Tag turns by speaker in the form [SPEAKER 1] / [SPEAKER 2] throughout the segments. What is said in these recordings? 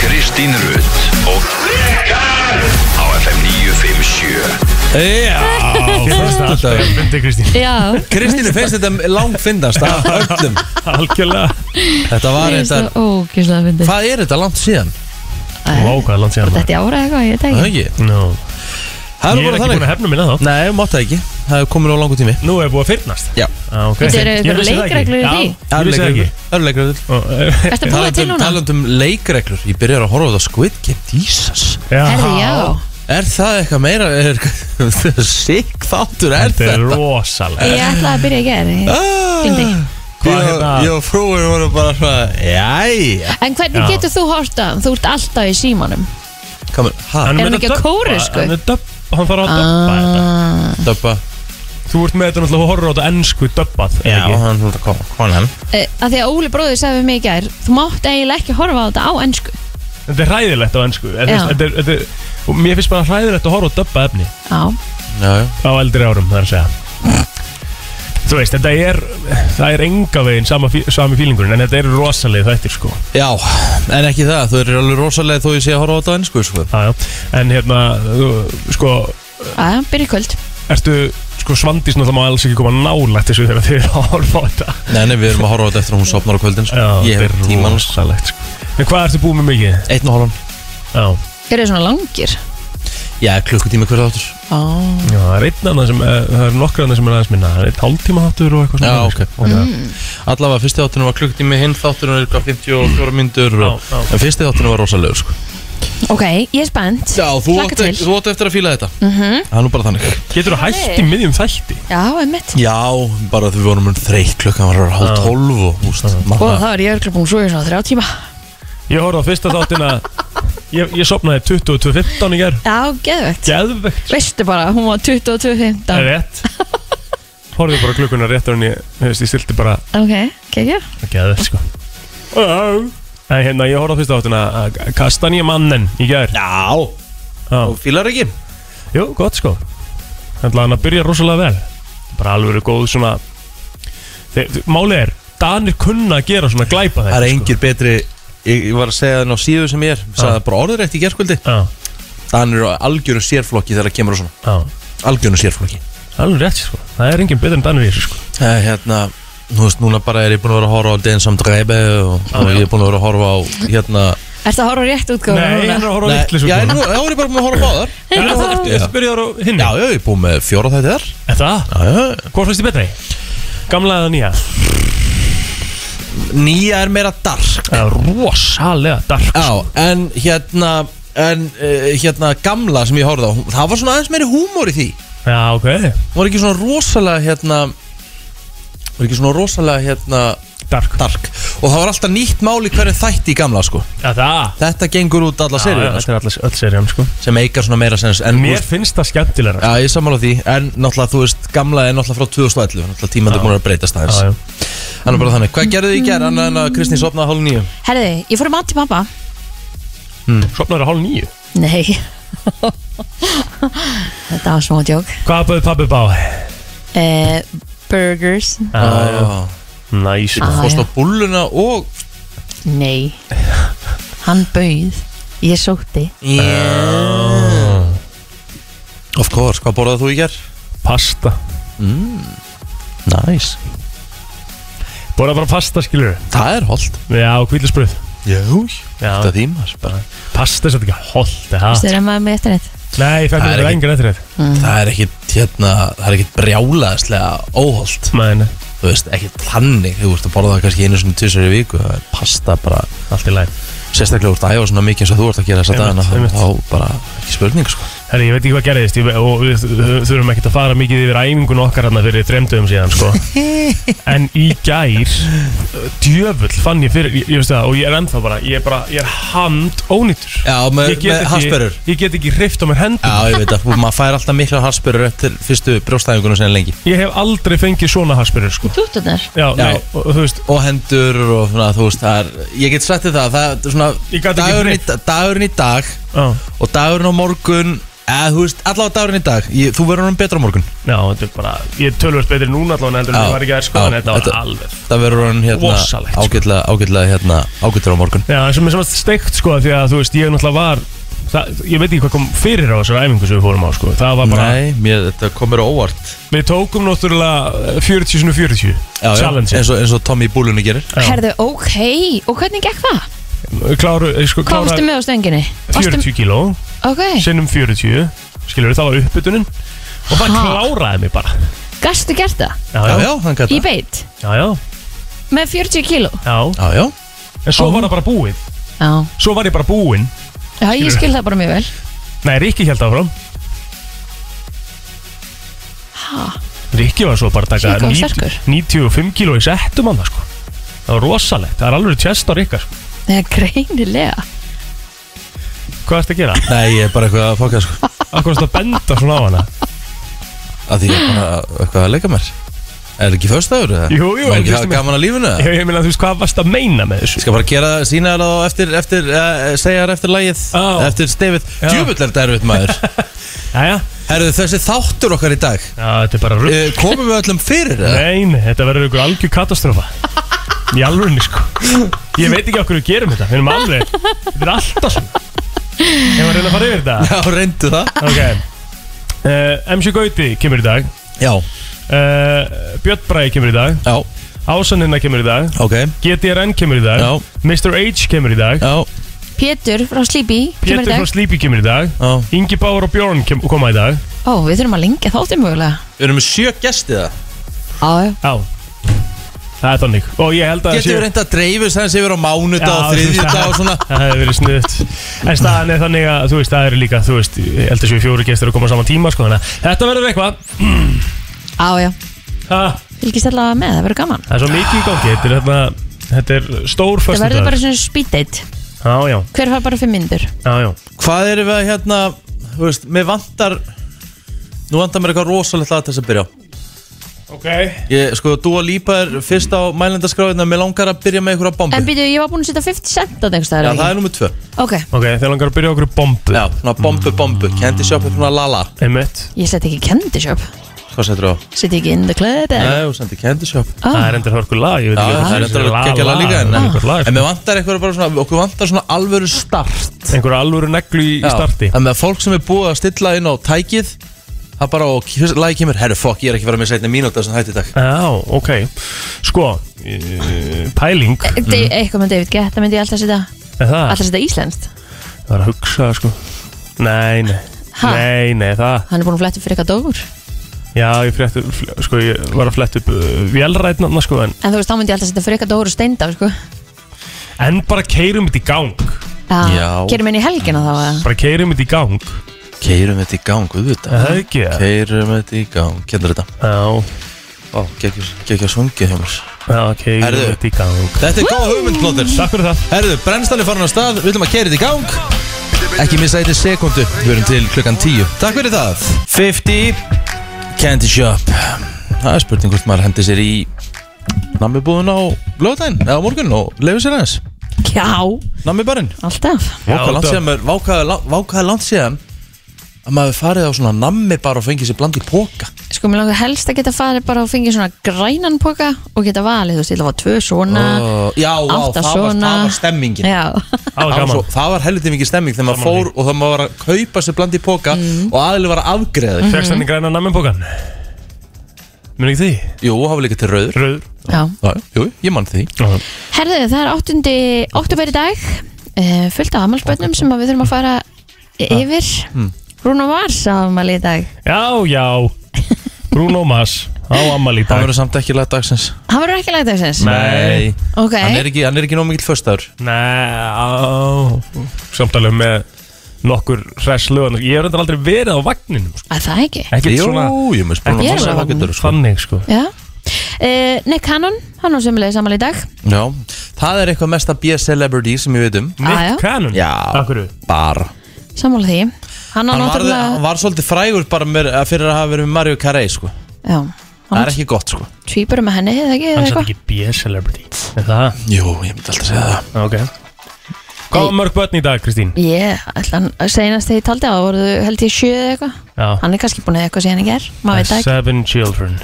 [SPEAKER 1] Kristín Rutt og Rikar á FM 957
[SPEAKER 2] Já, föstudagur.
[SPEAKER 3] Fyndi Kristín
[SPEAKER 4] Já,
[SPEAKER 2] Kristínu finnst þetta langfindast af öllum
[SPEAKER 3] Algjörlega
[SPEAKER 2] Þetta var
[SPEAKER 4] ég finnst
[SPEAKER 2] þetta
[SPEAKER 4] það ógislega fyndið
[SPEAKER 2] Hvað er þetta langt síðan?
[SPEAKER 3] Vá, hvað er langt síðan
[SPEAKER 4] Þetta er ára eitthvað, ég
[SPEAKER 2] Það
[SPEAKER 4] teki
[SPEAKER 2] er ekki
[SPEAKER 3] no. Ég er
[SPEAKER 2] Það er bara
[SPEAKER 3] ekki búin
[SPEAKER 2] þannig
[SPEAKER 3] að hefna minna þá
[SPEAKER 2] Nei, mátt það ekki Það er komin á langu tími
[SPEAKER 3] Nú er búið að fyrnast
[SPEAKER 2] Já.
[SPEAKER 3] ah, okay.
[SPEAKER 4] Þetta eru
[SPEAKER 3] Ég
[SPEAKER 4] einhverjar
[SPEAKER 3] vissi það ekki.
[SPEAKER 4] leikreglur í
[SPEAKER 3] Já,
[SPEAKER 4] því?
[SPEAKER 2] Það
[SPEAKER 3] Ég
[SPEAKER 2] eru
[SPEAKER 3] vissi það
[SPEAKER 2] leikreglur
[SPEAKER 3] ekki
[SPEAKER 2] Það eru leikreglur
[SPEAKER 3] Og-
[SPEAKER 4] Ertu að búa til
[SPEAKER 2] Talandum,
[SPEAKER 4] núna?
[SPEAKER 2] talandum um leikreglur Ég byrjar að horfa á það Squid Game Jesus
[SPEAKER 3] Já.
[SPEAKER 4] Herði, já
[SPEAKER 2] Er það eitthvað meira er, Sick þáttur er
[SPEAKER 3] Þetta er
[SPEAKER 2] þetta
[SPEAKER 3] rosalega
[SPEAKER 4] Ég ætlaði að byrja að gera því
[SPEAKER 2] Ah.
[SPEAKER 4] Gleymdi.
[SPEAKER 3] Hvað
[SPEAKER 2] Ég og-
[SPEAKER 3] hérna?
[SPEAKER 2] Ég og frúin voru bara svona Jæja
[SPEAKER 4] En hvernig
[SPEAKER 3] Já.
[SPEAKER 4] getur þú horta? Þú ert alltaf í símanum
[SPEAKER 2] Kamer, ha,
[SPEAKER 4] Er
[SPEAKER 3] með
[SPEAKER 4] hann ekki
[SPEAKER 3] að
[SPEAKER 4] á
[SPEAKER 3] döbba,
[SPEAKER 4] kóresku?
[SPEAKER 3] Hann er döbb, hann þarf að döbba þetta
[SPEAKER 2] döpa
[SPEAKER 3] Þú ert með þetta náttúrulega að horfa á þetta ennsku döbbað eða
[SPEAKER 2] Já,
[SPEAKER 3] ekki?
[SPEAKER 2] hann hún kom, kom hann
[SPEAKER 4] Eh, Að því að Óli bróður sagði við mig í gær Þú mátt eiginlega ekki horfa á þetta á ennsku
[SPEAKER 3] Þetta er hræðilegt á ennsku en þú veist,
[SPEAKER 4] Já.
[SPEAKER 3] þetta er, þetta er, og Mér finnst bara hræðilegt að horfa á döbba efni
[SPEAKER 4] Já,
[SPEAKER 2] Já, já
[SPEAKER 3] á eldri árum það er að segja Þú veist, þetta er, það er enga veginn sama, fí- sami fílingurinn en þetta er rosalega þættir sko
[SPEAKER 2] Já, en ekki það, þú eru alveg rosalega þó ég sé að horfa á þetta á ennsku sko.
[SPEAKER 3] Já, já. En hérna, þú, sko,
[SPEAKER 4] aða, byrja í kvöld
[SPEAKER 3] ertu sko svandís náttúrulega má alls ekki koma nálægt þessu þegar þið er að horfa á þetta
[SPEAKER 2] Nei, nei, við erum að horfa á þetta eftir að hún sopnar á kvöldin sko. Ég hef tíman sko.
[SPEAKER 3] rosalegt sko. En hvað ertu búið með mikið?
[SPEAKER 2] Einn og halvan
[SPEAKER 3] Já,
[SPEAKER 4] Eru þið svona langir?
[SPEAKER 2] Já, klukkutími hver þáttur
[SPEAKER 4] Á
[SPEAKER 3] já það er einn annað sem, eh, það er nokkra annað sem er aðeins minna Það er einn hálftíma þáttur og eitthvað
[SPEAKER 2] Já,
[SPEAKER 3] svona
[SPEAKER 2] ok.
[SPEAKER 3] sko. mm.
[SPEAKER 2] Allavega, fyrsti þáttunum var klukkutími, hinn þáttunum er eitthvað 54 myndur og...
[SPEAKER 3] Já, já.
[SPEAKER 2] En fyrsti þáttunum var rosalega sko.
[SPEAKER 4] Ok, ég er spennt
[SPEAKER 2] Já, þú
[SPEAKER 4] Hlakka
[SPEAKER 2] átt,
[SPEAKER 4] til. Mhm.
[SPEAKER 2] þú átt eftir að fíla þetta mm -hmm. Það er nú bara þannig
[SPEAKER 3] Getur þú hægt í miðjum þætti?
[SPEAKER 4] Já, einmitt
[SPEAKER 2] Já, bara því við vorum um þreytt klukkan var hálf
[SPEAKER 3] Já.
[SPEAKER 2] tólf og húst
[SPEAKER 4] Og
[SPEAKER 2] maður-
[SPEAKER 4] þá er ég örglega búin svo í svona þrjá tíma
[SPEAKER 3] Ég horfði á fyrsta þáttina Ég, ég sopnaði 22.15 í ger
[SPEAKER 4] Já, geðvegt
[SPEAKER 3] Geðvegt
[SPEAKER 4] Veistu bara, hún var 22.15
[SPEAKER 3] Rétt Horfði bara klukkuna rétt og ég, þú veist, ég stilti bara
[SPEAKER 4] Ok, geggja
[SPEAKER 3] að geða þetta sko En hérna, ég horfði á fyrsta þáttina að kasta nýja mannen í gær
[SPEAKER 2] Já,
[SPEAKER 3] Já,
[SPEAKER 2] þú fílar ekki
[SPEAKER 3] Jú, gott sko Þannig að hann að byrja rosalega vel Bara alveg verið góð svona Þeir, Málið er, Danir kunna að gera svona sko. glæpa
[SPEAKER 2] Það
[SPEAKER 3] þetta
[SPEAKER 2] er engir betri Ég ég var að segja það á síðu sem ég er Ég Sagði það bara orðurætt í gerkvöldi
[SPEAKER 3] sko. Já,
[SPEAKER 2] Þannig eru algjöru sérflokki þegar það kemur á svona
[SPEAKER 3] já
[SPEAKER 2] Algjöru sérflokki
[SPEAKER 3] Alveg rétt sko, það er engin betur en Danir í þessu sko
[SPEAKER 2] Það er hérna Nú veist, núna bara er ég búin að vera að horfa á Den Sam Drebe og, og ég er búin að vera að horfa á hérna
[SPEAKER 4] Ertu að horfa á rétt útgáfuna
[SPEAKER 3] Nei,
[SPEAKER 4] núna?
[SPEAKER 3] hann er að horfa
[SPEAKER 2] Nei,
[SPEAKER 3] vittlis
[SPEAKER 2] Já, nú, þá er ég bara búin að horfa á báðar
[SPEAKER 3] Það er að byrja á hinn
[SPEAKER 2] Já, já, ég er búin með fjóra þætti þar
[SPEAKER 3] Er það?
[SPEAKER 2] Já, já,
[SPEAKER 3] Hvort finnst þið betri? Gamla eða nýja?
[SPEAKER 2] Nýja er meira dark
[SPEAKER 3] Það er rosalega dark sko.
[SPEAKER 2] Já, en hérna En uh, hérna gamla sem ég horfði á hún- Það var svona aðeins meiri húmór í því
[SPEAKER 3] Já, ok
[SPEAKER 2] Hún var ekki svona rosalega hérna Var ekki svona rosalega hérna
[SPEAKER 3] Dark
[SPEAKER 2] dark Og það var alltaf nýtt mál í hverju þætti í gamla sko
[SPEAKER 3] Já, það
[SPEAKER 2] Þetta gengur út alla
[SPEAKER 3] Já,
[SPEAKER 2] seríuna sko,
[SPEAKER 3] Þetta er allas, öll seríum sko
[SPEAKER 2] sem eikar svona meira sens En þú
[SPEAKER 3] Mér
[SPEAKER 2] veist,
[SPEAKER 3] finnst það skemmtilegra
[SPEAKER 2] Já, ég er sammála því, en náttúrulega þú veist, gamla er náttúrulega frá 2011, náttúrulega tímandur búin að breytast aðeins.
[SPEAKER 3] Já, já.
[SPEAKER 2] Þannig bara þannig, hvað gerðu þið í gerð, annað en að Kristýn sopnaði hálf nýju?
[SPEAKER 4] Herði, ég fór í mat til pappa
[SPEAKER 2] Hmm.
[SPEAKER 3] Sopnar að hálf nýju
[SPEAKER 4] Nei Þetta var smá djók
[SPEAKER 3] Hvað bauði pabbi bá?
[SPEAKER 4] eh, Burgers
[SPEAKER 2] Ah,
[SPEAKER 3] Næs
[SPEAKER 4] Ah.
[SPEAKER 2] Fórst á bulluna og...
[SPEAKER 4] Nei Hann bauð Ég sótti
[SPEAKER 2] Yeah. Of course, hvað borðað þú í Mm. gerð?
[SPEAKER 3] Pasta
[SPEAKER 2] Nice.
[SPEAKER 3] Bóra bara pasta skilur
[SPEAKER 2] Það er holdt.
[SPEAKER 3] Já, kvíðlisbröð
[SPEAKER 2] Jú,
[SPEAKER 3] Já.
[SPEAKER 2] þetta þýmar bara.
[SPEAKER 3] Pasta er þetta ekki holdt eða?
[SPEAKER 4] Þú erum maður með eftir þetta
[SPEAKER 3] Nei, ég fekk
[SPEAKER 2] Það er
[SPEAKER 3] þetta
[SPEAKER 2] ekki-
[SPEAKER 3] engan eftir þetta
[SPEAKER 2] Það er ekkit, hérna, það er ekkit brjálaðislega óholdt.
[SPEAKER 3] Mæni,
[SPEAKER 2] Þú veist, ekkit þannig, þú veist að borða það kannski einu svona tvisar í viku, það er pasta bara...
[SPEAKER 3] allt í læg
[SPEAKER 2] sérstaklega úr þetta æfa svona mikið eins og þú ert að gera þessa
[SPEAKER 3] Einmitt,
[SPEAKER 2] dagana þá,
[SPEAKER 3] einmitt.
[SPEAKER 2] þá bara ekki spurning sko.
[SPEAKER 3] Herri, ég veit ekki hvað gerðist ég, og við þ- þurfum ekkert að fara mikið yfir æfingun okkar hérna fyrir þremdöfum síðan sko. en í gær djöfull fann ég fyrir ég, ég veist það, og ég er ennþá bara ég er, bara, ég er hand ónýttur
[SPEAKER 2] Já, með,
[SPEAKER 3] ég get,
[SPEAKER 2] með
[SPEAKER 3] ekki,
[SPEAKER 2] hasperur
[SPEAKER 3] ég get ekki hreift á mér hendum
[SPEAKER 2] Já, ég veit að maður fær alltaf mikla hasperur eftir fyrstu brjóstæðingunum sinni lengi
[SPEAKER 3] ég hef aldrei fengið svona hasperur sko.
[SPEAKER 4] Tútunar
[SPEAKER 3] já,
[SPEAKER 2] Já.
[SPEAKER 3] Nei, og, og þú veist
[SPEAKER 2] og hendur og svona, þú veist, það er ég get sagt þér það, það er svona
[SPEAKER 3] Ég gat ekki
[SPEAKER 2] dagurinn í,
[SPEAKER 3] hreyft.
[SPEAKER 2] dagurinn í dag
[SPEAKER 3] Já,
[SPEAKER 2] og dagurinn á morgun eða þú veist, allavega dagurinn í dag ég, þú verður hann betra á morgun
[SPEAKER 3] já, þetta er bara Ég er tölvöld betri núna allavega heldur en
[SPEAKER 2] Já,
[SPEAKER 3] ég var ekki að sko En
[SPEAKER 2] já,
[SPEAKER 3] þetta var
[SPEAKER 2] þetta-
[SPEAKER 3] alveg
[SPEAKER 2] það verður hann hérna
[SPEAKER 3] Rosalegt, sko.
[SPEAKER 2] ágætlega, ágætlega hérna, ágætlega á morgun
[SPEAKER 3] Já, það er sem er svona steikt sko Því að þú veist, ég náttúrulega var það, Ég veit ekki hvað kom fyrir á þessari æfingu sem við fórum á sko Það var bara
[SPEAKER 2] Nei, mér, þetta komur óvart
[SPEAKER 3] Við tókum náttúrulega eh, 40 sinni 40
[SPEAKER 2] já, já,
[SPEAKER 3] Challenge
[SPEAKER 2] eins, og, eins og Tommy í búlunni gerir
[SPEAKER 3] Já.
[SPEAKER 4] Herðu, ok, og hvernig gekk það?
[SPEAKER 3] Kláru, eh, sko,
[SPEAKER 4] Hvað varstu
[SPEAKER 3] klára
[SPEAKER 4] með á stönginni? Varstu-
[SPEAKER 3] 40 kíló
[SPEAKER 4] Ok,
[SPEAKER 3] Sinnum 40 Skilur það var uppbytunin Og það
[SPEAKER 4] Ha.
[SPEAKER 3] kláraði mig bara
[SPEAKER 4] gastu gert það?
[SPEAKER 2] Já, já, hann gæta
[SPEAKER 4] Í beitt?
[SPEAKER 3] já, já,
[SPEAKER 4] Með 40 kíló?
[SPEAKER 3] já.
[SPEAKER 2] Já, já,
[SPEAKER 3] En svo
[SPEAKER 4] Ó.
[SPEAKER 3] var það bara búið
[SPEAKER 4] Já,
[SPEAKER 3] Svo var ég bara búinn
[SPEAKER 4] já ég skil það bara mjög vel
[SPEAKER 3] Nei, Rikki held áfram
[SPEAKER 4] Ha,
[SPEAKER 3] Rikki var svo bara að
[SPEAKER 4] Shit,
[SPEAKER 3] taka
[SPEAKER 4] hvað hann
[SPEAKER 3] 90,
[SPEAKER 4] sterkur.
[SPEAKER 3] 95 kíló í settum hann sko. Það var rosalegt, það er alveg tjest á Rikka sko.
[SPEAKER 4] það er greinilega
[SPEAKER 3] Hvað ertu að gera?
[SPEAKER 2] nei, ég er bara eitthvað að fokka sko
[SPEAKER 3] Akkur ertu að benda svona á hana
[SPEAKER 2] að því ég er bara eitthvað að leika mér Er ekki föstaður eða?
[SPEAKER 3] Jú, jú,
[SPEAKER 2] Má
[SPEAKER 3] en
[SPEAKER 2] ekki
[SPEAKER 3] fyrstu
[SPEAKER 2] hafa
[SPEAKER 3] með-
[SPEAKER 2] gaman að lífinu eða?
[SPEAKER 3] Ég, ég meina, þú veist, hvað varst að meina með þessu?
[SPEAKER 2] Skal bara gera það, sína það á eftir, eftir uh, segja það eftir lagið,
[SPEAKER 3] Já.
[SPEAKER 2] eftir stefið
[SPEAKER 3] Já.
[SPEAKER 2] Djúvill er þetta erfitt maður
[SPEAKER 3] Jæja,
[SPEAKER 2] Herðu þessi þáttur okkar í dag
[SPEAKER 3] já, þetta er bara rugg
[SPEAKER 2] uh, Komum við öllum fyrir það?
[SPEAKER 3] Nei, nei, þetta verður ykkur algjör katastrófa Í alvörinni, sko Ég veit ekki okkur við gerum þetta, við erum alveg Þetta er alltaf svona Ég var að reyna að fara yfir þetta
[SPEAKER 2] Já, reyndu það
[SPEAKER 3] Ok uh, MC Gauti kemur í dag
[SPEAKER 2] Já,
[SPEAKER 3] uh, Björn Bræði kemur í dag
[SPEAKER 2] já,
[SPEAKER 3] Ásaninna kemur í dag
[SPEAKER 2] ok,
[SPEAKER 3] GTRN kemur í dag
[SPEAKER 2] Já.
[SPEAKER 3] Mr. H kemur í dag
[SPEAKER 2] já,
[SPEAKER 4] Pétur frá Sleepy kemur í
[SPEAKER 3] Pétur
[SPEAKER 4] dag
[SPEAKER 3] frá Sleepy kemur í dag
[SPEAKER 2] já
[SPEAKER 3] Ingi Báur og Björn kem, koma í dag
[SPEAKER 4] Ó, við þurfum að lengja þáttið mögulega
[SPEAKER 2] Við erum með sjö gesti það
[SPEAKER 4] Já, já.
[SPEAKER 3] Já Það er þannig Og ég held að
[SPEAKER 2] Getum við reynda að dreifis þess yfir á mánudag og þriðjudag og svona
[SPEAKER 3] Það hefði verið sniðut En staðan er þannig að þú veist Það eru líka, þú veist Ég held að séu fjóru gestur að koma saman tíma sko, þannig að Þetta verður eitthvað
[SPEAKER 4] Á, já,
[SPEAKER 3] Ha,
[SPEAKER 4] fylgist allavega með, það verður gaman
[SPEAKER 3] Það er svo mikið í gangi Þetta er, þarna, þetta er stór
[SPEAKER 4] Það verður bara
[SPEAKER 3] föstudag
[SPEAKER 4] svona speed date
[SPEAKER 3] Já, já,
[SPEAKER 4] Hver fær bara fimm myndur?
[SPEAKER 3] já, já
[SPEAKER 2] Hvað erum við að hérna, þú veist, mér vantar Nú vantar mér eitthvað rosalegt að þess að byrja á
[SPEAKER 3] Ok
[SPEAKER 2] Ég, sko, þú að lípa er fyrst á mælendaskráðina Mér langar að byrja með einhverja bombu
[SPEAKER 4] En býtu, ég var búin að setja 50 cent á þengst
[SPEAKER 2] Já, það
[SPEAKER 4] það
[SPEAKER 2] er nummið tvö
[SPEAKER 4] Ok,
[SPEAKER 3] Ok, þeir langar að byrja okkur bombu
[SPEAKER 2] Já, svona bombu, bombu Candy shop er svona lala
[SPEAKER 3] Einmitt
[SPEAKER 4] ég seti ekki candy shop
[SPEAKER 2] Hvað setur þú á?
[SPEAKER 4] Seti ekki in the club eða-
[SPEAKER 2] Nei, þú sendir candy shop Já,
[SPEAKER 4] Ó,
[SPEAKER 3] Það er endur hörkur lag, ég veit ekki
[SPEAKER 2] það er endur að kekja það líka En,
[SPEAKER 3] Einhver
[SPEAKER 2] en
[SPEAKER 3] lag sko.
[SPEAKER 2] mér vantar eitthvað bara svona Okkur vantar svona alvöru start
[SPEAKER 3] Einhver alvöru neglu í, í starti
[SPEAKER 2] En með fólk sem er búið að stilla inn á tækið Það bara, og fyrst lagi kemur Herru, fokk, ég er ekki að fara með setni mínúta sem hætti í dag
[SPEAKER 3] Já, ok Sko, eh, pæling Mm.
[SPEAKER 4] De Eitthvað með David Guetta myndi ég alltaf setja
[SPEAKER 3] Er það?
[SPEAKER 4] Alltaf setja íslenskt
[SPEAKER 3] Það var að hugsa, sko Nei, nei
[SPEAKER 4] Ha?
[SPEAKER 3] Nei, nei, það
[SPEAKER 4] Hann er búin að fletta fyrir eitthvað dógur
[SPEAKER 3] Já, ég frétti, fl- sko, ég var að fletta upp uh, Vélrætna, sko, en
[SPEAKER 4] En þú veist, þá myndi ég alltaf setja fyrir eitthvað dógur og steinda sko.
[SPEAKER 3] En bara keirum þetta í gang
[SPEAKER 2] Já.
[SPEAKER 4] Já Kerum inn í helgina þá eða?
[SPEAKER 3] Bara keirum þetta í gang
[SPEAKER 2] Keirum þetta í gang, við
[SPEAKER 3] Er Það er ekki það?
[SPEAKER 2] Keirum þetta í gang, kendur þetta
[SPEAKER 3] Já,
[SPEAKER 2] Ó, gekkja svungið hjá mér
[SPEAKER 3] já, keirum
[SPEAKER 2] Herðu.
[SPEAKER 3] þetta í gang
[SPEAKER 2] Þetta er góð hugmynd, Plóter
[SPEAKER 3] Takk fyrir það
[SPEAKER 2] Herðu, brennstan er farin á stað, við viljum að kæra þetta í gang Ekki missa eitthvað sekundu, við erum til klukkan 10 Takk fyrir það 50 Candy Shop Það er spurning hvort maður hendi sér í Nammibúðun á lögdæn eða á morgun og leiður sér aðeins
[SPEAKER 4] Já,
[SPEAKER 2] Nammibarinn
[SPEAKER 4] alltaf
[SPEAKER 2] Vákaði
[SPEAKER 3] þetta-
[SPEAKER 2] langt síðan maður- vákaði la- vákaði langt síðan að maður farið á svona nammibar og fengið sér bland í póka
[SPEAKER 4] Sko, mér langar helst að geta farið bara og fengið svona grænan poka og geta valið, þú veist, ég ætla að fá tvö svona
[SPEAKER 2] Ó, Já, á,
[SPEAKER 4] átta
[SPEAKER 2] það, var,
[SPEAKER 4] svona.
[SPEAKER 2] það var stemmingin
[SPEAKER 4] Já,
[SPEAKER 3] Það var
[SPEAKER 2] það var,
[SPEAKER 3] gaman
[SPEAKER 2] svo, það var helviti mikið stemming þegar maður
[SPEAKER 3] Saman
[SPEAKER 2] fór og það maður var að kaupa sér bland í póka
[SPEAKER 4] Mm.
[SPEAKER 2] og aðlið var að afgreða þig.
[SPEAKER 3] Fegst hann í græna namnbókan Mun ekki því?
[SPEAKER 2] Jú, það var líka til rauður
[SPEAKER 3] Rauður
[SPEAKER 4] já
[SPEAKER 2] Já, jú, ég mann því
[SPEAKER 4] Herðu, það er 8. oktober í dag uh, fullt af amalspönnum sem að við þurfum að fara yfir
[SPEAKER 2] Hmm.
[SPEAKER 4] Rúna Mars á amali í dag
[SPEAKER 3] Já, já Bruno Mars á ammali í
[SPEAKER 2] Það
[SPEAKER 3] dag
[SPEAKER 2] verður samt ekki lag dagsins
[SPEAKER 4] Hann verður ekki lægt þessins
[SPEAKER 3] Nei.
[SPEAKER 4] Ok,
[SPEAKER 2] Hann er ekki, hann er ekki nóg mikill föstaður
[SPEAKER 3] Nei, á Samt alveg með nokkur hress lögan Ég hef reyndar aldrei verið á vagninum sko.
[SPEAKER 4] að það ekki
[SPEAKER 3] Ekkert
[SPEAKER 2] Jú,
[SPEAKER 3] svona
[SPEAKER 2] ég með spuna
[SPEAKER 4] Ég er alveg
[SPEAKER 2] getur, sko.
[SPEAKER 3] Þannig sko
[SPEAKER 4] Já uh, Nick Cannon, hann var sömulegis amali í dag
[SPEAKER 2] Já, það er eitthvað mesta B-celebrity sem ég veit um
[SPEAKER 4] Ah, já.
[SPEAKER 3] Nick Cannon
[SPEAKER 2] Já.
[SPEAKER 3] Akkur
[SPEAKER 2] Bara
[SPEAKER 4] Sammála því Hann á
[SPEAKER 2] Hann var,
[SPEAKER 4] náttúrulega
[SPEAKER 2] hann var svolítið frægur bara með, eh, fyrir að hafa verið með Mario Carey sko.
[SPEAKER 4] Já,
[SPEAKER 2] Það
[SPEAKER 4] hann
[SPEAKER 2] er ekki gott sko
[SPEAKER 4] tvípur með henni, eða ekki, eða
[SPEAKER 3] Hann satt
[SPEAKER 4] eitthvað
[SPEAKER 3] ekki B-celebrity Er það?
[SPEAKER 2] Jú, ég myndi alltaf segja það
[SPEAKER 3] Ok Hvað var mörg börn í dag, Kristín?
[SPEAKER 4] Ég ætla hann að segja næst þegar ég taldi að það voru held ég sjö eða eitthvað
[SPEAKER 3] Já.
[SPEAKER 4] Hann er kannski búin að eitthvað síðan í ger, maður veit það ekki
[SPEAKER 3] Seven children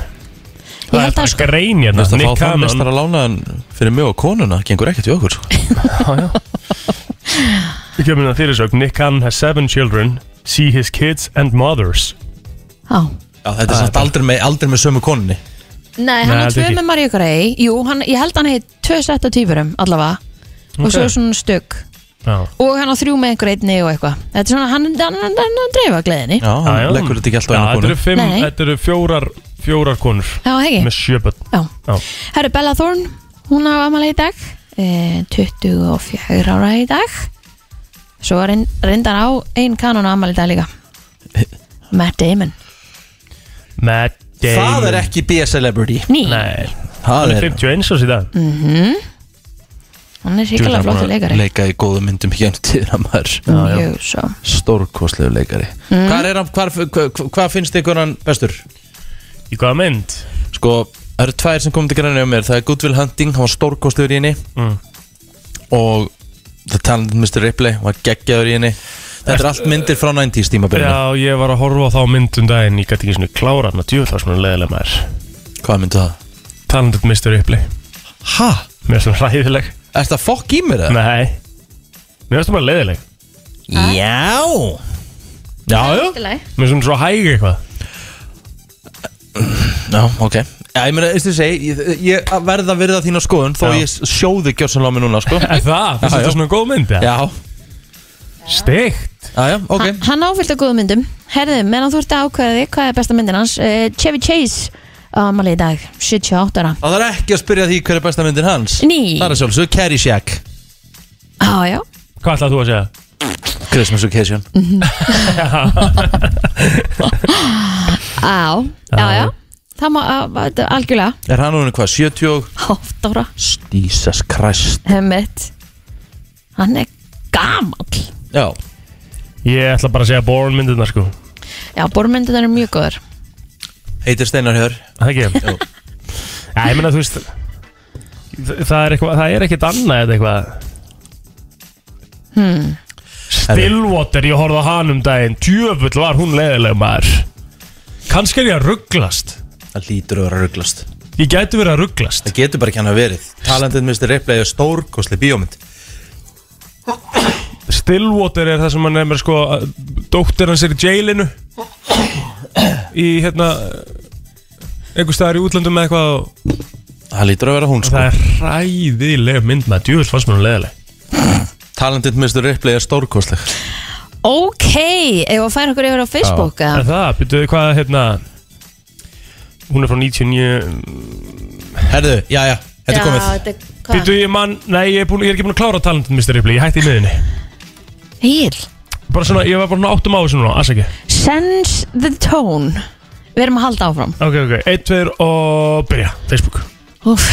[SPEAKER 4] Ég held að
[SPEAKER 3] bara
[SPEAKER 4] sko,
[SPEAKER 3] grein hérna
[SPEAKER 2] Þú veist að
[SPEAKER 3] Nick
[SPEAKER 2] fá þann mestar
[SPEAKER 3] Cannon
[SPEAKER 2] að lána hann fyrir mjög og konuna Gengur ekkert í okkur sko.
[SPEAKER 3] Við kemur það fyrir sög Nick Cannon has seven children See his kids and mothers
[SPEAKER 4] á
[SPEAKER 2] Já, þetta er samt aldrei með, aldrei með sömu konunni
[SPEAKER 4] Nei, hann
[SPEAKER 3] Nei,
[SPEAKER 4] er
[SPEAKER 3] held
[SPEAKER 4] tvö
[SPEAKER 3] ekki.
[SPEAKER 4] með Maríu Grey Jú, hann, ég held hann heit tvö sett af týpurum allavega Og svo svona stugg
[SPEAKER 3] Já,
[SPEAKER 4] Og hann á þrjú með einhver einni og eitthvað Þetta er svona, hann, hann, hann, hann, hann dreifa gleðinni
[SPEAKER 2] Já, hann
[SPEAKER 3] Já, já.
[SPEAKER 2] leggur þetta ekki alltaf
[SPEAKER 3] Já,
[SPEAKER 2] einu
[SPEAKER 3] þetta eru
[SPEAKER 2] konu
[SPEAKER 3] fimm,
[SPEAKER 4] Nei.
[SPEAKER 3] þetta eru fjórar, fjórar konur
[SPEAKER 4] Já, hegi
[SPEAKER 3] með sjöböld
[SPEAKER 4] Já.
[SPEAKER 3] Já.
[SPEAKER 4] Herru Bella Thorne, hún á amal í dag eh, 24 ára í dag Svo reyn- reyndar á ein kanon á amal í dag líka Matt Damon
[SPEAKER 3] Matt Damon
[SPEAKER 2] Það er ekki B-celebrity
[SPEAKER 4] Ný,
[SPEAKER 3] Nei,
[SPEAKER 2] Það
[SPEAKER 3] hann er
[SPEAKER 2] er
[SPEAKER 3] 51 árs í dag
[SPEAKER 4] Mhm. hann er ríkilega
[SPEAKER 2] Djöfull er hann
[SPEAKER 4] flottur
[SPEAKER 2] búinn að
[SPEAKER 4] leikari
[SPEAKER 2] Leika í góðum myndum hérna tíðra maður
[SPEAKER 4] Mjög svo
[SPEAKER 2] Stórkostlegu leikari mm. Hvað er hann, hvar, hva, hva finnst ykkur hann bestur?
[SPEAKER 3] Í hvaða mynd?
[SPEAKER 2] Sko, það eru tvær sem komið til græni á mér Það er Goodwill Hunting, hann var stórkostlegur í henni
[SPEAKER 3] Mm.
[SPEAKER 2] Og The Talented Mr. Ripley var geggjaður í henni Þetta er allt myndir frá 90s tímabilinu
[SPEAKER 3] Já, ég var að horfa á þá mynd um daginn Ég gæti ekki svona klára hann að djöfla svona leðilega maður
[SPEAKER 2] Hvað myndu það?
[SPEAKER 3] Talented Mr. Ripley
[SPEAKER 2] Ha?
[SPEAKER 3] Mér er svona hræðileg
[SPEAKER 2] Er það fokk í mér það?
[SPEAKER 3] Nei Mér er svona bara leðileg
[SPEAKER 2] Já Já, já
[SPEAKER 4] Allt í lagi.
[SPEAKER 3] Mér er svona svo hæg eitthvað
[SPEAKER 2] Já, ok Já, ég meina, veistu segi, ég, ég verð að verða þína skoðun Þó
[SPEAKER 3] Já.
[SPEAKER 2] ég sjóði gjörsanlega á mig núna, sko
[SPEAKER 3] Er það? Finnst
[SPEAKER 2] Já,
[SPEAKER 3] þetta
[SPEAKER 2] já.
[SPEAKER 3] svona góð mynd? eða?
[SPEAKER 2] Já,
[SPEAKER 3] Steikt
[SPEAKER 2] já, já, ok
[SPEAKER 4] Hann- Hann áfyllt af góðum myndum Herðu, meðan þú ert að ákveða þig, hvað er besta myndin hans Eh, Chevy Chase á amal í dag 78 ára
[SPEAKER 2] Það er ekki að spyrja því hver er besta myndin hans
[SPEAKER 4] Ný.
[SPEAKER 2] Það er sjálfsög Carrie Shack
[SPEAKER 4] Já, já
[SPEAKER 3] Hvað ætlaði þú að segja?
[SPEAKER 2] Christmas Occasion
[SPEAKER 4] Á, já, já Það má, á, þetta er algjörlega
[SPEAKER 2] Er hann núna hvað, 70 og
[SPEAKER 4] Hátt ára
[SPEAKER 2] Jesus Christ
[SPEAKER 4] Hemmet Hann er gamall
[SPEAKER 2] Já,
[SPEAKER 3] Ég ætla bara að segja Born myndirna sko
[SPEAKER 4] Já, bormyndunar eru mjög góður
[SPEAKER 2] heitir Steinar Hjör
[SPEAKER 3] Það ekki?
[SPEAKER 2] Jú.
[SPEAKER 3] Já, ég meina þú veist þ- Það er eitthvað, það er ekkert annað eða eitthvað hmm.
[SPEAKER 4] Hmm.
[SPEAKER 3] Stillwater, ég horfði á hann um daginn Djöfull var hún leiðileg maður Kannski er ég að rugglast
[SPEAKER 2] Það lítur að vera rugglast
[SPEAKER 3] Ég gæti verið að rugglast
[SPEAKER 2] Það getur bara ekki hann að verið Talented Mr. Ripley er stórkostli bíómynd
[SPEAKER 3] Stillwater er það sem hann nefnir sko að Dóttir hans er í jailinu Í hérna einhver staðar í útlöndum með eitthvað og
[SPEAKER 2] Það lítur að vera hún sko
[SPEAKER 3] Það er ræðileg mynd með djúvill fannst mér hún leðileg
[SPEAKER 2] Talented Mr. Ripley er stórkostli
[SPEAKER 4] Ok, ef að færa okkur yfir á Facebook
[SPEAKER 3] Er
[SPEAKER 4] eða?
[SPEAKER 3] það, byrjuðu hvað hérna Hún er frá 99
[SPEAKER 2] Herðu, já, já, þetta er komið
[SPEAKER 4] Já, þetta er hvað?
[SPEAKER 3] Byrjuðu ég mann, nei ég er, búin, ég er ekki búin að klára talentin Mr. Ripley, ég hætti í miðinni
[SPEAKER 4] Egil,
[SPEAKER 3] Bara svona, ég var bara svona áttum á þessu núna, alls ekki
[SPEAKER 4] sense the tone Við erum að halda áfram
[SPEAKER 3] Ok, ok, 1, 2 og byrja, Facebook
[SPEAKER 4] Úf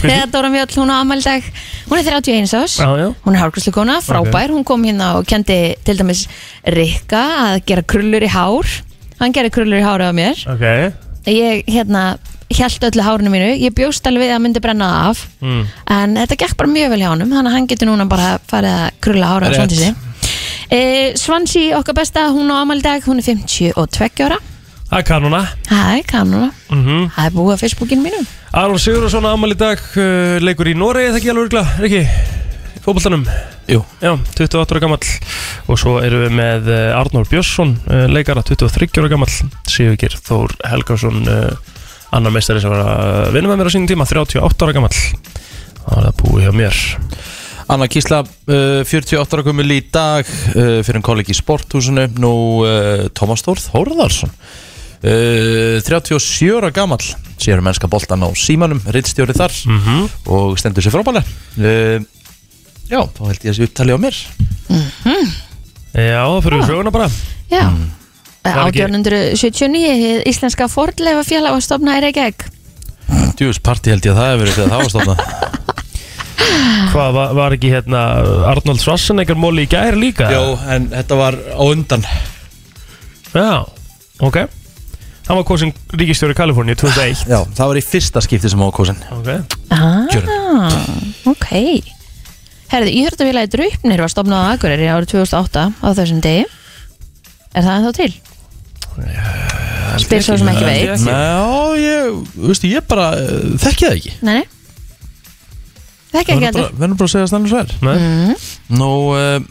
[SPEAKER 4] Þegar Dóra Mjöll, hún á afmæli í dag Hún er 31 ás
[SPEAKER 3] Já, já
[SPEAKER 4] Hún er hárgrúslukona, frábær Hún kom hérna og kendi til dæmis Rikka að gera krullur í hár Hann gerði krullur í hár á mér
[SPEAKER 3] Ok,
[SPEAKER 4] ég hérna hjælt öllu hárinu mínu, ég bjóst alveg við að hann myndi brenna það af
[SPEAKER 3] Mm.
[SPEAKER 4] en þetta gekk bara mjög vel hjá honum þannig að hann getur núna bara farið að krulla hára á
[SPEAKER 2] Rétt.
[SPEAKER 4] Svansi e, Svansi, okkar besta, hún á amal dag hún er 52 ára
[SPEAKER 3] það er kanona
[SPEAKER 4] hæ, kannuna,
[SPEAKER 3] mm -hmm.
[SPEAKER 4] það er búið að Facebookinu mínu
[SPEAKER 3] Aron Sigurðarsson ámæli í dag uh, Leikur í Noregi, er það ekki alveg örgla, er ekki Fótboltanum
[SPEAKER 2] Jú,
[SPEAKER 3] Já, 28 ára gammal og svo erum við með eh, Arnór Björnsson eh, leikara 23 ára gammal Sigurgir Þór Helgarsson eh, annar meistari sem var að vinna með mér á sínum tíma 38 ára gammal Það var það búið hjá mér
[SPEAKER 2] Anna Kísla, uh, 48 ára komil í dag uh, fyrir en kollegi í sporthúsinu nú uh, Tómas Þórð Hórðarsson uh, 37 ára gamall sérum mennska boltan á símanum rittstjóri þar
[SPEAKER 3] Mhm.
[SPEAKER 2] og stendur sér frábælega uh, Já, þá held ég að sé upptali á mér
[SPEAKER 4] Mhm.
[SPEAKER 3] Já, það fyrir við söguna bara
[SPEAKER 4] já,
[SPEAKER 3] Var ekki-
[SPEAKER 4] 1879 hið íslenska fordleifa félag var stopnað í Reykjavík
[SPEAKER 2] Djúvis party held ég að það hefur verið þegar það var stofna
[SPEAKER 3] Hvað var, var ekki hérna Arnold Schwarzenegger móli í gær líka?
[SPEAKER 2] Jó, en þetta var á undan
[SPEAKER 3] Já, ok Hann var kosin ríkistjóri Kaliforni 2001
[SPEAKER 2] Já, það var í fyrsta skipti sem ákósin
[SPEAKER 3] Ok
[SPEAKER 4] ah, ok Herði, Íþróttafélagi Draupnir var stofnað á Akureyri árið 2008 á þessum degi Er það ennþá til? Spyr svo sem ekki veit
[SPEAKER 2] Ná, ég, veistu, ég bara uh, þekki það ekki
[SPEAKER 4] Nei, nei Þekki ekki allir
[SPEAKER 2] Verðum bara að segja stannis verð
[SPEAKER 3] Nei,
[SPEAKER 2] Nú, um,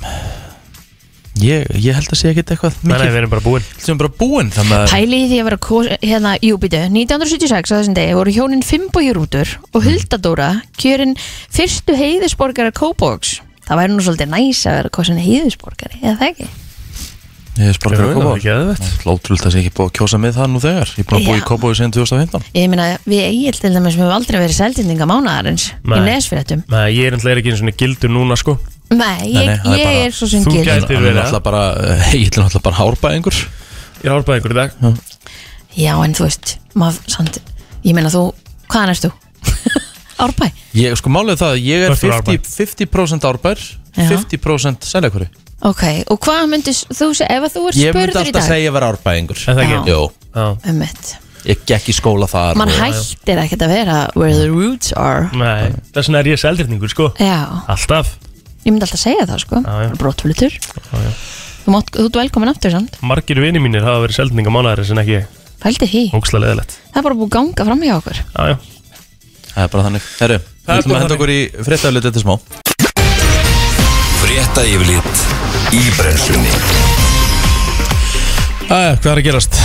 [SPEAKER 2] ég, ég held að sé ekkit eitthvað
[SPEAKER 3] nei, nei,
[SPEAKER 2] mikið
[SPEAKER 3] við erum bara búin
[SPEAKER 2] sem er bara búinn þannig að
[SPEAKER 4] Pæli í því að vera kos, hérna, jú býtu, 1976 á þessum degi voru hjónin Fimbojurútur og Huldadóra kjörin fyrstu heiðisborgara Kóbóks. Það væri nú svolítið næs að vera kosin heiðisborgari, eða það ekki?
[SPEAKER 2] ég er bara að koma
[SPEAKER 3] ekki að þetta
[SPEAKER 2] Lótrúld að sé ekki búið að kjósa með það nú þegar Ég er búin að búið í
[SPEAKER 4] Já.
[SPEAKER 2] Kópói síðan 2015
[SPEAKER 4] Ég meina, við eigil til dæmis, við höfum aldrei verið seldindinga mánaðarins í
[SPEAKER 3] Nei.
[SPEAKER 4] nesfyrirtum.
[SPEAKER 3] Nei, ég er ennlega ekki eins og gildur núna sko
[SPEAKER 4] Nei,
[SPEAKER 2] Nei,
[SPEAKER 4] ég,
[SPEAKER 2] nei, það er
[SPEAKER 4] ég
[SPEAKER 2] bara-
[SPEAKER 4] er svo sem
[SPEAKER 3] Þú
[SPEAKER 4] gild.
[SPEAKER 3] gætir-
[SPEAKER 2] Hann er
[SPEAKER 3] verið,
[SPEAKER 2] náttúrulega bara, eh, ég er náttúrulega bara hárbæðingur
[SPEAKER 3] Ég er árbæðið ykkur í dag
[SPEAKER 4] Já, en þú veist, maður, samt, ég meina þú, hvaðan erst þú? Árbæ?
[SPEAKER 2] Ég, sko, málið er það að ég er
[SPEAKER 3] Hvert er
[SPEAKER 2] 50%, 50 árbær,
[SPEAKER 4] Já.
[SPEAKER 2] 50% seljakvöri.
[SPEAKER 4] Ok, og hvað myndist þú segja, ef að þú er
[SPEAKER 2] Ég myndi
[SPEAKER 4] spurður í
[SPEAKER 2] alltaf
[SPEAKER 4] dag?
[SPEAKER 2] segja að vera árbæðingur.
[SPEAKER 3] Er það ekki?
[SPEAKER 4] Já.
[SPEAKER 2] Jó,
[SPEAKER 3] Já
[SPEAKER 4] Um mitt.
[SPEAKER 2] ég gekk í skóla þar.
[SPEAKER 4] Man
[SPEAKER 2] og-
[SPEAKER 4] hættir ekkert að vera where the roots are.
[SPEAKER 3] Nei, þess vegna er ég seldirningur sko
[SPEAKER 4] Já,
[SPEAKER 3] Alltaf
[SPEAKER 4] ég myndi alltaf segja það sko
[SPEAKER 3] Já, já.
[SPEAKER 4] Brottflutur
[SPEAKER 3] já.
[SPEAKER 4] Þú, mátt, þú ert velkomin aftur samt
[SPEAKER 3] Margir vini mínir hafa verið seldninga mánæðari sem ekki
[SPEAKER 4] Fældi því
[SPEAKER 3] óksla leðilegt
[SPEAKER 4] Það er bara búið að ganga fram hjá okkur
[SPEAKER 3] Já, já
[SPEAKER 2] Það er bara þannig. Herru, við
[SPEAKER 3] Það er
[SPEAKER 2] ætlum
[SPEAKER 3] bara
[SPEAKER 2] að henda
[SPEAKER 3] þannig.
[SPEAKER 2] okkur í fréttaöflut eftir smá.
[SPEAKER 1] Frétta yfirlit í brennslunni
[SPEAKER 2] Æja, hvað er að gerast?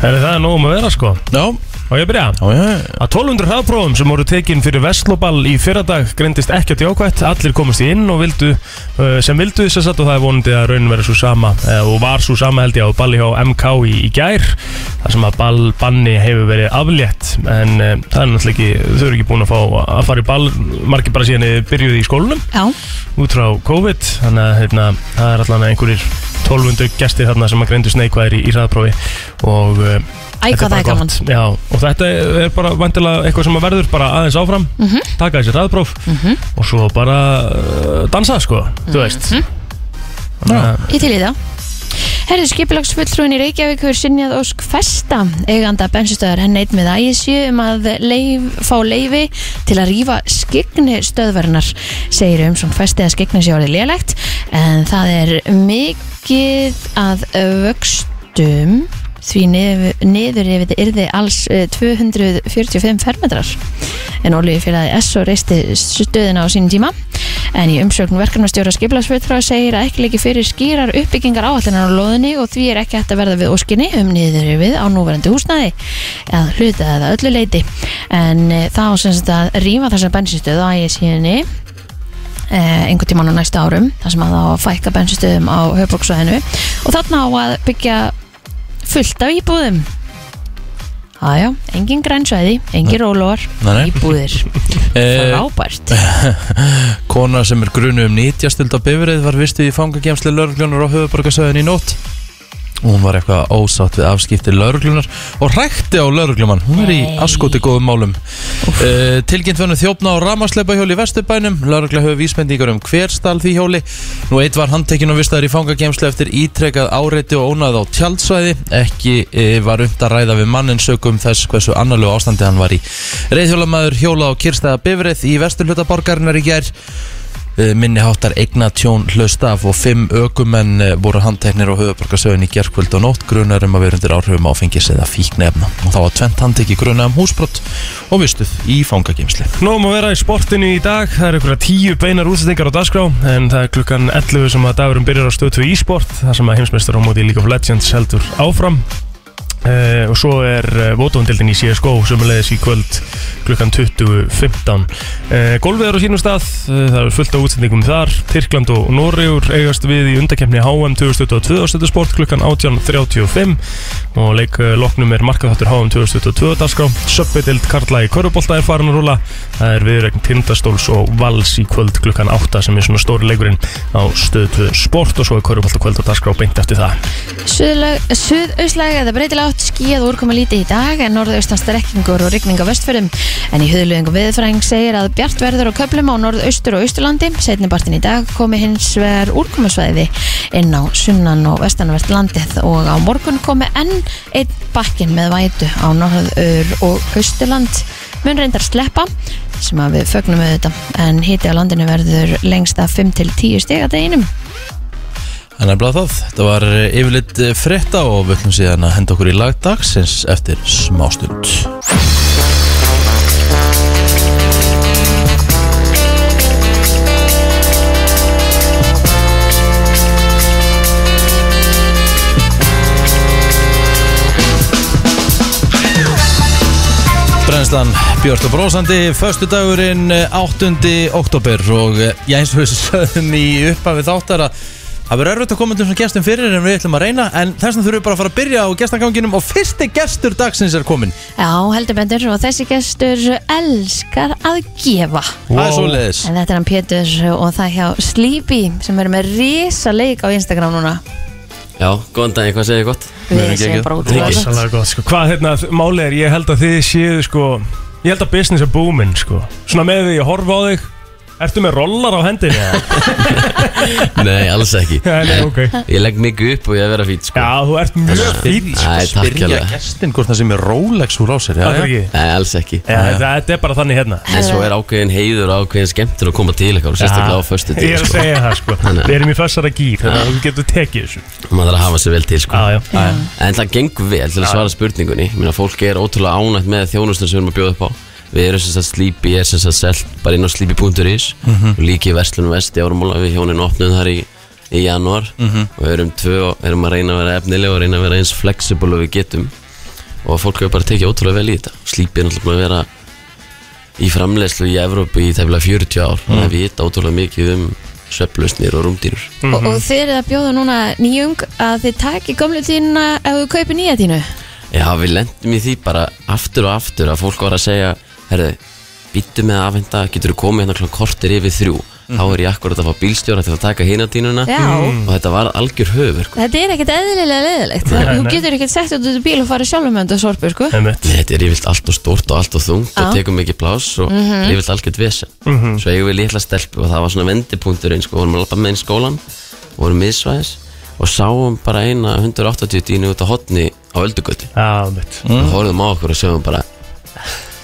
[SPEAKER 3] Herri, það er nóg um að vera sko
[SPEAKER 2] Já,
[SPEAKER 3] Og ég að byrja
[SPEAKER 2] já, já, já.
[SPEAKER 3] Að 1200 hraðprófum sem voru tekin fyrir Vestlóbal í fyrradag greindist ekkert jákvætt, allir komast í inn og vildu, uh, sem vildu þess að satt og það er vonandi að raun verið svo sama uh, og var svo sama held ég á balli hjá MK í, í gær, þar sem að ball, banni hefur verið aflétt en uh, það er náttúrulega ekki, þau eru ekki búin að fá að fara í ball, margir bara síðan þið byrjuðu í skólanum
[SPEAKER 4] Já,
[SPEAKER 3] út frá COVID þannig að hérna, það er allan einhverjir 1200 gestir þarna sem að greindu sneikvæðir í, í hraðprófi og uh,
[SPEAKER 4] æ
[SPEAKER 3] Þetta
[SPEAKER 4] hvað það
[SPEAKER 3] bara
[SPEAKER 4] er gaman
[SPEAKER 3] gott. Já, og þetta er bara vantilega eitthvað sem að verður bara aðeins áfram
[SPEAKER 4] Mhm.
[SPEAKER 3] taka þessi hraðpróf og svo bara uh, dansa sko, þú
[SPEAKER 4] Mhm.
[SPEAKER 3] veist Þannig að-
[SPEAKER 4] Ég til í það Herði skipulagsfulltrúin í Reykjavík hefur sinjað Ósk Festa, eiganda bensinstöðar henn eitt með ægisju um að leif, fá leifi til að rýfa skikni stöðverðnar, segir um svona festi að skikni sé orðið lélegt en það er mikið að vöxtum því niður, niður yfir þetta yrði alls eh, 245 fermetrar en Ólíu félagi S.O. reisti stöðina á sínum tíma en í umsögn verkefnastjóra skipulagsfulltrúa segir að ekki leiki fyrir skýrar uppbyggingar áallinar á loðinni og því er ekki hægt að verða við óskinni um niður við á núverandi húsnæði eða hluta eða öllu leiti en eh, það á sem sagt að rýma þessa bensinstöð á E ægisíðinni eh, einhvern tímann á næsta árum þar sem að það á að fækka bensinstöðum á höfbruksvæðinu og þarna á að byggja fullt af íbúðum Jájá, engin grænsvæði, engin rólóar,
[SPEAKER 2] Nei, nei.
[SPEAKER 4] íbúðir
[SPEAKER 2] Eh,
[SPEAKER 4] Frábært
[SPEAKER 2] kona sem er grunu um 90 stild á bifrið var vistuð í fangagemsli lauruglunar á höfuborgarsöðin í nótt. Hún var eitthvað ósátt við afskipti lauruglunar og hrækti á lauruglumann. Hún er í
[SPEAKER 4] Nei.
[SPEAKER 2] askoti góðum málum. Uh, tilkynnt verður þjófna á ramarsleipa hjóli í Vesturbænum Lörgla höfðu vísmendingar um hver stál því hjóli Nú eitt var handtekinn og vistaður í fangagemslu eftir ítrekað áreiti og ónað á tjaldsvæði Ekki uh, var umt að ræða við mannin sögum þess hversu annarlu ástandi hann var í Reyðhjólamæður hjóla á Kirstaða Bifrið í vesturhluta borgarinnar í gær Eh, minni háttar eigna tjón hlustaf og fimm ökumenn eh, voru handteknir á höfuborgarsöðin í gerkvöld og nótt grunar um að vera undir áhrifum áfengis eða fíknefna og þá var tvent handtekki grunar um húsbrott og vistuð í fangageimsli
[SPEAKER 3] Nóum að vera í sportinu í dag, það er einhverja tíu beinar útsendingar á dagskrá en það er klukkan 11 sem að dagurum byrjar á stöð 2 e-sport þar sem að heimsmeistar á móti League of Legends heldur áfram uh, og svo er uh, vótavandildin í CSGO sem er leiðis í kvöld klukkan 20.15 uh, Golfið er á sínum stað, uh, það er fullt af útsendingum þar Tyrkland og Noregur eigast við í undakefni HM 2022 á stöðu sport klukkan 18.35 og leikloknum er markaðáttur HM 2022 dagskrá Söpbydild Karla í Körubólta er farin að rúla það er viðregn Tindastóls og Vals í kvöld klukkan 8 sem er svona stóri leikurinn á stöðtöðu sport og svo er Körubólta kvöld og dagskrá beint eftir það
[SPEAKER 4] Suðaustlæg eða breytilátt skíð og úrkoma lítið í dag en norðaustan strekkingur og rigning á vestfjörðum en í huðluðingum viðfræðing segir að bjart verður á köflum á norðaustur og austurlandi setni partin í dag komi hins vegar úrkomasvæði inn á sunnan og vestanvert landið og á morgun komi enn einn bakkin með vætu á norður og austurland mun reyndar sleppa sem að við fögnum við þetta en hiti á landinu verður lengst að 5-10 stig að deginum
[SPEAKER 2] Þannig að blá það, þetta var eh, yfirleitt eh, frétta og við ætlum síðan að henda okkur í lagdagsins eftir smástund. Brennslan Björn og Brósandi, förstu dagurinn 8. oktober og eh, ég eins og þessu sögum í upphafi þáttar að það verður erfitt að koma til svona gestum fyrir en við ætlum að reyna en þess vegna þurfum við bara að fara að byrja á gestaganginum og fyrsti gestur dagsins er komin
[SPEAKER 4] Já, heldur bendur og þessi gestur elskar að gefa
[SPEAKER 2] Það er svoleiðis
[SPEAKER 4] en þetta er hann Pétur og það hjá Sleepy sem verður með risa leik á Instagram núna
[SPEAKER 5] Já, góðan daginn, hvað segir þið gott?
[SPEAKER 4] við
[SPEAKER 2] Mjög
[SPEAKER 4] séum
[SPEAKER 2] geggjað.
[SPEAKER 4] bara út
[SPEAKER 5] Mikið.
[SPEAKER 4] það
[SPEAKER 3] Sannlega gott, sko. Hvað hérna, málið er, ég held að þið séu, sko, ég held að business er booming, sko. Svona með því ég horfa á þig, ertu með rollar á hendinni? eða?
[SPEAKER 5] Nei, alls ekki
[SPEAKER 3] Já, nei, ok.
[SPEAKER 5] Ég legg mikið upp og ég er að vera fít, sko
[SPEAKER 3] Já, þú ert mjög fýtt, sko.
[SPEAKER 5] Æ, takk
[SPEAKER 2] Byrja
[SPEAKER 5] hérlega.
[SPEAKER 2] gestin hvort það sem er Rolex úr á sér já,
[SPEAKER 3] Það er
[SPEAKER 2] já.
[SPEAKER 3] ekki.
[SPEAKER 5] Nei, alls ekki
[SPEAKER 3] Já, þetta- þetta er bara þannig hérna.
[SPEAKER 5] En svo er ákveðin heiður og ákveðin skemmtur að koma til eitthvað og sérstaklega á föstu
[SPEAKER 3] Ég er
[SPEAKER 5] tíð,
[SPEAKER 3] að
[SPEAKER 5] sko
[SPEAKER 3] segja það, sko.
[SPEAKER 5] Þannig.
[SPEAKER 3] Við erum í fessara gýr, þannig að þú getur tekið þessu.
[SPEAKER 5] Og maður þarf að hafa sér vel til, sko
[SPEAKER 3] Já, já.
[SPEAKER 5] En það gengur vel til að svara spurningunni Ég meina, fólk er ótrúlega ánægt með þjónustan sem við erum að bjóða upp á Við erum sem sagt Sleepy, ég er sem sagt selt bara inn á sleepy.is
[SPEAKER 3] Mhm.
[SPEAKER 5] og líki í Verslunum Vesti árumóla við hjónin opnum þar í, í januar
[SPEAKER 3] Mhm.
[SPEAKER 5] og við erum tvö og erum að reyna að vera efnilega og reyna að vera eins flexible og við getum og fólk hefur bara tekið ótrúlega vel í þetta Sleepy er náttúrulega búin að vera í framleiðslu í Evrópu í tefnilega 40 ár
[SPEAKER 3] Mhm.
[SPEAKER 5] þannig að við vita ótrúlega mikið um svefnlausnir og rúmdýrur
[SPEAKER 4] og,
[SPEAKER 2] Mm.
[SPEAKER 4] og þið eruð að bjóða núna nýjung að þið taki gömlu tína ef þú kaupir nýja tínu
[SPEAKER 5] Já, við lendum í því bara aftur og aftur að fólk var að segja Herðu, býttu með að afhenda, getur þú komið hérna klokkan kortir yfir þrjú Þá er ég akkurat að fá bílstjóra til að taka hina tínuna
[SPEAKER 4] Já.
[SPEAKER 5] Og þetta var algjör höfverk
[SPEAKER 4] þetta er ekkert eðlilega leðilegt þú getur ekkert sett út út í bíl og farið sjálfum með þetta sorpu sko
[SPEAKER 3] Einmitt.
[SPEAKER 5] Þetta er yfirlt allt og stórt og allt og þungt
[SPEAKER 4] Já.
[SPEAKER 5] og tekum mikið pláss og
[SPEAKER 3] Mhm.
[SPEAKER 5] mm -hmm. yfirlt algjört vesen Svo eigum við litla stelpu og það var svona vendipunkturinn sko, vorum að lappa með inn í skólan vorum miðsvæðis og sáum bara eina 180 dínu út á hotni á öldugötu
[SPEAKER 3] Já, einmitt. Mhm.
[SPEAKER 5] og horfðum á okkur og sögum bara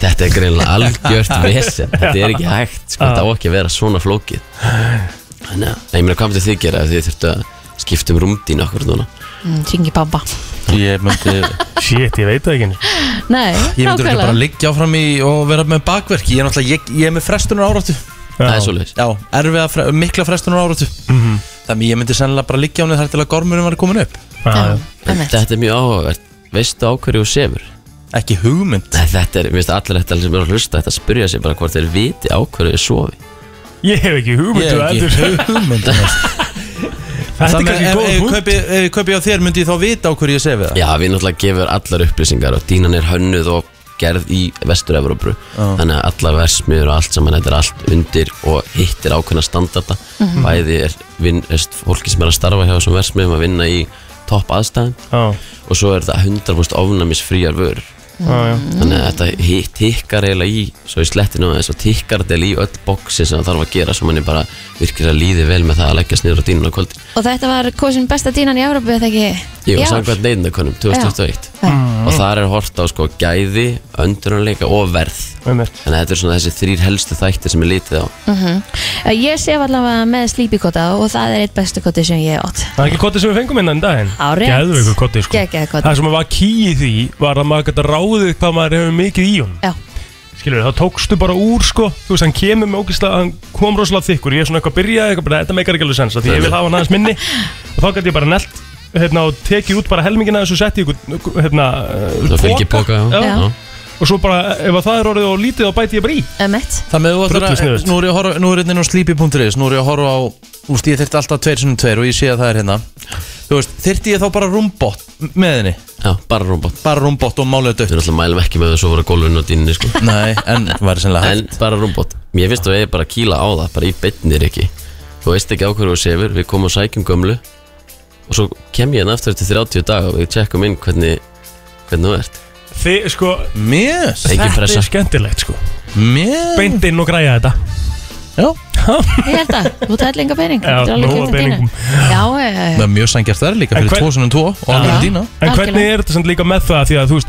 [SPEAKER 5] þetta er greinlega algjört vesen þetta er ekki hægt, sko, þetta á ekki að vera svona flókið þannig að, ég meina, hvað myndir þið gera ef þið þurftu að skipta um rúmdín okkur núna
[SPEAKER 4] mm, syngi pappa
[SPEAKER 2] Ég myndi,
[SPEAKER 3] Shit, ég veit það ekki. einu.
[SPEAKER 4] nei,
[SPEAKER 2] ég myndi örugglega
[SPEAKER 4] nákvæmlega
[SPEAKER 2] bara liggja áfram í og vera með bakverk Ég er náttúrulega, ég, ég er með frestunar áráttu
[SPEAKER 5] það er svolítið,
[SPEAKER 2] Já, erfiða, fre, mikla frestunar áráttu
[SPEAKER 3] Mhm.
[SPEAKER 2] Þannig ég myndi sennilega bara liggja á henni þar til að gormurinn var komin upp
[SPEAKER 3] Já,
[SPEAKER 4] Já, einmitt.
[SPEAKER 5] þetta er mjög áhugavert veistu á hverju þú sefur?
[SPEAKER 2] Ekki hugmynd
[SPEAKER 5] Nei, þetta er, mér finnst allir þetta sem eru að hlusta þetta að spyrja sig bara hvort þeir viti á hverju þau sofi
[SPEAKER 3] Ég hef ekki um hugmyndu
[SPEAKER 2] Ég hef ekki hugmynd um það.
[SPEAKER 3] Þetta er
[SPEAKER 2] Þannig
[SPEAKER 3] kannski
[SPEAKER 2] ef-
[SPEAKER 3] góð
[SPEAKER 2] ef ég
[SPEAKER 3] punkt
[SPEAKER 2] kaupi- Ef ég kaupi á þér myndi ég þá vita á hverju ég sé við það
[SPEAKER 5] Já, við náttúrulega gefur allar upplýsingar og dínan er hönnuð og gerð í Vestur-Evrópu þannig að allar versmiður og allt saman þetta er allt undir og hittir ákveðna standarda
[SPEAKER 2] Mhm.
[SPEAKER 5] bæði er, vin, er st- fólki sem er að starfa hjá þessum versmiðum að vinna í topp aðstæðum
[SPEAKER 3] Já,
[SPEAKER 5] og svo er þetta 100% ofnæmisfríar vörur
[SPEAKER 3] já, já
[SPEAKER 5] þannig að þetta hi- tikkar eiginlega í svo í slettinu og þess og tikkar þetta eiginlega í öll boxi sem það þarf að gera svo manni bara virkilega líði vel með það að leggja sniður á dínun á kvöldin
[SPEAKER 4] og þetta var kosin besta tínan í Európa eða ekki
[SPEAKER 5] Jú,
[SPEAKER 4] Í ár?
[SPEAKER 5] samkvæmt neyðindakonum 2021
[SPEAKER 4] Já.
[SPEAKER 2] Mm.
[SPEAKER 5] og þar er hort á sko gæði, öndurunleika og verð
[SPEAKER 3] Einmitt.
[SPEAKER 5] þannig að þetta er svona þessi þrýr helstu þættir sem er litið á
[SPEAKER 4] Mhm. Eh, ég sé allavega með slípikota og það er eitt bestu koti sem ég átt
[SPEAKER 3] Það er ekki kotti sem við fengum innan daginn
[SPEAKER 4] Á, rétt.
[SPEAKER 3] Geðveikur kotti sko
[SPEAKER 4] Geggjaður koddi.
[SPEAKER 3] Það sem var kýið því var að maður gæti ráðið hvað maður hefur mikið í honum
[SPEAKER 4] já,
[SPEAKER 3] Skilur þá tókstu bara úr sko Þú veist, hann kemur með ógislega, hann kom rosalega þykkur Ég er svona eitthvað að byrja, eitthvað bara, þetta meikar ekki alveg sens af Því ég vil hafa hann aðeins minni Og þá gæti ég bara nelt, hérna, og tekið út bara helmingina Þessu setti ég ykkur, hérna, eh,
[SPEAKER 5] það fylgir póka já.
[SPEAKER 3] Já.
[SPEAKER 5] Já.
[SPEAKER 3] Og svo bara, ef að það er orðið og lítið, þá bæti ég bara í
[SPEAKER 4] ömmett
[SPEAKER 2] Þannig að þú ætlar að,
[SPEAKER 3] Drullusniðugt.
[SPEAKER 2] nú er ég að horfa, nú er ég inn á sleepy.is, nú er ég að horfa á, úst, ég þyrfti alltaf tveir sem tveir og ég sé að það er hérna Þú veist, þyrfti ég þá bara rúmbott með henni,
[SPEAKER 5] já, bara rúmbott
[SPEAKER 2] bara rúmbott og málið
[SPEAKER 5] Við
[SPEAKER 2] dött
[SPEAKER 5] náttúrulega mælum ekki með þessu að vera gólfinu og dínunni sko
[SPEAKER 2] Nei, en það væri sennilega
[SPEAKER 5] En
[SPEAKER 2] hægt
[SPEAKER 5] bara rúmbott Mér finnst þú að ég bara að kýla á það, bara í beinnir ekki Þú veist ekki á hverju þú sefur, við komum og sækjum gömlu Og svo kem ég hérna aftur eftir 30 dag og við tjekkum inn hvernig, hvernig þú ert
[SPEAKER 3] Þið, sko,
[SPEAKER 2] Mjög,
[SPEAKER 5] Engin
[SPEAKER 3] þetta
[SPEAKER 5] pressa
[SPEAKER 3] er skemmtilegt sko
[SPEAKER 2] mjög
[SPEAKER 3] Beint inn og græja þetta
[SPEAKER 2] Já,
[SPEAKER 4] ég held að, þú tætt lenga pening
[SPEAKER 3] Já,
[SPEAKER 4] Þetta er alveg
[SPEAKER 3] nóg
[SPEAKER 4] kjöftið
[SPEAKER 3] af peningum.
[SPEAKER 4] þínu. já, já, já, já.
[SPEAKER 2] það er mjög sangjart þar líka
[SPEAKER 3] En
[SPEAKER 2] fyrir
[SPEAKER 3] hvern-
[SPEAKER 2] 2002 og alveg
[SPEAKER 4] Já.
[SPEAKER 2] dýna
[SPEAKER 3] En
[SPEAKER 4] Algjörlega.
[SPEAKER 3] hvernig er þetta samt líka með það því að þú veist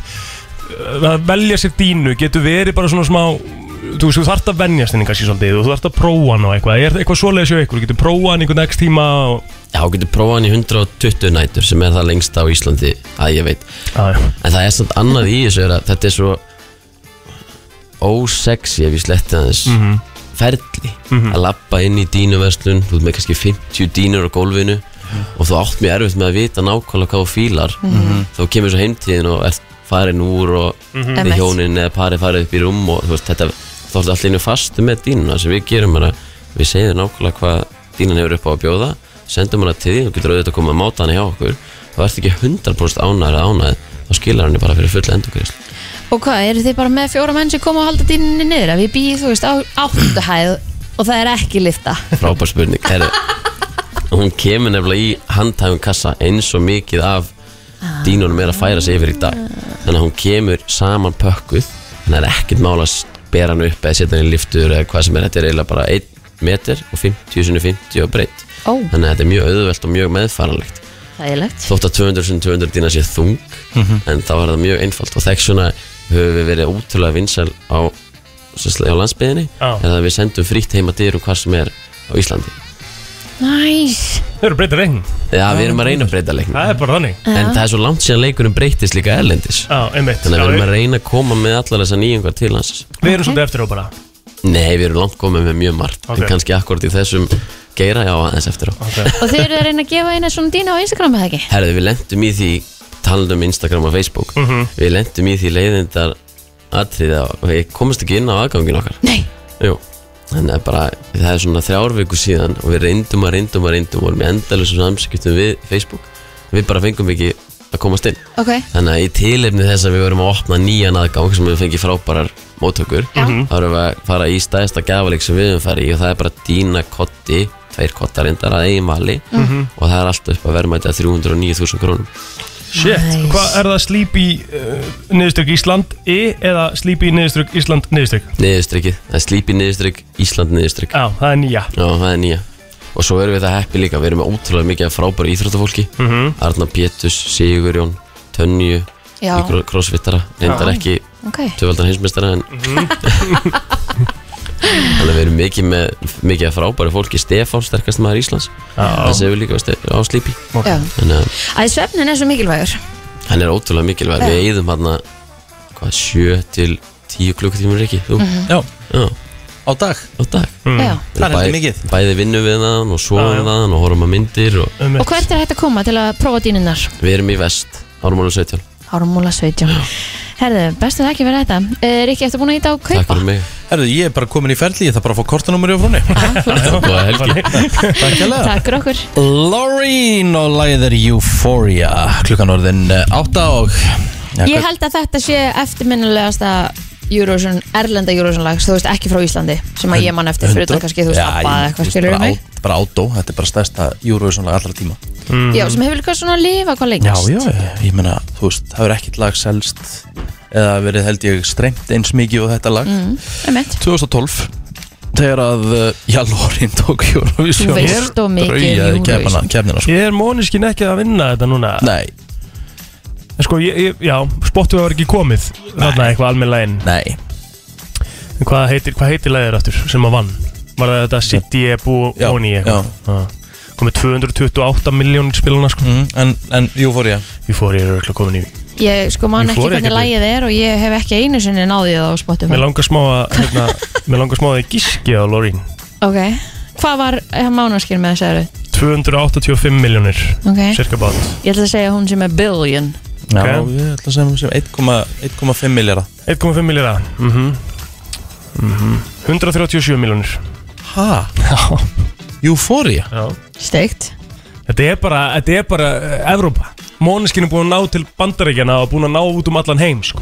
[SPEAKER 3] uh, að velja sér dínu getur verið bara svona smá þú veist, þú þarft að venjast henni kannski svolítið og þú þarft að prófa hann á eitthvað, er eitthvað svoleiðis hjá ykkur, þú getur prófa hann einhvern x tíma og...
[SPEAKER 5] Já, þú getur prófað hann í 120 nætur sem er það lengst á Íslandi að ég veit
[SPEAKER 3] ah,
[SPEAKER 5] En það er samt annað í þessu er að þetta er svo ósexy ef ég sletti aðeins
[SPEAKER 3] Mhm.
[SPEAKER 5] ferli að lappa inn í dínuverslun þú ert með kannski 50 dínur á gólfinu
[SPEAKER 3] Mhm.
[SPEAKER 5] og þú átt mjög erfitt með að vita nákvæmlega hvað þú fílar þá kemur svo heimtíðin og ert farin úr og við
[SPEAKER 4] Emmett.
[SPEAKER 5] hjónin eða parið farið upp í rúm og þú veist þetta þá ertu allir innu fastu með dínuna sem við gerum hana við segjum þér nákvæmlega hvað dínan hefur upp á að bjóða sendum hana til því og getur auðvitað að koma að máta hana hjá okkur þá ert ekki 100% ánæður eða ánæður þá skilar hann bara fyrir fulla endurkvæðislu
[SPEAKER 4] Og hvað, eru þið bara með fjóra menn sem koma að halda dýninni niður? Að við býðum, þú veist, á áttu hæð og það er ekki lifta.
[SPEAKER 5] frábær spurning Heru, hún kemur nefnilega í handhæfum kassa eins og mikið af dínunum er að færa sig yfir í dag þannig að hún kemur saman pökkuð þannig að það er ekkert mála að bera hann upp eða setja hann í liftur eða hvað sem er þetta er eiginlega bara 1 meter og 50 sinni 50 og breytt
[SPEAKER 4] Ó.
[SPEAKER 5] þannig að þetta er mjög auðvelt og mjög meðfaranlegt
[SPEAKER 4] Það er legt.
[SPEAKER 5] þótt að 200 sinni 200 dína sé þung
[SPEAKER 3] Mhm.
[SPEAKER 5] en þá er það mjög einfalt og þess vegna höfum við verið ótrúlega vinsæl á, sem sagt, á landsbyðinni
[SPEAKER 3] Já.
[SPEAKER 5] en það við sendum frítt heima dyrum hvað sem er á Íslandi
[SPEAKER 4] Næs.
[SPEAKER 3] Þau eru breytið reyn,
[SPEAKER 5] Já, við erum að reyna að breyta leiknum
[SPEAKER 3] það er bara þannig
[SPEAKER 5] En það er svo langt síðan leikunum breytist líka erlendis
[SPEAKER 3] Já, einmitt
[SPEAKER 5] Þannig að við erum að
[SPEAKER 3] Já,
[SPEAKER 5] reyna að koma með allar þessar nýjungar til hans
[SPEAKER 3] Við erum svolítið eftir á bara
[SPEAKER 5] Nei, við erum langt komið með mjög margt
[SPEAKER 3] Ok.
[SPEAKER 5] En kannski akkurat í þessum geira, já, aðeins eftir á
[SPEAKER 4] Og þið eru að reyna að gefa eina svona dýna á Instagram eða ekki?
[SPEAKER 5] Herðu, við lentum í því talandi um Instagram og Facebook Við lentum í því leiðindar atriða og við komumst ekki inn á aðgangin okkar
[SPEAKER 4] Nei.
[SPEAKER 5] Jú Þannig að bara, það er svona þrjár viku síðan og við reyndum að reyndum að reyndum og vorum í endalusum samskiptum við Facebook Við bara fengum ekki að komast inn
[SPEAKER 4] Ok.
[SPEAKER 5] Þannig að í tilefni þess að við vorum að opna nýjan aðgang sem við fengið frábærar móttökur
[SPEAKER 4] Já.
[SPEAKER 6] Mhm.
[SPEAKER 5] þá erum við að fara í stæðsta gafalík sem við höfum farið í og það er bara dýna kotti tveir kottar endar að eigin vali
[SPEAKER 3] Mhm.
[SPEAKER 5] og það er alltaf upp að verðmæta 309.000 krónum
[SPEAKER 3] Shit,
[SPEAKER 4] Nice.
[SPEAKER 3] hvað er það sleepy uh, niðurstrykk Ísland E eða sleepy niðurstrykk Ísland niðurstrykk
[SPEAKER 5] niðurstrykkið, það er slípi niðurstrykk, Ísland niðurstrykk
[SPEAKER 3] Já, það er nýja
[SPEAKER 5] Já, það er nýja og svo erum við það heppi líka, við erum með ótrúlega mikið af frábæru íþróttafólki
[SPEAKER 3] Mhm.
[SPEAKER 5] Arna Pétus, Sigurjón, Tönju
[SPEAKER 4] Já.
[SPEAKER 5] í kró- crossfittara, reyndar ekki
[SPEAKER 4] Ok.
[SPEAKER 5] tvöfaldan heimsmeistara en
[SPEAKER 3] Mhm.
[SPEAKER 5] þannig að við erum mikið með mikið af frábæru fólki Stefán, sterkast maður Íslands það séum við líka á Ste- á slípi
[SPEAKER 4] Já.
[SPEAKER 5] þannig að
[SPEAKER 4] Æ, svefnin er svo mikilvægur.
[SPEAKER 5] hann er ótrúlega mikilvæg við eigðum hann hvað, sjö til tíu klukkutímur ekki þú,
[SPEAKER 4] Mhm.
[SPEAKER 2] Já,
[SPEAKER 5] já,
[SPEAKER 2] á dag
[SPEAKER 5] á dag
[SPEAKER 4] Já.
[SPEAKER 2] Það er heldur mikið.
[SPEAKER 5] bæði vinnum við hann og sofum
[SPEAKER 3] Já, já.
[SPEAKER 5] við hann og horfum að myndir og
[SPEAKER 3] Um
[SPEAKER 4] Og hvert er hægt að koma til að prófa dýninnar?
[SPEAKER 5] við erum í vest Ármónu 17,
[SPEAKER 4] Ármúla 17. Herðu, bestu þakki fyrir þetta. Eh, Rikki, ertu búin að íta á kaupa?
[SPEAKER 5] takk fyrir mig
[SPEAKER 2] Herðu, ég er bara komin í ferli, ég þarf bara að fá kortanúmeri á fróni
[SPEAKER 5] og Helgi
[SPEAKER 2] Takk hella
[SPEAKER 4] Takk fyrir okkur.
[SPEAKER 2] Loreen og læðir Euphoria Klukkan orðin eh, átta og ja,
[SPEAKER 4] Ég held að þetta sé eftirminnilegasta Eurovision, erlenda Eurovision lag þú veist ekki frá Íslandi sem að ég man eftir fyrir utan kannski þú veist ABBA eða eitthvað skilur um mig
[SPEAKER 2] Bara átó, þetta er bara stærsta Eurovision lag allra tíma
[SPEAKER 3] Mm.
[SPEAKER 4] já, sem hefur líka svona að lifa
[SPEAKER 2] Já,
[SPEAKER 4] hvað lengst
[SPEAKER 2] Mm. já, ég meina, þú veist, það er ekkert lag selst eða verið held ég strengt eins mikið og þetta lag
[SPEAKER 4] Mm, Einmitt.
[SPEAKER 2] 2012 þegar að,
[SPEAKER 3] eh,
[SPEAKER 2] uh, já, Lorin tók Eurovision
[SPEAKER 4] Þú veist
[SPEAKER 2] og
[SPEAKER 4] of mikið
[SPEAKER 2] draugaði
[SPEAKER 4] um
[SPEAKER 2] kefnina,
[SPEAKER 4] Eurovision.
[SPEAKER 2] kefnina sko.
[SPEAKER 3] Er móniskin ekki að vinna þetta núna?
[SPEAKER 2] Nei,
[SPEAKER 3] En Sko, ég, ég, já, spottu var ekki komið Þarna eitthvað almennilega inn
[SPEAKER 2] nei,
[SPEAKER 3] Hvað heitir, hvað heitir læðir aftur sem að vann? Var það þetta City Ebu
[SPEAKER 2] Já,
[SPEAKER 3] Oni eitthvað? Já. Komið 228 miljónir spiluna sko
[SPEAKER 2] mm, en, en Euphoria
[SPEAKER 3] Ég fór ég er öll að komin í
[SPEAKER 4] ég sko man
[SPEAKER 3] Ég
[SPEAKER 4] ekki
[SPEAKER 3] fór
[SPEAKER 4] hvernig
[SPEAKER 3] ekkert
[SPEAKER 4] lagið er og ég hef ekki einu sinni náðið það á spotum
[SPEAKER 3] Mér langar smá að, hérna, mér langar smá að ég gíski á Lorín
[SPEAKER 4] ok, hvað var mánaskir með þessari?
[SPEAKER 3] 285 miljónir
[SPEAKER 4] ok,
[SPEAKER 3] Cirka bát
[SPEAKER 4] ég ætla að segja hún sem er billion
[SPEAKER 2] Já,
[SPEAKER 3] Ok.
[SPEAKER 2] ég ætla að segja mér sem 1,5 miljara
[SPEAKER 3] 1,5 miljóra mm -hmm. Mhm. 137 miljónir
[SPEAKER 2] Hæ? Euphoria?
[SPEAKER 4] steikt
[SPEAKER 3] Þetta er bara, þetta er bara uh, Evrópa Móniskin er búin að ná til bandaríkjana og búin að ná út um allan heim sko.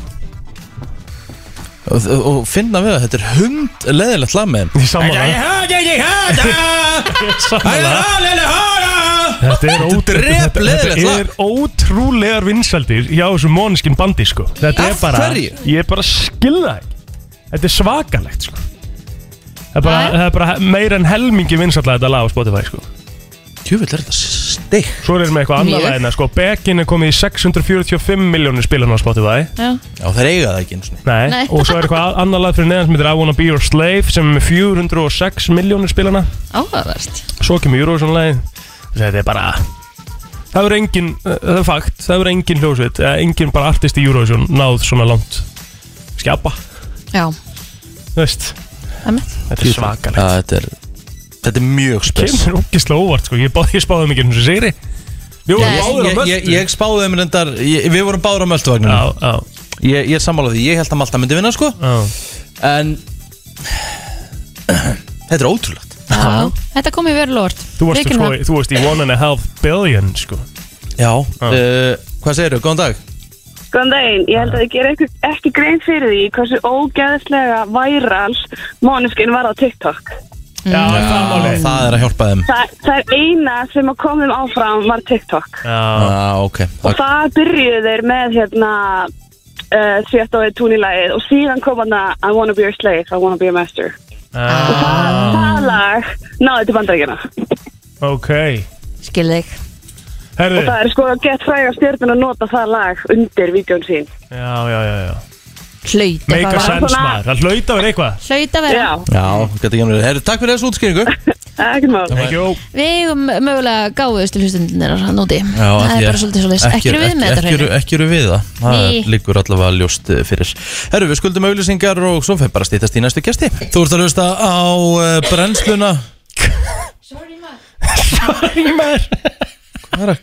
[SPEAKER 2] Og, og, og finna við að þetta er hund leðilegt lag með þeim
[SPEAKER 3] Ég sammála Ég sammála Þetta er, ótrú,
[SPEAKER 2] drep
[SPEAKER 3] þetta,
[SPEAKER 2] leiðilegt
[SPEAKER 3] þetta
[SPEAKER 2] lag.
[SPEAKER 3] er ótrúlegar vinsaldir hjá þessu móniskin bandi sko. Þetta er
[SPEAKER 2] Af
[SPEAKER 3] bara
[SPEAKER 2] hverju?
[SPEAKER 3] Ég er bara að skilja það ekki Þetta er svakalegt sko. það, er bara,
[SPEAKER 4] Nei.
[SPEAKER 3] það er bara meira en helmingi vinsallega þetta lag á Spotify sko.
[SPEAKER 2] Tjúvill er þetta s- Deg
[SPEAKER 3] Svo erum við eitthvað annað
[SPEAKER 4] Mjög.
[SPEAKER 3] aðeina sko Beckin er komið í 645 miljónir spilun á Spotify
[SPEAKER 4] Já,
[SPEAKER 2] Já, það er eigað það ekki eins og
[SPEAKER 3] Nei.
[SPEAKER 4] Nei.
[SPEAKER 3] Og svo er eitthvað annað lag fyrir neðan sem heitir I Wanna Be Your Slave sem er með 406 miljónir spilana
[SPEAKER 4] áhugavert
[SPEAKER 3] Svo kemur Eurovision lagið Þetta er bara Það verður engin, eh, það er fakt Það verður engin hljósveit, eh, engin bara artist í Eurovision náð svona langt skjapa,
[SPEAKER 4] Já,
[SPEAKER 3] þú veist
[SPEAKER 4] emmitt
[SPEAKER 3] Þetta er svakalegt
[SPEAKER 2] Þetta er Þetta er mjög spes
[SPEAKER 3] Kemur ógislega óvart sko, ég, bá, ég spáði mikið um þessu sigri Jú,
[SPEAKER 4] Nei.
[SPEAKER 3] báður á
[SPEAKER 2] Ég, ég,
[SPEAKER 3] möltu
[SPEAKER 2] ég spáði þeim reyndar ég, Við vorum báður á
[SPEAKER 3] Já,
[SPEAKER 2] möltuvagninu
[SPEAKER 3] já,
[SPEAKER 2] ég, ég er sammála því, ég held að Malta myndi vinna sko
[SPEAKER 3] já
[SPEAKER 2] En Þetta er ótrúlegt
[SPEAKER 4] Þetta kom í veru lort
[SPEAKER 3] Þú varst, sko, þú varst í one and a half billion sko.
[SPEAKER 2] Já uh, Hvað segirðu, góðan dag
[SPEAKER 7] Góðan daginn, ég held að ég ger ekki, ekki grein fyrir því hversu ógæðislega væral mónuskinn var á TikTok.
[SPEAKER 3] Já, það er það máli
[SPEAKER 2] Það er að hjálpa þeim
[SPEAKER 7] Það, það er eina sem að komum áfram var TikTok.
[SPEAKER 3] Já,
[SPEAKER 2] ah, ok
[SPEAKER 7] Og
[SPEAKER 2] það,
[SPEAKER 7] það byrjuðu þeir með hérna uh, Svett og túnilagið og síðan kom hann að I wanna be your slave, I wanna be a master.
[SPEAKER 3] já,
[SPEAKER 7] Það,
[SPEAKER 3] Ah,
[SPEAKER 7] það lag náði til bandaríkjana.
[SPEAKER 3] ok
[SPEAKER 4] Skil þig
[SPEAKER 3] Herðu,
[SPEAKER 7] Og það er sko að gett fræga stjórnum að nota það lag undir vídjón sín.
[SPEAKER 3] já, já, já, já
[SPEAKER 4] Hlaut að
[SPEAKER 3] Make a
[SPEAKER 7] bara
[SPEAKER 4] fara-
[SPEAKER 3] sense
[SPEAKER 7] svona-
[SPEAKER 3] maður, það hlaut að vera eitthvað
[SPEAKER 4] Hlaut að vera
[SPEAKER 7] Já,
[SPEAKER 2] Já, gæti ekki að vera Takk fyrir þessu útskýringu
[SPEAKER 7] það er ekkert mál.
[SPEAKER 3] Thank you
[SPEAKER 4] Við eigum mögulega gáðustu hlustundir að nóti
[SPEAKER 2] Já, af
[SPEAKER 4] Það
[SPEAKER 2] því
[SPEAKER 4] er
[SPEAKER 2] að
[SPEAKER 4] bara svolítið svolítið Ekki eru við með þetta
[SPEAKER 2] ekki,
[SPEAKER 4] hreinu.
[SPEAKER 2] eru- ekki eru við það Það
[SPEAKER 4] Nei.
[SPEAKER 2] liggur allavega ljóst eh, fyrir Herru, við skuldum auðlýsingar og svo fyrir bara að stýtast í næstu gæsti Þú ert að hlusta á uh, brennsluna Hvað er að, hvað er,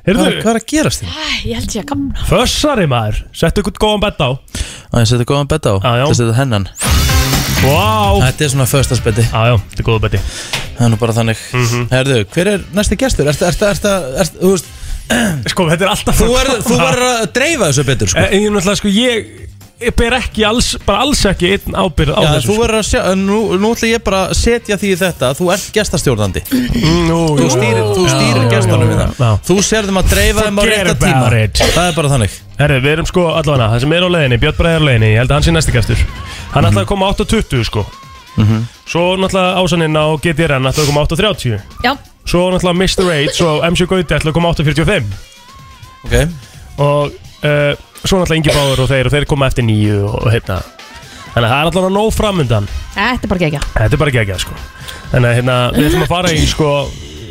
[SPEAKER 3] Herðu,
[SPEAKER 2] hvað er að gerast hérna? þín?
[SPEAKER 4] Æ, Ég held ég að gamna
[SPEAKER 3] fössari maður Settu ykkur góðan bett á
[SPEAKER 2] Það er setja góðan betta á
[SPEAKER 3] Já, já.
[SPEAKER 2] Það setja hennan
[SPEAKER 3] Vá
[SPEAKER 2] Þetta er svona föstarsbetti
[SPEAKER 3] Já, já, þetta er góða Mhm. betti
[SPEAKER 2] Það er nú bara þannig Herðu, hver er næsti gestur? Ertu, ertu, ertu, ertu, þú veist
[SPEAKER 3] Sko, þetta er alltaf
[SPEAKER 2] Þú verður- þú verður að dreifa þessu betur sko.
[SPEAKER 3] En ég er náttúrulega, sko, ég Ég ber ekki alls, bara alls ekki einn ábyrð á
[SPEAKER 2] Já,
[SPEAKER 3] þessu sko.
[SPEAKER 2] þú verður að sjá, nú, nú ætla ég bara að setja því í þetta að Þú ert gestastjórnandi Þú stýrir, þú stýrir gestunum við
[SPEAKER 3] já.
[SPEAKER 2] það Þú sér þeim að dreifa þeim á
[SPEAKER 3] Forget
[SPEAKER 2] rétta
[SPEAKER 3] about
[SPEAKER 2] tíma
[SPEAKER 3] it.
[SPEAKER 2] Það er bara þannig
[SPEAKER 3] Herri, við erum sko allavega, það sem er á leiðinni, Björn Bræði er á leiðinni, ég held að hann sé næsti gæstur. Hann ætlaði að koma 8.20 sko.
[SPEAKER 2] Mhm.
[SPEAKER 3] Svo náttúrulega Ásaninn á GTRN ætlaði að koma 8.30.
[SPEAKER 4] Já,
[SPEAKER 3] Svo náttúrulega Mr. H og MC Gauti ætlaði að koma 8.45.
[SPEAKER 2] Ok,
[SPEAKER 3] Og uh, svo náttúrulega Ingi Báður og þeir, og þeir koma eftir 9 og hérna. Þannig að það er allavega nóg framundan.
[SPEAKER 4] þetta er bara gegja
[SPEAKER 3] Þetta er bara geggjað sko. Þannig að hérna, við ætlum að fara í sko,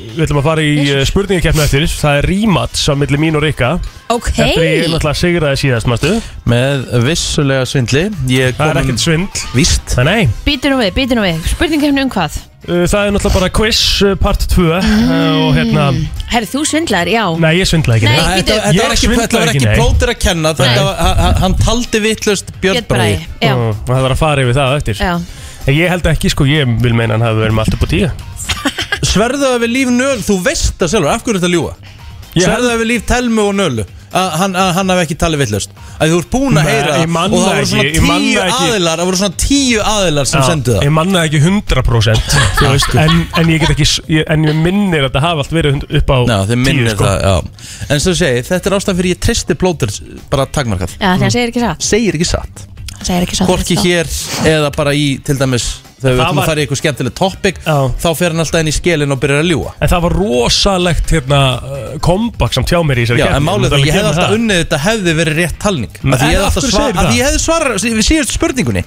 [SPEAKER 3] við ætlum að fara í spurningakeppna eftir. Það er rímats á milli mín og Rikka.
[SPEAKER 4] Ok
[SPEAKER 3] Eftir að ég náttúrulega sigraði síðast, mástu.
[SPEAKER 2] með vissulega svindli Ég
[SPEAKER 3] Það er
[SPEAKER 2] kom
[SPEAKER 3] ekkert svindl.
[SPEAKER 2] víst
[SPEAKER 3] Það nei.
[SPEAKER 4] Býtu nú við, býtu nú við Spurningkefni um hvað?
[SPEAKER 3] Uh, Það er náttúrulega bara quiz uh, part 2 uh, og hérna,
[SPEAKER 4] Herri, þú svindlar, já
[SPEAKER 3] nei ég svindlaði ekki
[SPEAKER 4] Mm.
[SPEAKER 3] neitt.
[SPEAKER 4] Nei.
[SPEAKER 2] Þetta
[SPEAKER 4] bíddu.
[SPEAKER 2] þetta var
[SPEAKER 3] Ég
[SPEAKER 2] ekki,
[SPEAKER 3] svindlaði
[SPEAKER 2] þetta var
[SPEAKER 3] ekki,
[SPEAKER 2] ekki
[SPEAKER 3] nei.
[SPEAKER 2] hérna. plótir að kenna
[SPEAKER 4] Nei.
[SPEAKER 2] Þetta var, hann- hann- hann taldi vittlust Björn
[SPEAKER 4] Björn
[SPEAKER 2] Bræði
[SPEAKER 4] Bragi, já,
[SPEAKER 3] Mm, Og Það var að fara yfir það eftir
[SPEAKER 4] já
[SPEAKER 3] En Ég held ekki sko, ég vil meina hann hafi verið með allt upp á tíu
[SPEAKER 2] Sverðu að við líf nöl, þú veist það sjálfur, af hverju þetta ljúa?
[SPEAKER 3] Ég
[SPEAKER 2] Sverðu að við líf telmu og nölu að hann, að hann hafi ekki talið vittlust að þú ert búin að
[SPEAKER 3] Nei,
[SPEAKER 2] heyra
[SPEAKER 3] ég man
[SPEAKER 2] það og það
[SPEAKER 3] það
[SPEAKER 2] voru svona
[SPEAKER 3] ekki, ég man
[SPEAKER 2] tíu
[SPEAKER 3] það ekki.
[SPEAKER 2] aðilar það voru svona tíu aðilar sem
[SPEAKER 3] Já,
[SPEAKER 2] sendu það sko.
[SPEAKER 3] Ég mannaði ekki 100% þú veist, en, en ég get ekki, s- ég, en ég minnir að þetta hafi allt verið hund- upp á
[SPEAKER 2] Já, þið minnir
[SPEAKER 3] tíu sko
[SPEAKER 2] það, já En svo segi, ég, þetta er ástæðan fyrir ég tristi plóter bara takmarkað
[SPEAKER 4] Já,
[SPEAKER 3] Mm.
[SPEAKER 4] því hann segir ekki satt
[SPEAKER 2] Segir ekki satt
[SPEAKER 4] Hann segir ekki satt
[SPEAKER 2] Hvorki hér eða bara í, til dæmis Þegar við
[SPEAKER 3] Það
[SPEAKER 2] ætlum
[SPEAKER 3] var-
[SPEAKER 2] að fara í eitthvað skemmtileg topic
[SPEAKER 3] Já.
[SPEAKER 2] Þá fer hann alltaf inn í skelin og byrjar að ljúa
[SPEAKER 3] En það var rosalegt hérna kompakt samt hjá mér í þessari
[SPEAKER 2] Já,
[SPEAKER 3] keppni,
[SPEAKER 2] en málið
[SPEAKER 3] þú þarf að
[SPEAKER 2] það, ég hefði
[SPEAKER 3] gera
[SPEAKER 2] alltaf
[SPEAKER 3] það.
[SPEAKER 2] unnið þetta hefði verið rétt talning
[SPEAKER 3] Men
[SPEAKER 2] Af Því ég hefði
[SPEAKER 3] af hverju
[SPEAKER 2] alltaf svar,
[SPEAKER 3] segirðu
[SPEAKER 2] af því
[SPEAKER 3] það?
[SPEAKER 2] ég hefði svarað við síðustu spurningunni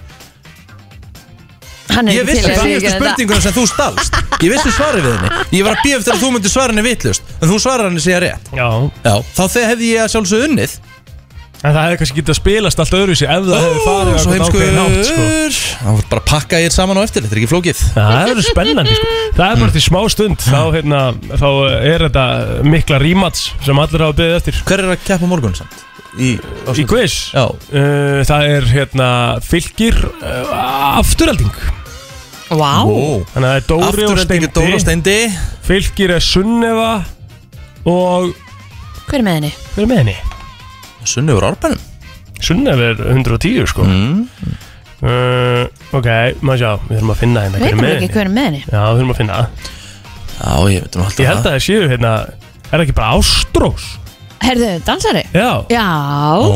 [SPEAKER 4] Hann er
[SPEAKER 2] Ég
[SPEAKER 4] ekki
[SPEAKER 2] vissi
[SPEAKER 4] til að
[SPEAKER 2] síðustu
[SPEAKER 4] viðurkenna þetta.
[SPEAKER 2] spurninguna sem þú stalst Ég vissi svarið við henni Ég var að bíða eftir að þú myndir svara henni vitlust En þú svarar henni síðan rétt
[SPEAKER 3] Já,
[SPEAKER 2] Já, þá þegar hefði ég að sjálfsög unnið
[SPEAKER 3] en það hefði kannski getið að spilast allt öðruvísi ef það hefði farið á
[SPEAKER 2] Svo
[SPEAKER 3] einhvern
[SPEAKER 2] heimskur
[SPEAKER 3] ákveðin hátt sko
[SPEAKER 2] Það voru bara að pakka ég saman á eftir, þetta er ekki flókið Mm.
[SPEAKER 3] Já, Það verður spennandi sko. Það er bara til smá stund þá, hérna, þá er þetta mikla rímats sem allir hafa byggðið eftir
[SPEAKER 2] Hver er að keppa morgun samt? Í,
[SPEAKER 3] Í quiz
[SPEAKER 2] Já,
[SPEAKER 3] uh, Það er hérna fylgir uh, afturhalding
[SPEAKER 4] Vá
[SPEAKER 2] ó
[SPEAKER 3] Þannig að það er Dóri og
[SPEAKER 2] Afturöldingu
[SPEAKER 3] Steindi
[SPEAKER 2] Dóra og Steindi
[SPEAKER 3] Fylgir er Sunneva og
[SPEAKER 4] Hver er með henni?
[SPEAKER 3] hver er með henni?
[SPEAKER 2] Sunnur Árbænum
[SPEAKER 3] Sunneva er 110 sko
[SPEAKER 2] mm.
[SPEAKER 3] uh, Ok, maður sjá, við þurfum að finna hérna hver er
[SPEAKER 4] Veitum við
[SPEAKER 3] með
[SPEAKER 4] ekki
[SPEAKER 3] henni
[SPEAKER 4] hver er með henni?
[SPEAKER 3] Já, við þurfum að finna það
[SPEAKER 2] Já, ég veit um alltaf
[SPEAKER 3] Ég held að það séu hérna Er það ekki bara Ástrós?
[SPEAKER 4] Herðu, dansari?
[SPEAKER 3] Já,
[SPEAKER 4] Já,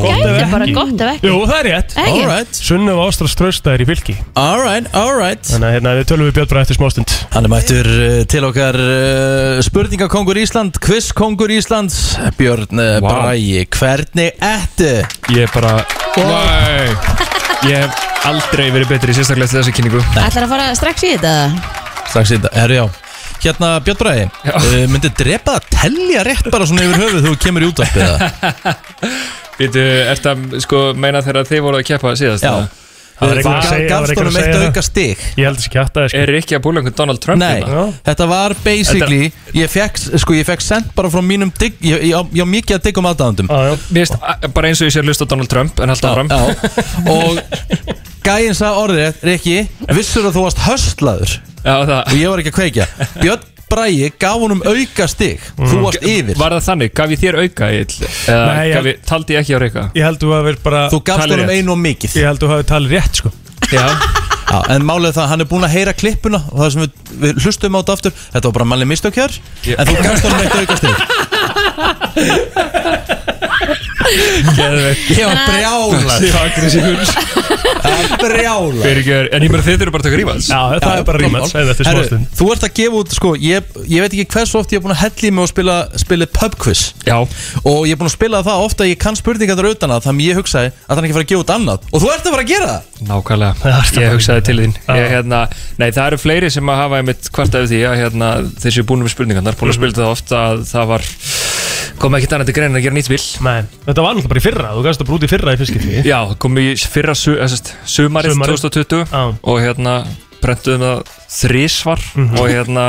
[SPEAKER 4] gæti bara gott ef ekki
[SPEAKER 3] Jú, það er rétt
[SPEAKER 4] Ekki?
[SPEAKER 2] Alright, Ah.
[SPEAKER 3] Sunnum Ástras trösta er í fylki
[SPEAKER 2] alright, alright
[SPEAKER 3] Þannig að hérna, við tölum við Björn bara eftir smástund
[SPEAKER 2] Hann er mættur uh, til okkar uh, spurningakongur Ísland, quizkongur Íslands Björn uh,
[SPEAKER 3] Vá.
[SPEAKER 2] Bragi, hvernig ættu?
[SPEAKER 3] Ég er bara
[SPEAKER 8] Nei Ég hef aldrei verið betri sérstaklega til þessi kynningu
[SPEAKER 4] Ætlar að fara strax í þetta?
[SPEAKER 2] Strax í þetta, herru já Hérna Björn Bragi, uh, myndi drepa að telja rétt bara svona yfir höfuð þú kemur í útvarpið eða?
[SPEAKER 8] Býtu, ert að sko, meina þegar þið voru að keppa síðast
[SPEAKER 2] Já
[SPEAKER 8] eða?
[SPEAKER 3] Það var
[SPEAKER 2] Þú
[SPEAKER 3] ekki að segja- það var
[SPEAKER 2] gafst
[SPEAKER 3] ekki að
[SPEAKER 2] honum
[SPEAKER 3] segja
[SPEAKER 2] sko, eitt
[SPEAKER 3] það.
[SPEAKER 2] auka stig
[SPEAKER 3] Ég held þessi kjátt að sko.
[SPEAKER 8] Er ekki að búla einhvern Donald Trump
[SPEAKER 2] Nei,
[SPEAKER 8] hérna?
[SPEAKER 3] Já.
[SPEAKER 2] þetta var basically Ég fekk, sko, ég fekk sent bara frá mínum digg Ég, ég, á- ég á mikið að um diggum aðdáðandum
[SPEAKER 3] segja
[SPEAKER 8] Mér finnst a- bara eins og ég sé að hlusta á Donald Trump en alltaf fram
[SPEAKER 2] já Og gæinn sagði orðið, Rikki Vissur að þú varst höstlaður
[SPEAKER 8] Já, það
[SPEAKER 2] Og ég var ekki að kveikja Björn Bræi gaf honum auka stig Þú varst yfir
[SPEAKER 8] Var það þannig? Gaf ég þér auka Egill? Eða
[SPEAKER 3] Mm. Nei, ég-
[SPEAKER 8] gaf ég, taldi ég ekki á reyka?
[SPEAKER 3] Ég held þú að vera bara
[SPEAKER 2] Þú gafst
[SPEAKER 3] talið
[SPEAKER 2] honum
[SPEAKER 3] rétt.
[SPEAKER 2] einu og mikið
[SPEAKER 3] Ég held þú hafi talið rétt sko
[SPEAKER 8] Já
[SPEAKER 2] já, En málið er það, hann er búin að heyra klippuna Og það sem við, við hlustum á þetta aftur Þetta var bara mannlega mistökjar
[SPEAKER 8] Ég-
[SPEAKER 2] En þú gafst honum eitt auka stig Ég var brjála
[SPEAKER 8] Það var aggressífur
[SPEAKER 2] Brjála
[SPEAKER 8] Fyrirgjör, en ég meina þeir eru bara að taka rífans
[SPEAKER 3] Já, það er bara rímat Segðu eftir
[SPEAKER 2] Herru,
[SPEAKER 3] smástund
[SPEAKER 2] Þú ert að gefa út, sko, ég, ég veit ekki hversu oft ég er búin að hella í mig og spila, spila pub quiz
[SPEAKER 8] Já
[SPEAKER 2] og ég er búin að spila það ofta að ég kann spurningar þar utan að þannig ég hugsaði að það er ekki að fara að gefa út annað og þú ert að fara að gera það
[SPEAKER 8] Nákvæmlega, ég hugsaði til þín ég, hérna, Nei, það eru fleiri sem að hafa einmitt kvart af því að hérna, þeir séu búin með spurningarnar
[SPEAKER 3] Mhm.
[SPEAKER 8] búin að spila það ofta að það var kom ekki annað til grein en að gera nýtt bíl
[SPEAKER 3] Nei, þetta var náttúrulega bara í fyrra Þú gafst að brúti í fyrra í fiskiti
[SPEAKER 8] Já, kom í fyrra su, eh, sest, sumarið,
[SPEAKER 3] Sumarið.
[SPEAKER 8] 2020
[SPEAKER 3] Já. Mhm.
[SPEAKER 8] og hérna brenduðum það þrísvar og hérna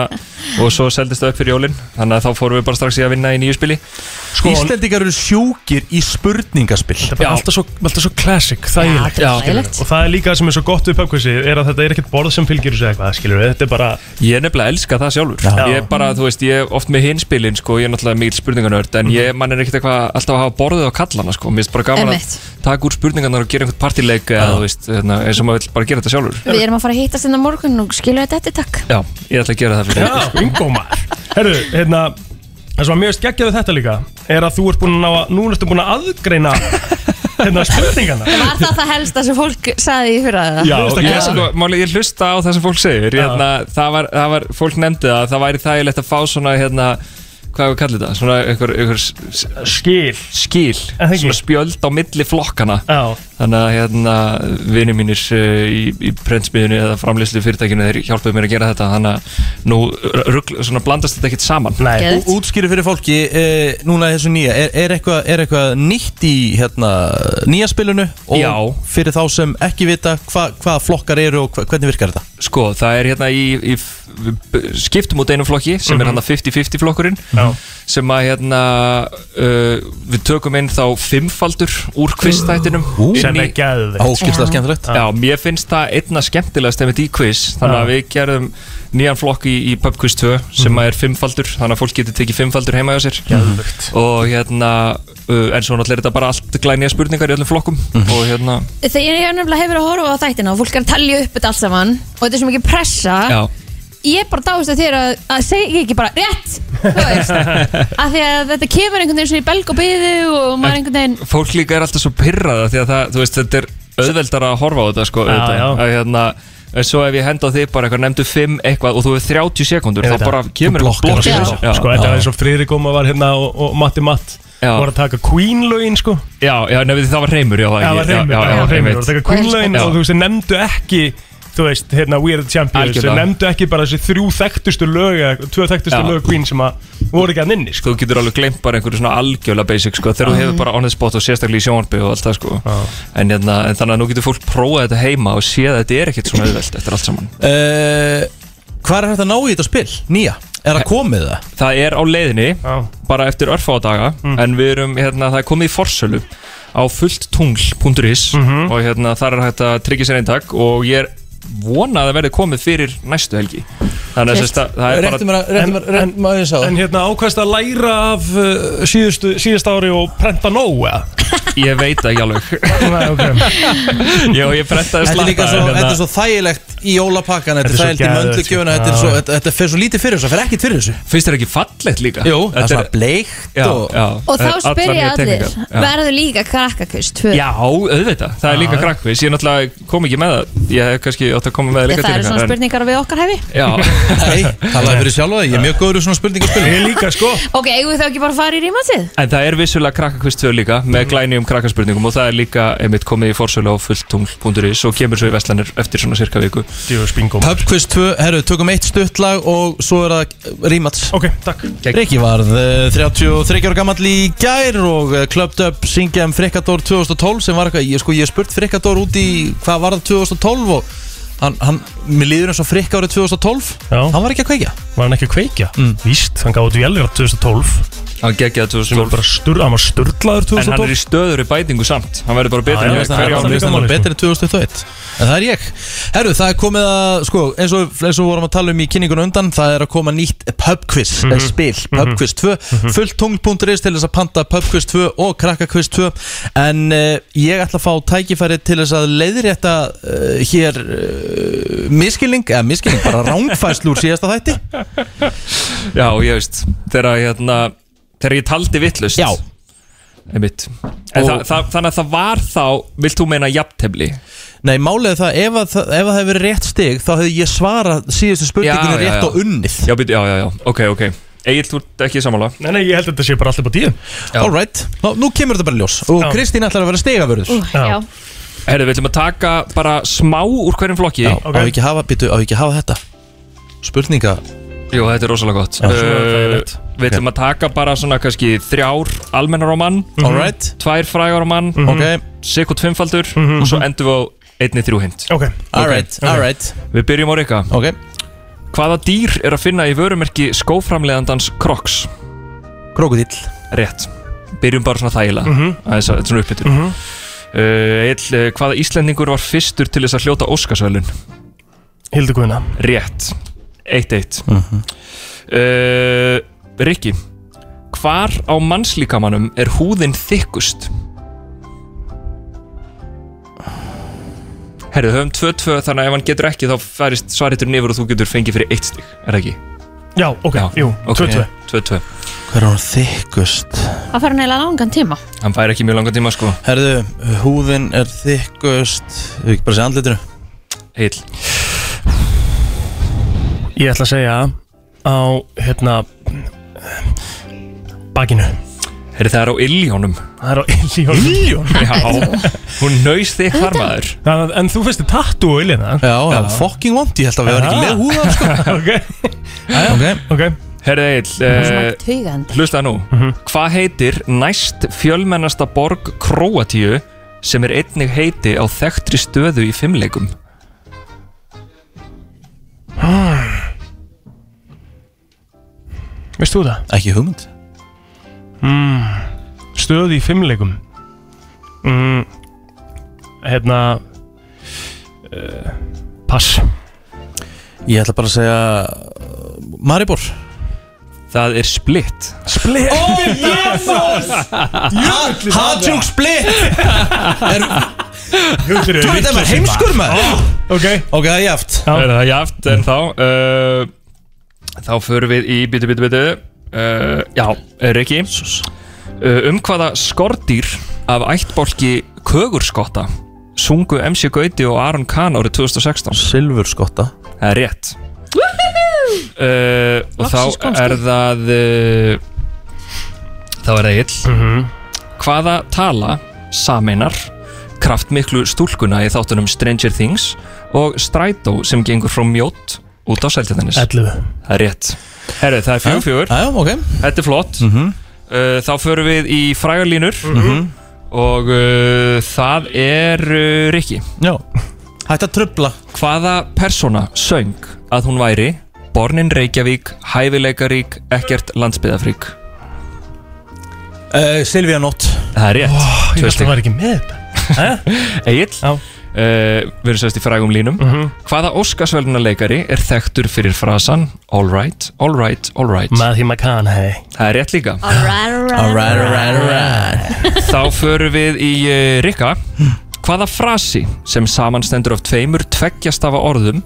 [SPEAKER 8] og svo seldist það upp fyrir jólin þannig að þá fórum við bara strax í að vinna í nýju spili
[SPEAKER 3] Sko,
[SPEAKER 2] Íslendingar eru sjúkir í spurningaspill
[SPEAKER 3] þetta er bara
[SPEAKER 8] Já.
[SPEAKER 3] alltaf svo, alltaf svo classic Þægilegt
[SPEAKER 8] Já.
[SPEAKER 4] þægilegt.
[SPEAKER 3] Og það er líka það sem er svo gott við pökkvísi er að þetta er ekkert borð sem fylgir þessu eitthvað, skilur við, þetta er bara
[SPEAKER 8] Ég nefnilega elska það sjálfur
[SPEAKER 3] Já.
[SPEAKER 8] Ég er bara, þú veist, ég er oft með hinspilin sko, ég er náttúrulega mikil spurninganörd
[SPEAKER 3] Mhm.
[SPEAKER 8] en ég mann er ekkert eitthvað alltaf að hafa borðið á kallana sko, mér er bara gaman
[SPEAKER 4] Einmitt.
[SPEAKER 8] að taka úr spurninganar og gera einhvern partileik eða, þú veist, hérna, eins og maður vill bara gera þetta sjálfur
[SPEAKER 4] Við erum að fara að hittast hérna á morgun og skilja þetta eftir takk
[SPEAKER 8] Já, ég ætla að gera það fyrir sko.
[SPEAKER 3] Já, bingo maður Herru, hérna Það sem var mjög skeggjaði þetta líka er að þú ert búin að ná að, núna ertu búin að aðgreina hérna spurningana
[SPEAKER 4] Var það það helsta sem fólk saði í fyrra það?
[SPEAKER 3] Já,
[SPEAKER 8] Já, ég, sko, máli, ég hlusta á það sem fólk segir
[SPEAKER 3] Já.
[SPEAKER 8] hérna, það, var, það var, fólk nefndi það það væri þægilegt að fá svona hérna, hvað við kallið það, svona einhver, einhver s- s-
[SPEAKER 3] Skil
[SPEAKER 8] skil,
[SPEAKER 3] Er það ekki?
[SPEAKER 8] svona spjöld á milli flokkana
[SPEAKER 3] Já,
[SPEAKER 8] þannig að hérna, vinir mínir uh, í, í prentsmiðinu eða framleyslu fyrirtækinu þeir hjálpuðu mér að gera þetta þannig að nú rugl, svona blandast þetta ekkert saman
[SPEAKER 3] nei
[SPEAKER 4] Geðveikt.
[SPEAKER 2] og útskýri fyrir fólki e, núna þessu nýja er, er, eitthvað, er eitthvað nýtt í hérna, nýja spilinu og
[SPEAKER 8] Já.
[SPEAKER 2] fyrir þá sem ekki vita hva, hvaða flokkar eru og hva, hvernig virkar þetta
[SPEAKER 8] sko, það er hérna í, í f- við skiptum út einum flokki sem er hann 50-50 flokkurinn
[SPEAKER 3] Mhm. Já.
[SPEAKER 8] sem að hérna uh, við tökum inn þá fimmfaldur úr kvistættinum
[SPEAKER 3] Sem er geðveikt
[SPEAKER 2] óskýrslega skemmtilegt
[SPEAKER 8] Já, mér finnst það einna skemmtilegast ef þetta í quiz, þannig
[SPEAKER 3] Já.
[SPEAKER 8] að
[SPEAKER 3] Mhm.
[SPEAKER 8] við gerum nýjan flokk í, í pub quiz 2 sem að er fimmfaldur, þannig að fólk getur tekið fimmfaldur heima hjá sér
[SPEAKER 3] Geðveikt.
[SPEAKER 8] og hérna, uh, en svo náttúrulega er þetta bara allt glænýja spurningar í öllum flokkum og hérna,
[SPEAKER 4] Þegar ég hef nefnilega hefur að horfa á þættina og fólk er að talja upp þetta allt saman og þetta er svo mikið pressa
[SPEAKER 8] já,
[SPEAKER 4] ég bara dáist að þér að, að segja ekki bara rétt þú veist að því að þetta kemur einhvern veginn svona í belg og byðu og maður einhvern veginn
[SPEAKER 8] fólk líka er alltaf svo pyrraða því að það, þú veist, þetta er auðveldar að horfa á þetta sko,
[SPEAKER 3] Já,
[SPEAKER 8] auðvitað,
[SPEAKER 3] já.
[SPEAKER 8] að hérna En svo ef ég henda á þig bara eitthvað, nefndu 5 eitthvað og þú hefur 30 sekundur,
[SPEAKER 3] Ég
[SPEAKER 8] þá
[SPEAKER 3] veit það.
[SPEAKER 8] bara kemur
[SPEAKER 2] Þú
[SPEAKER 8] eitthvað
[SPEAKER 2] blokkar
[SPEAKER 8] blokk í
[SPEAKER 4] þessu.
[SPEAKER 8] þessu. Já.
[SPEAKER 3] Sko, þetta er eins og Friðrik Óma var hérna og, og Matti Matt
[SPEAKER 8] Já.
[SPEAKER 3] var að taka Queen lögin sko
[SPEAKER 8] Já, já, nefnir það var reymur, já,
[SPEAKER 3] Já, það var
[SPEAKER 8] já,
[SPEAKER 3] hreimur,
[SPEAKER 8] já,
[SPEAKER 3] það var
[SPEAKER 8] einmitt.
[SPEAKER 3] hreimur og taka Queen lögin
[SPEAKER 8] Já.
[SPEAKER 3] og þú veist, þeir nefndu ekki þú veist, hérna We Are The Champions þeir
[SPEAKER 8] Algjörlega.
[SPEAKER 3] nefndu ekki bara þessi þrjú þekktustu lög eða tvö þekktustu
[SPEAKER 8] Já.
[SPEAKER 3] lög Queen sem að voru ekki að nynni sko
[SPEAKER 8] þú getur alveg gleymt bara einhverju svona algjörlega basic sko,
[SPEAKER 2] Mm.
[SPEAKER 8] þegar þú hefur bara on the spot og sérstaklega í sjónvarpi og allt það sko en, hérna, en þannig að nú getur fólk prófað þetta heima og séð að þetta er ekkert svona auðvelt eftir allt saman
[SPEAKER 2] uh, hvað er hægt að ná í þetta spil, nýja er það komið það
[SPEAKER 8] það er á leiðinni,
[SPEAKER 3] Já.
[SPEAKER 8] bara eftir örfádaga mm. en við erum, hérna, það er komið í forsölu á fulltungl.is
[SPEAKER 3] Mhm.
[SPEAKER 8] og hérna, þar er hægt að tryggja sér eintak og ég er vona að það verði komið fyrir næstu helgi Þannig að sem sagt, það það er
[SPEAKER 2] Réttum mér
[SPEAKER 8] bara
[SPEAKER 2] að, réttum mér að, réttum mér að þess að
[SPEAKER 3] En hérna ákvæmst að læra af uh, síðustu, síðust ári og prenta nóg eða?
[SPEAKER 8] Ég veit það ekki alveg
[SPEAKER 3] Nei, ok
[SPEAKER 8] Já, ég prentaði
[SPEAKER 2] Þetta er líka svo,
[SPEAKER 8] slatta en
[SPEAKER 2] þetta er
[SPEAKER 8] hérna,
[SPEAKER 2] svo þægilegt í jólapakkan, þetta
[SPEAKER 3] Þetta
[SPEAKER 2] er
[SPEAKER 3] er svo
[SPEAKER 2] þægilegt í
[SPEAKER 3] geðveikt,
[SPEAKER 2] möndlugjöfuna,
[SPEAKER 3] sko.
[SPEAKER 2] þetta er
[SPEAKER 3] Já.
[SPEAKER 2] svo, þetta- þetta fer svo lítið fyrir þessu, það fer ekkert fyrir þessu.
[SPEAKER 8] Finnst þér ekki fallegt líka?
[SPEAKER 2] Jú, það er
[SPEAKER 8] Þetta
[SPEAKER 2] svona bleikt
[SPEAKER 8] Já,
[SPEAKER 2] og...
[SPEAKER 8] já,
[SPEAKER 4] Og þá
[SPEAKER 8] allar
[SPEAKER 4] spyrja
[SPEAKER 8] nýjar
[SPEAKER 4] allir,
[SPEAKER 8] teikningar. Já.
[SPEAKER 4] verður líka krakkakvist 2?
[SPEAKER 8] Já, auðvitað, það er líka krakkvís Ég náttúrulega kom ekki með það Ég hef kannski átt að koma með það
[SPEAKER 4] Ég,
[SPEAKER 8] líka
[SPEAKER 4] það eru svona
[SPEAKER 8] en-
[SPEAKER 4] spurningar við okkar hæfi
[SPEAKER 8] Já,
[SPEAKER 2] Nei, talaði fyrir sjálfa þig, ég er mjög góður í svona spurningu spil
[SPEAKER 3] Ég líka sko
[SPEAKER 4] Ok, eigum við þá ekki bara að fara í rímansið?
[SPEAKER 8] en það er vissulega krakkakvist 2 líka
[SPEAKER 2] Mm.
[SPEAKER 8] með glænýjum krakkaspurningum og það er líka einmitt komið í forsölu á fulltungl.is og kemur svo í Vestlanir eftir svona cirka viku
[SPEAKER 3] Djöfus bingo maður.
[SPEAKER 2] Pub quiz 2, herru, tökum eitt stuttlag og svo er það rímats
[SPEAKER 3] Ok, takk
[SPEAKER 2] Rikki varð eh, 33 ára gammal í gær og klöpt upp syngja um Frikador 2012 sem var eitthvað, ég sko ég hef spurt Frikador út í hvað var það 2012 og hann, hann mér líður eins og Frikka árið 2012
[SPEAKER 3] Já.
[SPEAKER 2] hann var ekki að kveikja
[SPEAKER 3] Var hann ekki að kveikja? Víst, hann gáði dvélir á 2012
[SPEAKER 8] Hann geggjaði
[SPEAKER 3] sem var
[SPEAKER 8] 2012
[SPEAKER 3] bara stur, hann var sturlaður
[SPEAKER 8] En hann er
[SPEAKER 3] 2012
[SPEAKER 8] í stöður í bætingu samt Hann verður bara
[SPEAKER 3] Já,
[SPEAKER 8] betur
[SPEAKER 3] já, það
[SPEAKER 8] en
[SPEAKER 3] er alveg-
[SPEAKER 8] hverja ári
[SPEAKER 2] Mér finnst hann
[SPEAKER 3] máli,
[SPEAKER 2] alveg betur en 2021 En það er ég Herru, það er komið að, sko, eins og, eins og vorum að tala um í kynningunum undan Það er að koma nýtt pubquiz mm spil Pubquiz 2 mm -hmm. Fulltungl.is til þess að panta pubquiz 2 og krakkakviz 2 En uh, ég ætla að fá tækifæri til þess að leiðrétta uh, hér uh, miskilning Eða miskilning, bara rángfæslu úr síðasta þætti
[SPEAKER 8] Já, ég veist Þegar hérna Þegar ég taldi vittlust
[SPEAKER 2] Já,
[SPEAKER 8] Einmitt En
[SPEAKER 2] Og-
[SPEAKER 8] það, það, Þannig að það var þá Vilt þú meina jafntefli?
[SPEAKER 2] nei, málið er það ef, að, það- ef það hefur verið rétt stig Þá hefði ég svarað síðustu spurningunni
[SPEAKER 8] Já, já,
[SPEAKER 2] rétt
[SPEAKER 8] já.
[SPEAKER 2] og unnið
[SPEAKER 8] Já, být, já, já, já Ok, ok Egil, þú ert ekki sammála
[SPEAKER 3] Nei, nei, ég held að þetta sé bara allir búið tíu
[SPEAKER 8] Já.
[SPEAKER 2] Alright, Ná, nú kemur þetta bara í ljós Og
[SPEAKER 3] Já.
[SPEAKER 2] Kristín ætlar að vera stegavörður
[SPEAKER 4] Ú,
[SPEAKER 3] Já.
[SPEAKER 4] já.
[SPEAKER 8] Herðu, við ætlum að taka bara smá úr hverjum flokki
[SPEAKER 2] Já,
[SPEAKER 3] ok.
[SPEAKER 2] á ekki hafa, býtu, á ekki hafa þetta Spurninga
[SPEAKER 8] Jú, þetta er rosalega gott
[SPEAKER 2] Já,
[SPEAKER 8] Uh,
[SPEAKER 3] svona er það yfirleitt.
[SPEAKER 8] Við ætlum að taka bara svona kannski Þrjár almennar á mann
[SPEAKER 3] Mhm.
[SPEAKER 2] Alright,
[SPEAKER 8] Tvær frægar á mann
[SPEAKER 2] ok,
[SPEAKER 8] Sikkot fimmfaldur Og svo endum við á einni þrjú hint
[SPEAKER 3] Mhm, Ok,
[SPEAKER 2] alright, alright
[SPEAKER 8] Við byrjum á Rika
[SPEAKER 2] Ok,
[SPEAKER 8] Hvaða dýr er að finna í vörumerki skóframleðandans Crocs?
[SPEAKER 2] krokodil
[SPEAKER 8] Rétt Byrjum bara svona þægilega mm -hmm. Aðeins að þetta er svona uppbyttur mm
[SPEAKER 3] Mhm.
[SPEAKER 8] eh, Hvaða Íslendingur var fyrstur til þess að hljóta Óskarsvölun?
[SPEAKER 3] hildi guðina
[SPEAKER 8] Rétt 1-1
[SPEAKER 2] Mhm.
[SPEAKER 8] uh, Rikki Hvar á mannslíkamanum er húðin þykkust? Herðu, höfum 2-2 þannig að ef hann getur ekki þá færist svariturinn yfir og þú getur fengið fyrir 1 stig, er það ekki?
[SPEAKER 3] Já, ok,
[SPEAKER 8] Já,
[SPEAKER 3] jú,
[SPEAKER 8] ok.
[SPEAKER 3] 22
[SPEAKER 8] 2-2
[SPEAKER 2] Hver er hún þykkust?
[SPEAKER 4] Það fara neila langan tíma
[SPEAKER 8] Hann fær ekki mjög langan tíma sko
[SPEAKER 2] Herðu, húðin er þykkust Við ekki bara segja andlitinu
[SPEAKER 8] Heil
[SPEAKER 3] Ég ætla að segja á, hérna Bakinu
[SPEAKER 8] Herri það er á illjónum
[SPEAKER 3] Það er á Iljón Iljón?
[SPEAKER 8] Já Hún nöys þig þar maður
[SPEAKER 3] En þú finnst þið tattu á Iljón, það?
[SPEAKER 2] Já, það er fucking vond, ég held að við varum ekki
[SPEAKER 3] Ah.
[SPEAKER 2] með húða sko.
[SPEAKER 3] Ok,
[SPEAKER 2] Ok,
[SPEAKER 3] ok Mhm.
[SPEAKER 8] Herri Eil uh,
[SPEAKER 4] Tvigandi
[SPEAKER 8] Hlusta nú Hvað heitir næst fjölmennasta borg Króatíu sem er einnig heiti á þekktri stöðu í fimmleikum
[SPEAKER 3] Ah. Veist þú það?
[SPEAKER 2] ekki hugmynd
[SPEAKER 3] Stöði í fimmleikum mm, Hérna uh, Pass
[SPEAKER 2] Ég ætla bara að segja uh, Maribor
[SPEAKER 8] Það er splitt
[SPEAKER 3] Split
[SPEAKER 2] Oh, Jesus! Hatjúk split Er, þú veit að maður heimskur maður
[SPEAKER 3] Ok
[SPEAKER 2] Ok, það er jæft
[SPEAKER 3] Já.
[SPEAKER 8] Er það jaft en þá uh, Þá förum við í bitu bitu bitu uh, Já, Riki uh, Um hvaða skordýr af ættbólki kögurskotta sungu MC Gauti og Aron Kahn árið 2016
[SPEAKER 2] Silfurskotta
[SPEAKER 8] Það er rétt uh, Og
[SPEAKER 4] Loksins
[SPEAKER 8] þá
[SPEAKER 4] komst
[SPEAKER 8] er það uh, Þá er það ill Hvaða tala saminar kraftmiklu stúlkuna í þáttunum Stranger Things og Strætó sem gengur frá mjótt út á sæltjartanis
[SPEAKER 3] 11
[SPEAKER 8] Það er rétt Herru, það er fjögur fjögur,
[SPEAKER 2] Æjá, ok
[SPEAKER 8] þetta er flott uh, Þá förum við í frægarlínur og uh, það er uh, Rikki
[SPEAKER 2] Já Hætt að trubla
[SPEAKER 8] Hvaða persóna söng að hún væri Bornin Reykjavík, hæfileikarík, ekkert landsbyðafrík?
[SPEAKER 2] uh, Silvía Nótt
[SPEAKER 8] Það er rétt,
[SPEAKER 3] Ég ætla að
[SPEAKER 8] tvö stig.
[SPEAKER 3] vera ekki með þetta
[SPEAKER 8] Egil,
[SPEAKER 3] Já. Mhm.
[SPEAKER 8] uh, uh, við erum sérst í frægum línum hvaða Óskarsvelunuleikari er þekktur fyrir frasan all right, all right, all right
[SPEAKER 3] Matthew McConaughey
[SPEAKER 8] það er rétt líka
[SPEAKER 4] Alright, alright
[SPEAKER 2] Alright, alright, alright
[SPEAKER 8] þá förum við í uh, Rikka hvaða frasi sem samanstendur af tveimur tveggjastafa orðum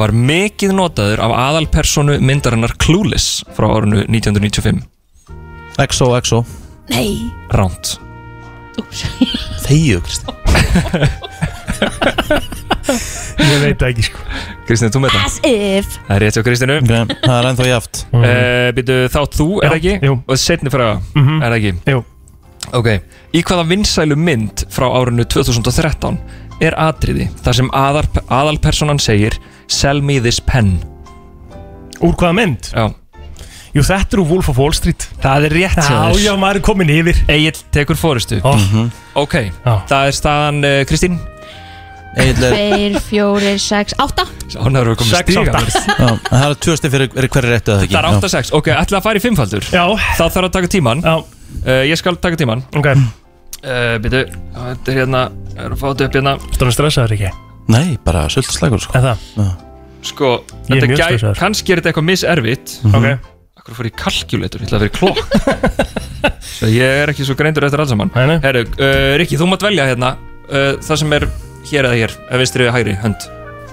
[SPEAKER 8] var mikið notaður af aðalpersonu myndarinnar Clueless frá árinu 1995
[SPEAKER 2] XO, XO
[SPEAKER 4] Nei
[SPEAKER 8] Ránt
[SPEAKER 2] Þegju, Kristi
[SPEAKER 3] Ég veit það ekki sko
[SPEAKER 8] Kristina, þú með það?
[SPEAKER 4] As if
[SPEAKER 8] Það er rétt hjá Kristinu mm.
[SPEAKER 2] Það er ennþá jaft
[SPEAKER 8] Býtu þá þú, er það
[SPEAKER 3] Mm. Já,
[SPEAKER 8] ekki?
[SPEAKER 3] jú. Mhm.
[SPEAKER 8] Og setni fræða, er það ekki?
[SPEAKER 3] Jú.
[SPEAKER 8] Ok, í hvaða vinsælu mynd frá árinu 2013 er atriði þar sem aðar, aðalpersonan segir Sell me this pen
[SPEAKER 3] Úr hvaða mynd?
[SPEAKER 8] Já,
[SPEAKER 3] Jú, þetta er úr Wolf of Wall Street
[SPEAKER 8] það er rétt hjá
[SPEAKER 3] Já, já, maður er komin yfir
[SPEAKER 8] Egil tekur fórustu
[SPEAKER 3] Ó,
[SPEAKER 8] Ok,
[SPEAKER 3] Já.
[SPEAKER 8] það er staðan uh, Kristín
[SPEAKER 2] Eginlega
[SPEAKER 4] Tveir, fjórir, sex, átta
[SPEAKER 8] Hún er komið
[SPEAKER 3] Sex
[SPEAKER 8] stíga
[SPEAKER 3] átta.
[SPEAKER 2] Það er tvö stið fyrir hverju réttu eða ekki
[SPEAKER 8] Það er 8-6, ok, ætla að fara í fimmfaldur
[SPEAKER 3] Já,
[SPEAKER 8] Þá þarf að taka tíman
[SPEAKER 3] já,
[SPEAKER 8] uh, Ég skal taka tíman
[SPEAKER 3] ok
[SPEAKER 8] uh, Býtu, þetta er hérna Það er að fá þetta upp hérna
[SPEAKER 3] Stóðan stressaður ekki
[SPEAKER 2] Nei, bara sultaslægur sko
[SPEAKER 3] En það,
[SPEAKER 8] Sko,
[SPEAKER 3] Ég er
[SPEAKER 8] þetta
[SPEAKER 3] mjög
[SPEAKER 8] gæ,
[SPEAKER 3] stressaður. Mhm.
[SPEAKER 8] kannski er þetta eitthvað miservitt
[SPEAKER 3] ok
[SPEAKER 8] Akkur fór í kalkjuleitur, ég ætla að vera í klokk Svo ég er ekki svo greindur eftir alls saman
[SPEAKER 3] Nei, nei.
[SPEAKER 8] Herru, uh, Rikki, þú mátt velja hérna uh, Það sem er hér eða hér eða Vinstri eða hægri hönd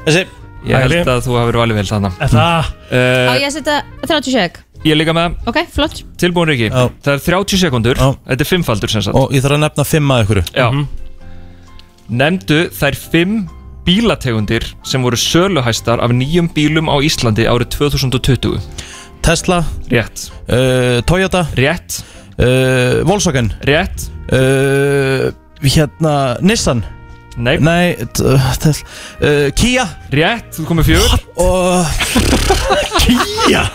[SPEAKER 2] Þessi
[SPEAKER 8] Ég
[SPEAKER 3] Hægri.
[SPEAKER 8] held að þú hafir valið vel þarna
[SPEAKER 3] En það,
[SPEAKER 4] Á
[SPEAKER 8] uh,
[SPEAKER 4] ég að setja 30 seg
[SPEAKER 8] Ég er líka með
[SPEAKER 4] Ok, flott
[SPEAKER 8] tilbúin Rikki
[SPEAKER 2] Já.
[SPEAKER 8] Það er 30 sekundur,
[SPEAKER 2] Já.
[SPEAKER 8] þetta er fimmfaldur sem sagt
[SPEAKER 2] Og ég þarf að nefna fimm að ykkur
[SPEAKER 8] Já
[SPEAKER 4] Mhm.
[SPEAKER 8] Nefndu þær fimm bílategundir sem voru söluhæstar af nýjum bílum á Íslandi árið 2020
[SPEAKER 2] Tesla,
[SPEAKER 8] Rétt,
[SPEAKER 2] uh, Toyota,
[SPEAKER 8] rétt,
[SPEAKER 2] uh, Volkswagen
[SPEAKER 8] rétt
[SPEAKER 2] uh, Hérna, Nissan
[SPEAKER 8] Nei,
[SPEAKER 2] Nei, t- uh, Tesla uh, Kia
[SPEAKER 8] rétt, þú komið fjögur
[SPEAKER 2] og Kia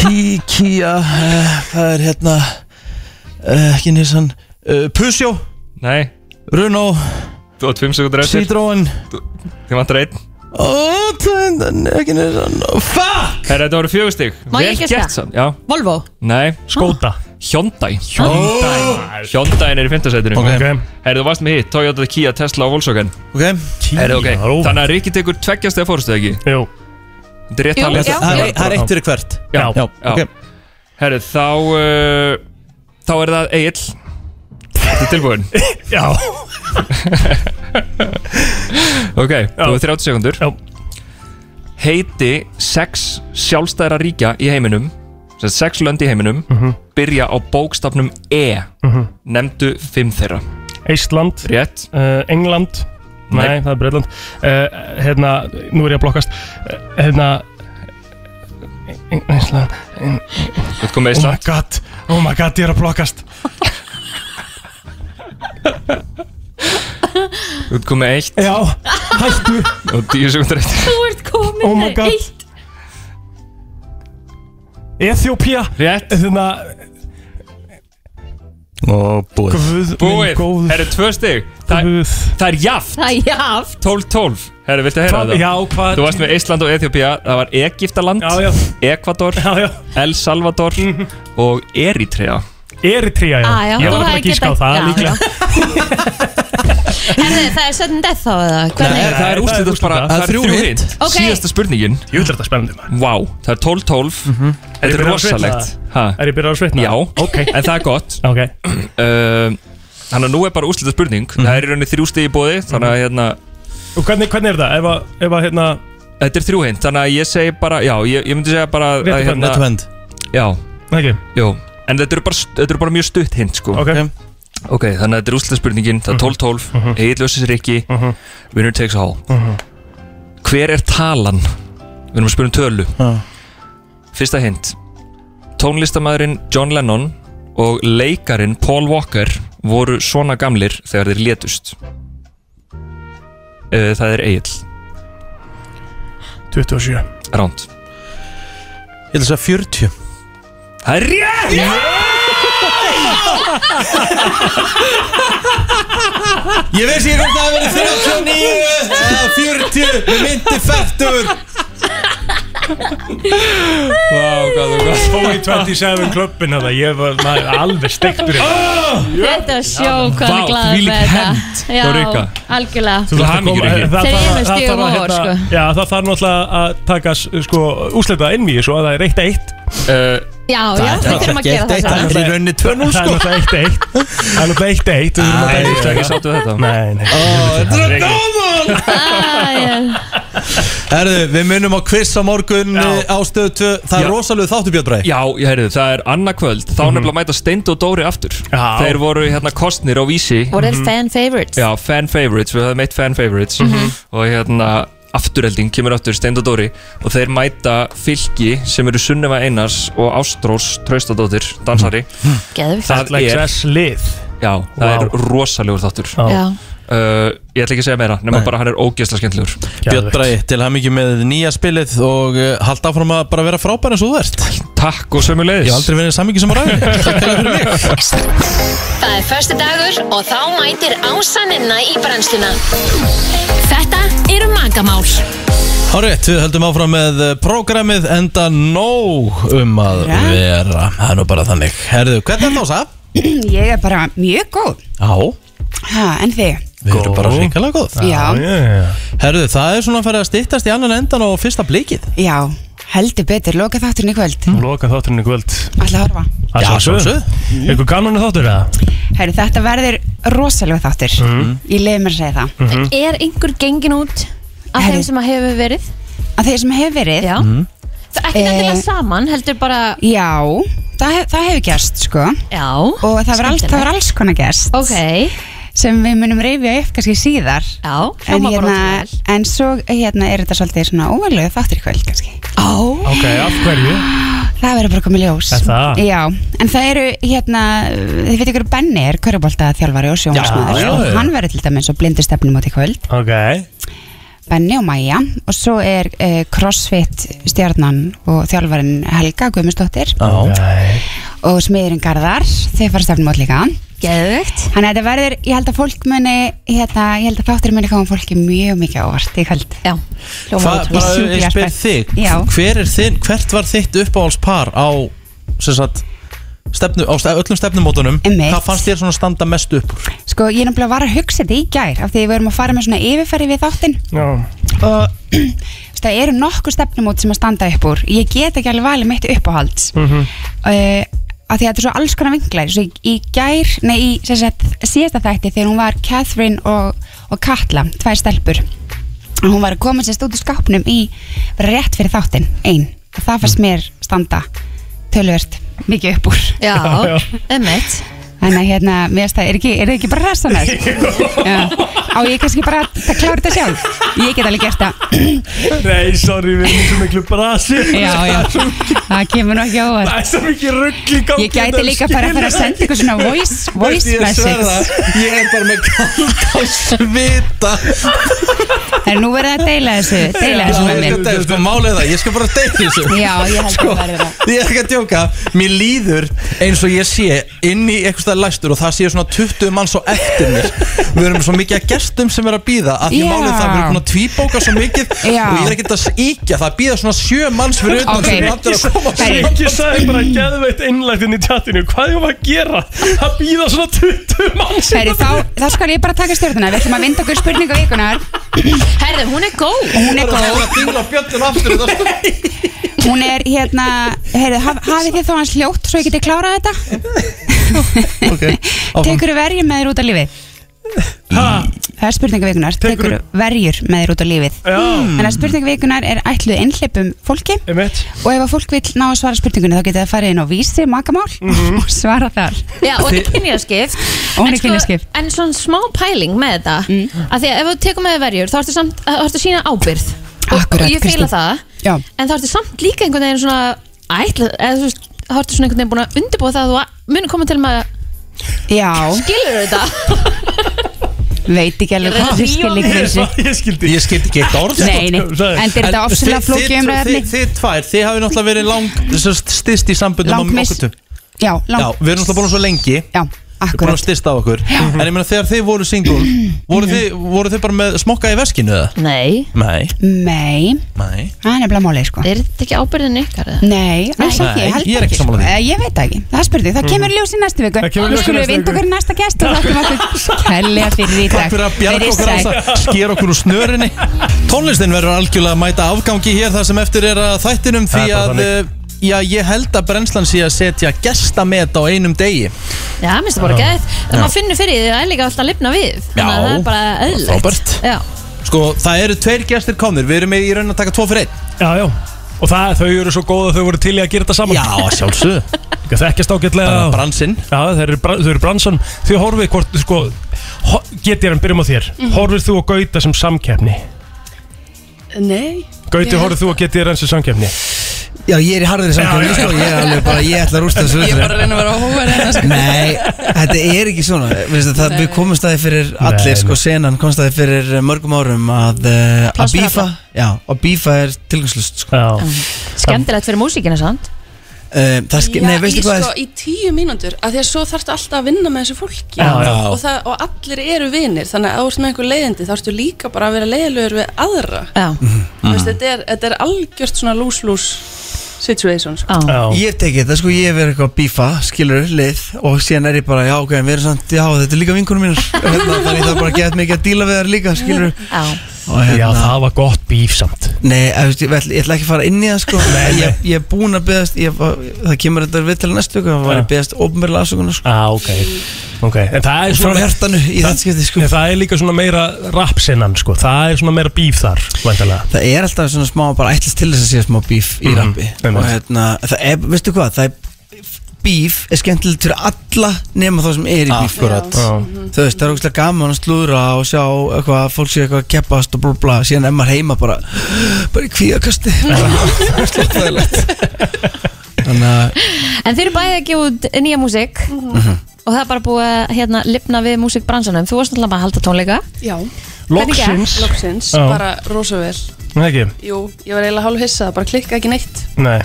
[SPEAKER 2] Tí eh, Kia eh, Hvað er hérna eh, ekki Eh, nýrsan Pusjó,
[SPEAKER 8] Nei,
[SPEAKER 2] Renault,
[SPEAKER 8] þú átt fimm sekundur eftir
[SPEAKER 2] Citroen
[SPEAKER 8] Þið vantar einn
[SPEAKER 2] og það er ekki nýrsan Fuck
[SPEAKER 8] Herra, þetta voru fjögur stig
[SPEAKER 4] Má ég
[SPEAKER 8] Vel
[SPEAKER 4] giska?
[SPEAKER 8] gert samt Já,
[SPEAKER 4] Volvo
[SPEAKER 8] nei,
[SPEAKER 3] skóta
[SPEAKER 8] Hyundai Oh.
[SPEAKER 2] Hyundai.
[SPEAKER 8] Hyundai er í fimmtasætinu
[SPEAKER 2] Ok.
[SPEAKER 8] okay.
[SPEAKER 3] Ok,
[SPEAKER 8] Herra, þú varst með hitt Toyota, Kia, Tesla og Volkswagen
[SPEAKER 2] Ok,
[SPEAKER 8] Herra, ok
[SPEAKER 3] það er óvænt.
[SPEAKER 8] Þannig að Ríkki tekur tveggjast eða fórstu ekki
[SPEAKER 3] Jú,
[SPEAKER 8] Þetta er rétt
[SPEAKER 4] Jú,
[SPEAKER 8] talið
[SPEAKER 4] já.
[SPEAKER 2] Þetta- það er- það er eitt fyrir hvert
[SPEAKER 3] já,
[SPEAKER 2] Já,
[SPEAKER 8] Já.
[SPEAKER 2] ok
[SPEAKER 8] Herru, þá uh, Þá er það Egil Þetta er tilbúin
[SPEAKER 3] já
[SPEAKER 8] Ok, þú er 30 sekundur
[SPEAKER 3] Já.
[SPEAKER 8] Heiti sex sjálfstæðra ríkja í heiminum sem sagt Sex lönd í heiminum
[SPEAKER 3] Mhm.
[SPEAKER 8] Byrja á bókstafnum E Nefndu fimm þeirra
[SPEAKER 3] Ísland,
[SPEAKER 8] Rétt,
[SPEAKER 3] uh, England Nei,
[SPEAKER 8] Nei.
[SPEAKER 3] það er Breitland uh, Hérna, nú er ég að blokkast uh, Hérna Ísland
[SPEAKER 8] þú ert
[SPEAKER 3] Oh
[SPEAKER 8] komið í
[SPEAKER 3] my
[SPEAKER 8] Ísland
[SPEAKER 3] god, oh my god, ég er að blokkast
[SPEAKER 8] Þú ert komið eitt
[SPEAKER 3] Já, hættu
[SPEAKER 8] og 10 sekundur eftir
[SPEAKER 4] Þú ert komin
[SPEAKER 3] Oh my god.
[SPEAKER 4] Eitt
[SPEAKER 3] Ethiopia
[SPEAKER 8] Rétt,
[SPEAKER 3] Hérna,
[SPEAKER 2] Og búið
[SPEAKER 3] guð minn
[SPEAKER 8] búið
[SPEAKER 3] góður
[SPEAKER 8] Herru, tvö stig Það,
[SPEAKER 3] Guð
[SPEAKER 8] það er jaft
[SPEAKER 4] Það er jaft
[SPEAKER 8] 12-12 Herru, viltu heyra
[SPEAKER 3] Hvað-
[SPEAKER 8] það?
[SPEAKER 3] Já, hvað
[SPEAKER 8] Þú varst með Ísland og Eþjópía Það var Egiptaland
[SPEAKER 3] Já, já,
[SPEAKER 8] Ekvador,
[SPEAKER 3] já, já Mhm.
[SPEAKER 8] El Salvador og Eritrea
[SPEAKER 3] Eritrea, já
[SPEAKER 4] Ah, já,
[SPEAKER 3] Ég
[SPEAKER 4] þú
[SPEAKER 3] var bara
[SPEAKER 4] hefði
[SPEAKER 3] að gíska á
[SPEAKER 4] getað-
[SPEAKER 3] það
[SPEAKER 4] já,
[SPEAKER 3] líklega
[SPEAKER 4] Herðu, það er sudden death þá eða Hvernig?
[SPEAKER 8] Það er úrslit bara
[SPEAKER 3] úrslita.
[SPEAKER 8] það er
[SPEAKER 2] Þrjú
[SPEAKER 8] þrjú
[SPEAKER 2] hint.
[SPEAKER 8] hint
[SPEAKER 4] Ok.
[SPEAKER 8] Síðasta spurningin
[SPEAKER 3] Jú, þetta er spennandi maður
[SPEAKER 8] Vá, það er 12-12
[SPEAKER 3] Mhm. Er ég
[SPEAKER 8] Þetta er
[SPEAKER 3] byrjaður að svitna?
[SPEAKER 8] rosalegt ha,
[SPEAKER 3] Er ég byrjað að svitna?
[SPEAKER 8] Já, en það er gott
[SPEAKER 3] Ok,
[SPEAKER 8] Um, Þannig að nú er bara úrslita spurning Það er í rauninni þrjú stið í bóði Þannig að hérna,
[SPEAKER 3] Mhm. og hvernig, hvernig er það? Ef að, ef að hérna
[SPEAKER 8] þetta er þrjú hint Þannig að ég segi bara, já, ég, ég myndi segja bara að,
[SPEAKER 3] Réttu hönd,
[SPEAKER 2] Net
[SPEAKER 8] hérna,
[SPEAKER 2] vend
[SPEAKER 8] Já,
[SPEAKER 3] Ekki,
[SPEAKER 8] jú En þetta eru bara, st- þetta eru bara mjög stutt hint sko.
[SPEAKER 3] ok Mhm.
[SPEAKER 2] Ok.
[SPEAKER 8] ok, þannig að þetta er úrslita spurningin Það er 12-12, mm -hmm. Egil Össis Rikki Winner takes all Hver er talan? Við erum að spyrja um tölu Fyrsta hint Tónlistamæðurinn John Lennon og leikarin Paul Walker voru svona gamlir þegar þeir létust Eh, Það er Egil
[SPEAKER 3] 27
[SPEAKER 8] Ránd
[SPEAKER 2] Ég ætla að segja 40
[SPEAKER 8] Það er rétt!
[SPEAKER 2] Ég veist ég hvort það verið 39 eða 40 Við myndi fættur
[SPEAKER 8] Vá, hvað þú gott
[SPEAKER 3] Fói 27 klubbin að það, ég var maður, alveg steiktur í
[SPEAKER 4] Þetta er sjó hvað hann
[SPEAKER 8] Ah! Vá,
[SPEAKER 4] er glaður
[SPEAKER 8] þvílík
[SPEAKER 4] með
[SPEAKER 8] hend
[SPEAKER 4] þetta
[SPEAKER 8] hjá Rikka.
[SPEAKER 4] algjörlega
[SPEAKER 8] Þú ert hamingjur ekki
[SPEAKER 3] Það
[SPEAKER 4] Þeir
[SPEAKER 3] þarf
[SPEAKER 4] eru sko.
[SPEAKER 3] að- það þarf að,
[SPEAKER 4] stigum ofar,
[SPEAKER 3] hérna, Já, það þarf náttúrulega að taka sko, úsleitað inn í þessu að það er 1-1
[SPEAKER 4] Já, já, við þurfum að gera það
[SPEAKER 2] Það
[SPEAKER 4] saman
[SPEAKER 2] er í rauninni 2-0
[SPEAKER 3] Það er
[SPEAKER 2] sko
[SPEAKER 3] náttúrulega 1-1 Það er náttúrulega 1-1 Við
[SPEAKER 8] Það er
[SPEAKER 3] þurfum að
[SPEAKER 8] ekki
[SPEAKER 3] taka
[SPEAKER 8] sáttu við þetta
[SPEAKER 3] Nei, nei
[SPEAKER 2] Það er gaman Herðu, við munum á quiz á morgun
[SPEAKER 3] Já.
[SPEAKER 2] ástöðu 2 Það
[SPEAKER 8] Já.
[SPEAKER 2] er rosalega þáttu Björn Bræði
[SPEAKER 8] Já, ég heyrðu, það er annað kvöld Þá nefnilega mæta Steind og Dóri aftur
[SPEAKER 3] Já.
[SPEAKER 8] Þeir voru hérna kostnir á vísi
[SPEAKER 4] Voru þeir fan favorites?
[SPEAKER 8] Já, fan favorites, við höfum eitt fan favorites Og hérna, afturhelding kemur aftur Steind og Dóri Og þeir mæta fylki sem eru Sunneva Einars og Ástrós Traustadóttir, dansari
[SPEAKER 4] Geðvikt
[SPEAKER 8] Það
[SPEAKER 3] Like
[SPEAKER 8] er,
[SPEAKER 3] dress lið
[SPEAKER 8] já, það
[SPEAKER 3] Vá.
[SPEAKER 8] er rosalegur þáttur
[SPEAKER 4] Já,
[SPEAKER 8] uh, Ég ætla ekki að segja meira, nema
[SPEAKER 2] Nei.
[SPEAKER 8] bara hann er ógeðslega skemmtilegur
[SPEAKER 2] Björn Bræði, til hann mikið með nýja spilið og uh, halda áfram að bara vera frábær eins og þú ert
[SPEAKER 8] Takk og sömulegis
[SPEAKER 2] Ég hef aldrei verið samingi sem á ræðinu Takk hérna fyrir mig
[SPEAKER 9] Það er förstu dagur og þá mætir ásaninna í brennsluna. Þetta eru magamál.
[SPEAKER 2] Hárétt, við höldum áfram með eh, prógramið enda nóg um að
[SPEAKER 10] Já.
[SPEAKER 2] vera Það er nú bara þannig Herðu, hvernig er það
[SPEAKER 10] Ég er bara mjög góð
[SPEAKER 2] Já,
[SPEAKER 10] ha, En þig?
[SPEAKER 2] við erum
[SPEAKER 3] Góð.
[SPEAKER 2] bara hrikalega góð
[SPEAKER 10] Já,
[SPEAKER 2] Herðu, það er svona að fara að styttast í annan endan á fyrsta blikið
[SPEAKER 10] já, heldur betur Loka þátturinn í kvöld,
[SPEAKER 3] Mm. Loka þátturinn í kvöld
[SPEAKER 10] alltaf horfa
[SPEAKER 3] Að
[SPEAKER 2] Já,
[SPEAKER 3] sjálfsögðu. Einhver kanonu þáttur eða?
[SPEAKER 10] Herri, þetta verður rosalega þáttur
[SPEAKER 3] Mhm.
[SPEAKER 10] Ég leiði mér að segja það
[SPEAKER 4] er einhver gengin út af
[SPEAKER 10] Herri.
[SPEAKER 4] þeim sem að hefur verið
[SPEAKER 10] Að þeir sem hefur verið
[SPEAKER 4] já það er ekki
[SPEAKER 10] Eh.
[SPEAKER 4] nefnilega saman heldur bara
[SPEAKER 10] Já, það, hef, það hefur gerst sko
[SPEAKER 4] já
[SPEAKER 10] Og það var, alls, það var alls konar gerst
[SPEAKER 4] ok
[SPEAKER 10] Sem við munum reyfja upp kannski síðar
[SPEAKER 4] já
[SPEAKER 10] En,
[SPEAKER 4] hljóma bara
[SPEAKER 10] hérna,
[SPEAKER 4] ótrúlega vel.
[SPEAKER 10] en svo hérna, er þetta svolítið svona óvalöðu þáttur í kvöld kannski
[SPEAKER 4] Ó,
[SPEAKER 3] Ok, af hverju?
[SPEAKER 10] Það verður bara komið ljós
[SPEAKER 3] Er það?
[SPEAKER 10] Já, en það eru hérna Þið veit ykkur Benni er körubólta þjálfari og sjónvarsmaður
[SPEAKER 2] Já, já, já.
[SPEAKER 10] Og hann verður til dæmis á blindistefnum út í kvöld
[SPEAKER 3] Ok
[SPEAKER 10] Benni og Maja Og svo er uh, crossfit stjarnan og þjálfarin Helga Guðmundsdóttir
[SPEAKER 2] Já,
[SPEAKER 10] og smiðurinn Garðar Þau fara stefnum út líka
[SPEAKER 4] geðvögt
[SPEAKER 10] Þannig að þetta verður, ég held að fólk muni hérna, Ég held að þáttur muni koma fólki mjög mikið á óvart í kvöld
[SPEAKER 4] já hljóma
[SPEAKER 2] Hvað,
[SPEAKER 4] ótrúlega
[SPEAKER 2] bara
[SPEAKER 10] Ég er
[SPEAKER 2] ég spyr
[SPEAKER 10] spennt.
[SPEAKER 2] þig
[SPEAKER 10] Já.
[SPEAKER 2] hver er þinn, Hvert var þitt uppáhaldspar á sem sagt Stefnu, á ste- öllum stefnumótunum
[SPEAKER 10] Einmitt.
[SPEAKER 2] Hvað fannst þér svona standa mest upp úr?
[SPEAKER 10] Sko, ég er náttúrulega var að hugsa þetta í gær Af því við erum að fara með svona yfirferði við þáttinn
[SPEAKER 3] Já
[SPEAKER 10] og þú veist, það eru nokkuð stefnumót sem að standa upp úr ég get ekki alveg valið mitt uppáhalds mm
[SPEAKER 3] Mhm.
[SPEAKER 10] -hmm. af því að þetta er svo alls konar vinglar svo í, í gær, nei í sem sagt, síðasta þætti þegar hún var Catherine og, og Katla, tvær stelpur og hún var að koma sérst út í skápnum í bara rétt fyrir þáttinn, ein og það
[SPEAKER 3] Mm.
[SPEAKER 10] fannst mér standa tölvört mikið upp úr
[SPEAKER 3] Já, já.
[SPEAKER 4] já emmett
[SPEAKER 10] þannig að hérna, mér finnst það, er ekki, er það ekki bara rassanar á ég kannski bara að klára þetta sjálf ég get alveg gert það
[SPEAKER 3] Nei, sorry, við erum svo miklu brasi
[SPEAKER 10] Já, já, það kemur nú ekki á óvart
[SPEAKER 3] Það er svo mikið rugg í gangi
[SPEAKER 10] Ég gæti líka bara að fara að senda ykkur svona voice, voice
[SPEAKER 2] Ég sver
[SPEAKER 10] message
[SPEAKER 2] það, Ég er bara með kald á svita
[SPEAKER 10] Það er nú verið að deila þessu, deila
[SPEAKER 2] Já,
[SPEAKER 10] þessu með mér
[SPEAKER 2] þetta er sko málið það, ég skal bara deyta þessu
[SPEAKER 10] Já, ég held
[SPEAKER 2] Sko,
[SPEAKER 10] að verði það
[SPEAKER 2] Ég er ekki að djóka, mér líður eins og ég sé inn í eitthvað stað læstur og það sé svona 20 mann svo eftir mér Við erum svo mikið að gestum sem er að býða að því
[SPEAKER 10] Já.
[SPEAKER 2] málið það, við erum búin að tvíbóka svo mikið
[SPEAKER 10] Já.
[SPEAKER 2] og ég er ekkert að íkja, það býða svona 7 manns fyrir utan
[SPEAKER 10] Ok.
[SPEAKER 2] sem er allir að koma
[SPEAKER 10] Herri.
[SPEAKER 3] Siggi sagði bara geðveitt innlægt inn í tjattinu Hvað er maður að gera? Það býða svona 20 manns
[SPEAKER 10] Heri, þá, þá skal ég bara taka stjórnuna Við ætlum að vinda okkur spurningu vikunar
[SPEAKER 4] herðu hún er góð
[SPEAKER 10] Hún er
[SPEAKER 2] Það er
[SPEAKER 10] góð,
[SPEAKER 2] að dingla bjöllin aftur og það er stund.
[SPEAKER 10] hún er hérna heri, haf, Hafið þið þá hans ljótt svo ég geti klárað þetta?
[SPEAKER 2] áfram.
[SPEAKER 10] Tekur verjur með þér út á lífið?
[SPEAKER 3] Ha,
[SPEAKER 10] Það er spurningu vikunar Tekur
[SPEAKER 3] Tekurðu-
[SPEAKER 10] verjur með þér út á lífið?
[SPEAKER 3] Já.
[SPEAKER 10] En að spurningu vikunar er ætluð einhleipum fólki
[SPEAKER 3] einmitt
[SPEAKER 10] Og ef að fólk vil ná að svara spurningunni þá getið það farið inn á vísi, makamál og svara þar.
[SPEAKER 4] já og þetta er kynjaskipt
[SPEAKER 10] Og hún
[SPEAKER 4] En
[SPEAKER 10] er
[SPEAKER 4] sko,
[SPEAKER 10] kynjaskipt.
[SPEAKER 4] en svona smá pæling með þetta af því að ef þú tekur með þér verjur þá ertu samt þá ertu að sína ábyrð Og-
[SPEAKER 10] Akkurat,
[SPEAKER 4] og ég
[SPEAKER 10] Kristín.
[SPEAKER 4] fýla það
[SPEAKER 10] Já.
[SPEAKER 4] en þá ertu samt líka einhvern veginn svona ætla eða þú veist þá ertu svona einhvern veginn búin að undirbúa það að þú munir koma til með að
[SPEAKER 10] Já,
[SPEAKER 4] gilur þetta
[SPEAKER 10] veit ekki alveg
[SPEAKER 4] Ég er að
[SPEAKER 10] hvað þið
[SPEAKER 4] rífa
[SPEAKER 10] skil
[SPEAKER 4] mig
[SPEAKER 10] ykkur þessu.
[SPEAKER 3] Ég skildi
[SPEAKER 2] Ég skildi ekki eitt orð sko.
[SPEAKER 10] Nei, nei,
[SPEAKER 3] Sagði-
[SPEAKER 10] en þetta er ofslega flókið umræðarni.
[SPEAKER 2] Þið tvær, þið hafið náttúrulega verið lang, stist í sambundum á
[SPEAKER 10] Langmiss.
[SPEAKER 2] okkur tveim.
[SPEAKER 10] Já,
[SPEAKER 2] Já,
[SPEAKER 10] lang,
[SPEAKER 2] við erum náttúrulega búin svo lengi
[SPEAKER 10] já,
[SPEAKER 2] Við búin að
[SPEAKER 10] akkurat
[SPEAKER 2] styrsta á okkur En ég meina þegar þið voru single voru, þið, voru þið bara með smokka í veskinu eða?
[SPEAKER 4] Nei,
[SPEAKER 2] Nei,
[SPEAKER 10] Nei,
[SPEAKER 2] nei
[SPEAKER 10] það er nefnilega málið sko
[SPEAKER 4] er þetta ekki ábyrðin ykkar? eða?
[SPEAKER 10] Nei, alls ekki,
[SPEAKER 2] Nei,
[SPEAKER 10] held
[SPEAKER 2] ég er ekki sammála því. Mhm.
[SPEAKER 10] Eh, Ég veit það ekki, það er spurning, það kemur ljós í næstu viku
[SPEAKER 3] Það kemur ljós í
[SPEAKER 10] Skulum
[SPEAKER 3] næstu
[SPEAKER 10] við vinda
[SPEAKER 3] viku.
[SPEAKER 10] okkur í næsta gest og þakkum okkur kærlega fyrir í dag
[SPEAKER 2] Takk fyrir að bjarga
[SPEAKER 10] Verið
[SPEAKER 2] okkur á
[SPEAKER 10] sæl.
[SPEAKER 2] þess að skera okkur úr snörinni Tónlistin verður algjörlega að mæta afgangi hér Það sem eftir er að þættinum Því
[SPEAKER 3] Það er bara
[SPEAKER 2] að eh, já, ég held að brennslan sé að setja gestamet á einum degi
[SPEAKER 4] Já, minnst það bara gæðið Það maður finnur fyrir því það er líka alltaf að lifna við Þannig að
[SPEAKER 2] Já,
[SPEAKER 4] það er bara eðlilegt
[SPEAKER 2] frábært.
[SPEAKER 4] Já,
[SPEAKER 2] Sko, það eru tveir gestir komnir Við erum í raun að taka tvo fyrir einn
[SPEAKER 3] Já, já Og það, þau eru svo góð að þau voru til í að gera þetta saman
[SPEAKER 2] Já, að sjálfsög
[SPEAKER 3] Það þekkjast ágætlega
[SPEAKER 2] Bara bransinn
[SPEAKER 3] Já, þeir eru, bra- þau eru bransan Þau horfið hvort, sko ho- Get ég hann, byrjum á þér
[SPEAKER 10] Mhm.
[SPEAKER 3] Horfið þú og Gauta sem samkeppni?
[SPEAKER 11] Nei
[SPEAKER 3] Gauti,
[SPEAKER 11] Ég-
[SPEAKER 3] horfið þú og get ég hann sem samkeppni?
[SPEAKER 6] Já, ég er í harðri samkvæmni, sko, ég er alveg bara, ég ætla að rústa þessu
[SPEAKER 11] Ég er
[SPEAKER 6] öllu.
[SPEAKER 11] bara að reyna að vera á hóver hérna sko
[SPEAKER 6] Nei, þetta er ekki svona Vistu, það, Við komumst aðeins fyrir allir
[SPEAKER 3] Nei,
[SPEAKER 6] sko, senan komumst aðeins fyrir eh, mörgum árum að, uh, að
[SPEAKER 4] Plástra
[SPEAKER 6] bífa já, að bífa er tilgangslust sko.
[SPEAKER 3] Já
[SPEAKER 4] skemmtilegt fyrir músíkina sant
[SPEAKER 6] uh, það, ske- Nei, veistu
[SPEAKER 11] í,
[SPEAKER 6] hvað
[SPEAKER 11] sko, í tíu mínútur af því að svo þarftu alltaf að vinna með þessu fólki
[SPEAKER 3] Já, já.
[SPEAKER 11] Og, það, og allir eru vinir þannig að ef þú ert með einhver leiðindi þá ertu líka bara að vera leiðilegur við aðra
[SPEAKER 4] Já,
[SPEAKER 11] mm. veist, þetta, er, þetta er algjört svona lús-lús situation sko.
[SPEAKER 4] já,
[SPEAKER 3] Já
[SPEAKER 6] Ég hef tekið þetta, sko, ég hef verið eitthvað að bífa, skilur, lið og síðan er ég bara, já, ok, en við erum samt, já, þetta er líka vinkunum mínar hérna, þannig það er bara gett mikið að díla við þar líka, skilur
[SPEAKER 4] já
[SPEAKER 6] og
[SPEAKER 3] Já, það var gott bíf samt
[SPEAKER 6] Nei, ég, veist, ég, ætla, ég ætla ekki að fara inn í það sko ég, ég er búinn að beðast ég, Það kemur þetta við til næstu Það var ég beðast ofnverðlega afsökunar sko.
[SPEAKER 3] Já, ok Ok, en það er
[SPEAKER 6] Frá
[SPEAKER 3] svona
[SPEAKER 6] hjartanu í þetta skipti sko
[SPEAKER 3] En það er líka svona meira rapsinnan, sko Það er svona meira bíf þar, væntalega
[SPEAKER 6] Það er alltaf svona smá bara ætlast til þess að sé smá bíf í
[SPEAKER 3] Mhm,
[SPEAKER 6] rappi
[SPEAKER 3] einmitt.
[SPEAKER 6] Og hérna, það er, veistu hvað Það er, bíf er skemmtilegt fyrir alla nema þá sem er í bíf
[SPEAKER 2] Akkurat
[SPEAKER 6] Þú veist, það er ógæslega gaman að slúðra og sjá eitthvað, að fólk sé eitthvað að keppast og blá blá, síðan er maður heima bara bara í kvíðakasti Slóttæðilegt Þannig að
[SPEAKER 4] En þeir eru bæði að gefa út nýja músík Og það er bara búið að hérna, lifna við músíkbransanum Þú varst náttúrulega bara að halda tónleika
[SPEAKER 11] já,
[SPEAKER 3] Loksins
[SPEAKER 11] loksins,
[SPEAKER 3] Já.
[SPEAKER 11] bara rosa vel
[SPEAKER 3] Nei, ekki
[SPEAKER 11] jú, ég var eiginlega hálf hissa, það bara klikka ekki neitt
[SPEAKER 3] Nei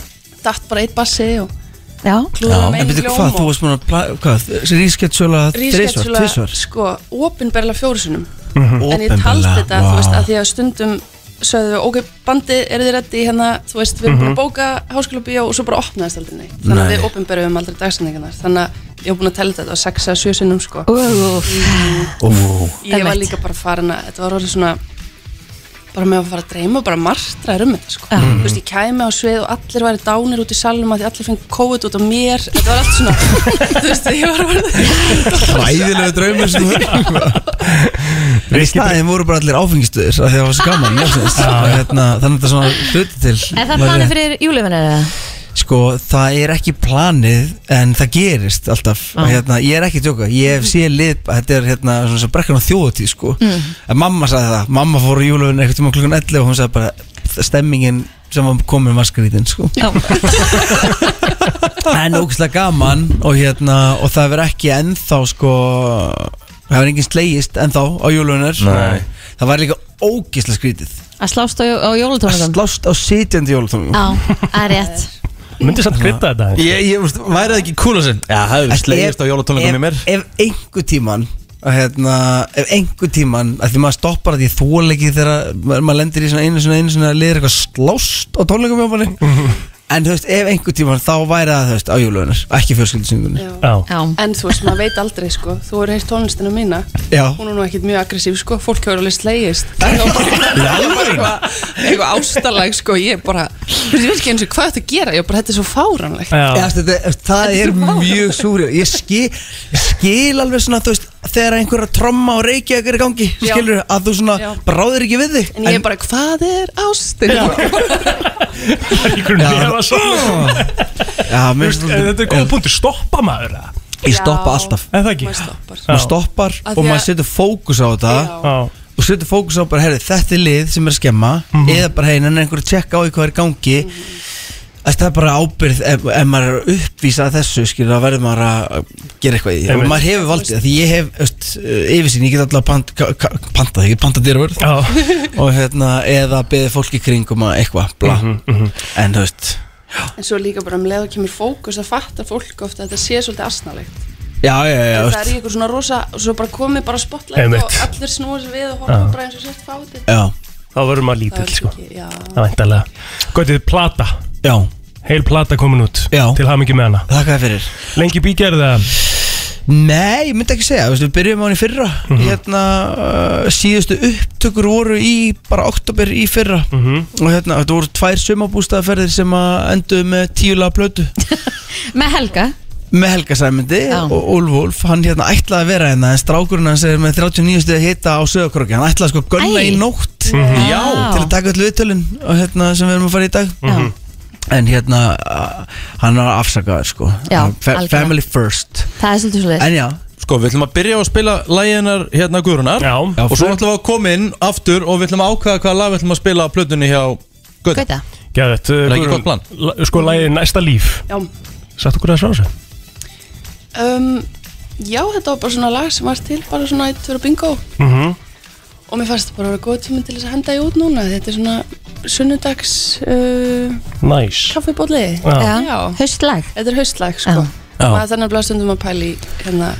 [SPEAKER 11] datt bara eitt bassi og
[SPEAKER 4] Já,
[SPEAKER 11] klúður með
[SPEAKER 6] En
[SPEAKER 11] einu
[SPEAKER 6] betur hvað, þú
[SPEAKER 11] hljóm og
[SPEAKER 6] varst múin að pla- hvað, rísketsjóla þreysvar,
[SPEAKER 11] rísketsula,
[SPEAKER 6] tvísvar
[SPEAKER 11] sko, opinberlega fjórusunum en ég taldi þetta, þú veist, að því að stundum sögðu við, ok, bandið, eru þið reddi hérna, þú veist, við erum bara að bóka háskólabíó og svo bara opnaðist aldrei neitt þannig að
[SPEAKER 6] Nei.
[SPEAKER 11] við opinberum aldrei dagsendingarnar þannig að ég hef búin að tella þetta á 6 að 7 sinnum sko.
[SPEAKER 4] úf,
[SPEAKER 11] ég var
[SPEAKER 4] einmitt.
[SPEAKER 11] líka bara farin að þetta var orðið svona bara með að fara að dreyma bara martraður um þetta sko. þú veist, ég kæmi á svið og allir væri dánir út í salum að því allir fengi COVID út á mér þetta var allt svona, þú veist, ég var bara
[SPEAKER 6] Ræðilega draumur
[SPEAKER 2] sko.
[SPEAKER 6] sem þú En í staðin voru bara allir áfengistuðir af því að það var svo gaman ljósins. Og hérna, Þannig að þetta svona hluti til
[SPEAKER 4] er það
[SPEAKER 6] væri-
[SPEAKER 4] planið fyrir júlifinu eða?
[SPEAKER 6] Sko, það er ekki planið en það gerist alltaf ah. hérna, Ég er ekki að djóka, ég hef séð lið Þetta er hérna, svona svo brekkan á þjóðatí sko.
[SPEAKER 4] Mm.
[SPEAKER 6] En mamma sagði það, mamma fór í júlöfun einhvern tíma klukkan 11 og hún sagði bara Stemmingin sem var komin var skrítin sko.
[SPEAKER 4] Já,
[SPEAKER 6] en ógæslega gaman og hérna og það verður ekki ennþá sko það verður enginn slegist ennþá á jólunir
[SPEAKER 2] Nei.
[SPEAKER 6] það var líka ógæslega skrítið
[SPEAKER 4] að slást á, á
[SPEAKER 6] að
[SPEAKER 4] jólutónleikum
[SPEAKER 6] slást á sitjandi jólutónum
[SPEAKER 4] Já, það er rétt
[SPEAKER 3] Myndi samt krydda þetta aðeins.
[SPEAKER 2] Ég, ég veist, væri það ekki kúla sinn? Já, það hefur slegist á jólatónleikum í mér
[SPEAKER 6] ef einhver tíman að hérna, ef einhver tíman að því maður stoppar að ég þóleiki þegar maður, maður lendir í svona einu svona einu svona liður eitthvað slást á tónleikum hjá manni en þú veist, ef einhver tíman þá væri það þú veist, á jólunar, ekki fjölskyldisyngunni
[SPEAKER 11] Já.
[SPEAKER 3] Já
[SPEAKER 4] Já,
[SPEAKER 11] En þú veist, maður veit aldrei sko, þú hefur heyrt tónlistina mína
[SPEAKER 6] Já.
[SPEAKER 11] Hún er nú ekkit mjög aggressív sko, fólk hefur alveg slegist Það er bara eitthvað eitthvað ástalag sko, ég er bara Þú veist, ég veit ekki eins og hvað þetta gera, ég er bara, þetta er svo fáranlegt
[SPEAKER 6] Já,
[SPEAKER 3] Já
[SPEAKER 6] þú veist, þetta, það er mjög súri ég, skil- ég skil alveg svona þú veist, þegar einhverja tromma og reykja er í gangi,
[SPEAKER 11] Já.
[SPEAKER 6] skilur að þú svona
[SPEAKER 11] Já.
[SPEAKER 6] bráðir ekki við þig
[SPEAKER 11] En ég er bara, hvað er ástin?
[SPEAKER 3] Ríkur
[SPEAKER 6] Já.
[SPEAKER 3] nefa svo
[SPEAKER 6] já, mér finnst
[SPEAKER 3] En eh, Þetta er góð
[SPEAKER 6] þetta-
[SPEAKER 3] punktur, stoppa maður það
[SPEAKER 6] ég stoppa alltaf
[SPEAKER 3] Er það ekki?
[SPEAKER 11] Maður stoppar
[SPEAKER 6] maður stoppar
[SPEAKER 11] Af því
[SPEAKER 6] og
[SPEAKER 11] að-
[SPEAKER 6] maður setur fókus á þetta
[SPEAKER 11] Já.
[SPEAKER 3] Já
[SPEAKER 6] og setur fókus á bara, herri, þetta er lið sem er að skemma
[SPEAKER 3] Mhm.
[SPEAKER 6] eða bara, hei, en einhverju tjekka á því hvað er í gangi
[SPEAKER 11] Mhm.
[SPEAKER 6] mm það er bara ábyrgð ef, ef maður er að uppvísa að þessu skilur, þá verður maður að gera eitthvað í því og
[SPEAKER 3] Einmitt.
[SPEAKER 6] maður hefur valdið, af því ég hef öst, yfirsýn, ég get alltaf pant, ka- ka- pantað, ég get pantað þér að verð
[SPEAKER 3] Já
[SPEAKER 6] og hérna, eða beðið fólki kringum að eitthvað, bla
[SPEAKER 3] Mhm,
[SPEAKER 6] en þú veist,
[SPEAKER 11] En svo líka bara um leið og kemur fókus að fatta fólk ofta að þetta sé svolítið asnalegt
[SPEAKER 6] Já, já, já,
[SPEAKER 11] En
[SPEAKER 6] já
[SPEAKER 11] það er í eitthvað svona rosa, svo bara komið bara spotlight
[SPEAKER 3] Einmitt.
[SPEAKER 11] og allir snúa sér við og horfa
[SPEAKER 3] Já.
[SPEAKER 11] bara eins og sért fáti
[SPEAKER 6] Já
[SPEAKER 3] Þá verður maður lítill sko
[SPEAKER 11] Já.
[SPEAKER 3] Það er væntalega Gotið, plata
[SPEAKER 6] Já
[SPEAKER 3] Heil plata komin út
[SPEAKER 6] Já
[SPEAKER 3] Til hafa mikið með hana
[SPEAKER 6] Þakka þér fyrir
[SPEAKER 3] Lengi bígerð það
[SPEAKER 6] Nei, ég myndi ekki segja, þú veist, við byrjum á hann í fyrra
[SPEAKER 4] Mhm.
[SPEAKER 6] Hérna, uh, síðustu upptökur voru í bara oktober í fyrra
[SPEAKER 4] Mhm.
[SPEAKER 6] Og hérna, þetta voru tvær sumabústaðaferðir sem að enduðu með tíu laga plötu
[SPEAKER 4] Með Helga
[SPEAKER 6] Með Helga Sæmyndi
[SPEAKER 4] Já.
[SPEAKER 6] og Úlf Úlf Hann hérna ætlaði að vera hérna En strákurinn hans er með 39 stuði hita á sögurkrokki Hann ætlaði sko að gunna
[SPEAKER 4] Æ.
[SPEAKER 6] í nótt
[SPEAKER 4] Mhm.
[SPEAKER 6] Já
[SPEAKER 4] Já. Mhm.
[SPEAKER 6] Til að taka öll viðtölin og, hérna, sem við erum að fara í dag En hérna, uh, hann var afsakaður sko
[SPEAKER 4] Já,
[SPEAKER 6] Fa-
[SPEAKER 4] algjörlega.
[SPEAKER 6] Family first
[SPEAKER 4] Það er svolítið svolítið
[SPEAKER 6] En já,
[SPEAKER 2] Sko, við ætlum að byrja á að spila læginar hérna Guðrunar
[SPEAKER 3] Já.
[SPEAKER 2] Og svo ætlum við að koma inn aftur og við ætlum að ákvæða hvaða lag við ætlum að spila á plötunni hjá Guðrun
[SPEAKER 4] Gauta
[SPEAKER 3] Gæðið
[SPEAKER 2] Er það ekki gott plan?
[SPEAKER 3] Sko, lagið Næsta líf
[SPEAKER 11] Já.
[SPEAKER 3] Satt okkur að svara þessu?
[SPEAKER 11] Um, já, þetta var bara svona lag sem var til bara svona eitt fyrir bingo
[SPEAKER 3] Mhm.
[SPEAKER 11] og mér fannst þetta bara að vera góð tími til þess að henda í út núna þetta er svona sunnudags uh,
[SPEAKER 3] Næs
[SPEAKER 11] kaffibóli
[SPEAKER 3] Já.
[SPEAKER 4] Já, haustlag
[SPEAKER 11] Þetta er haustlag sko
[SPEAKER 3] Já.
[SPEAKER 11] maður þannig að blá stundum að pæla í hérna,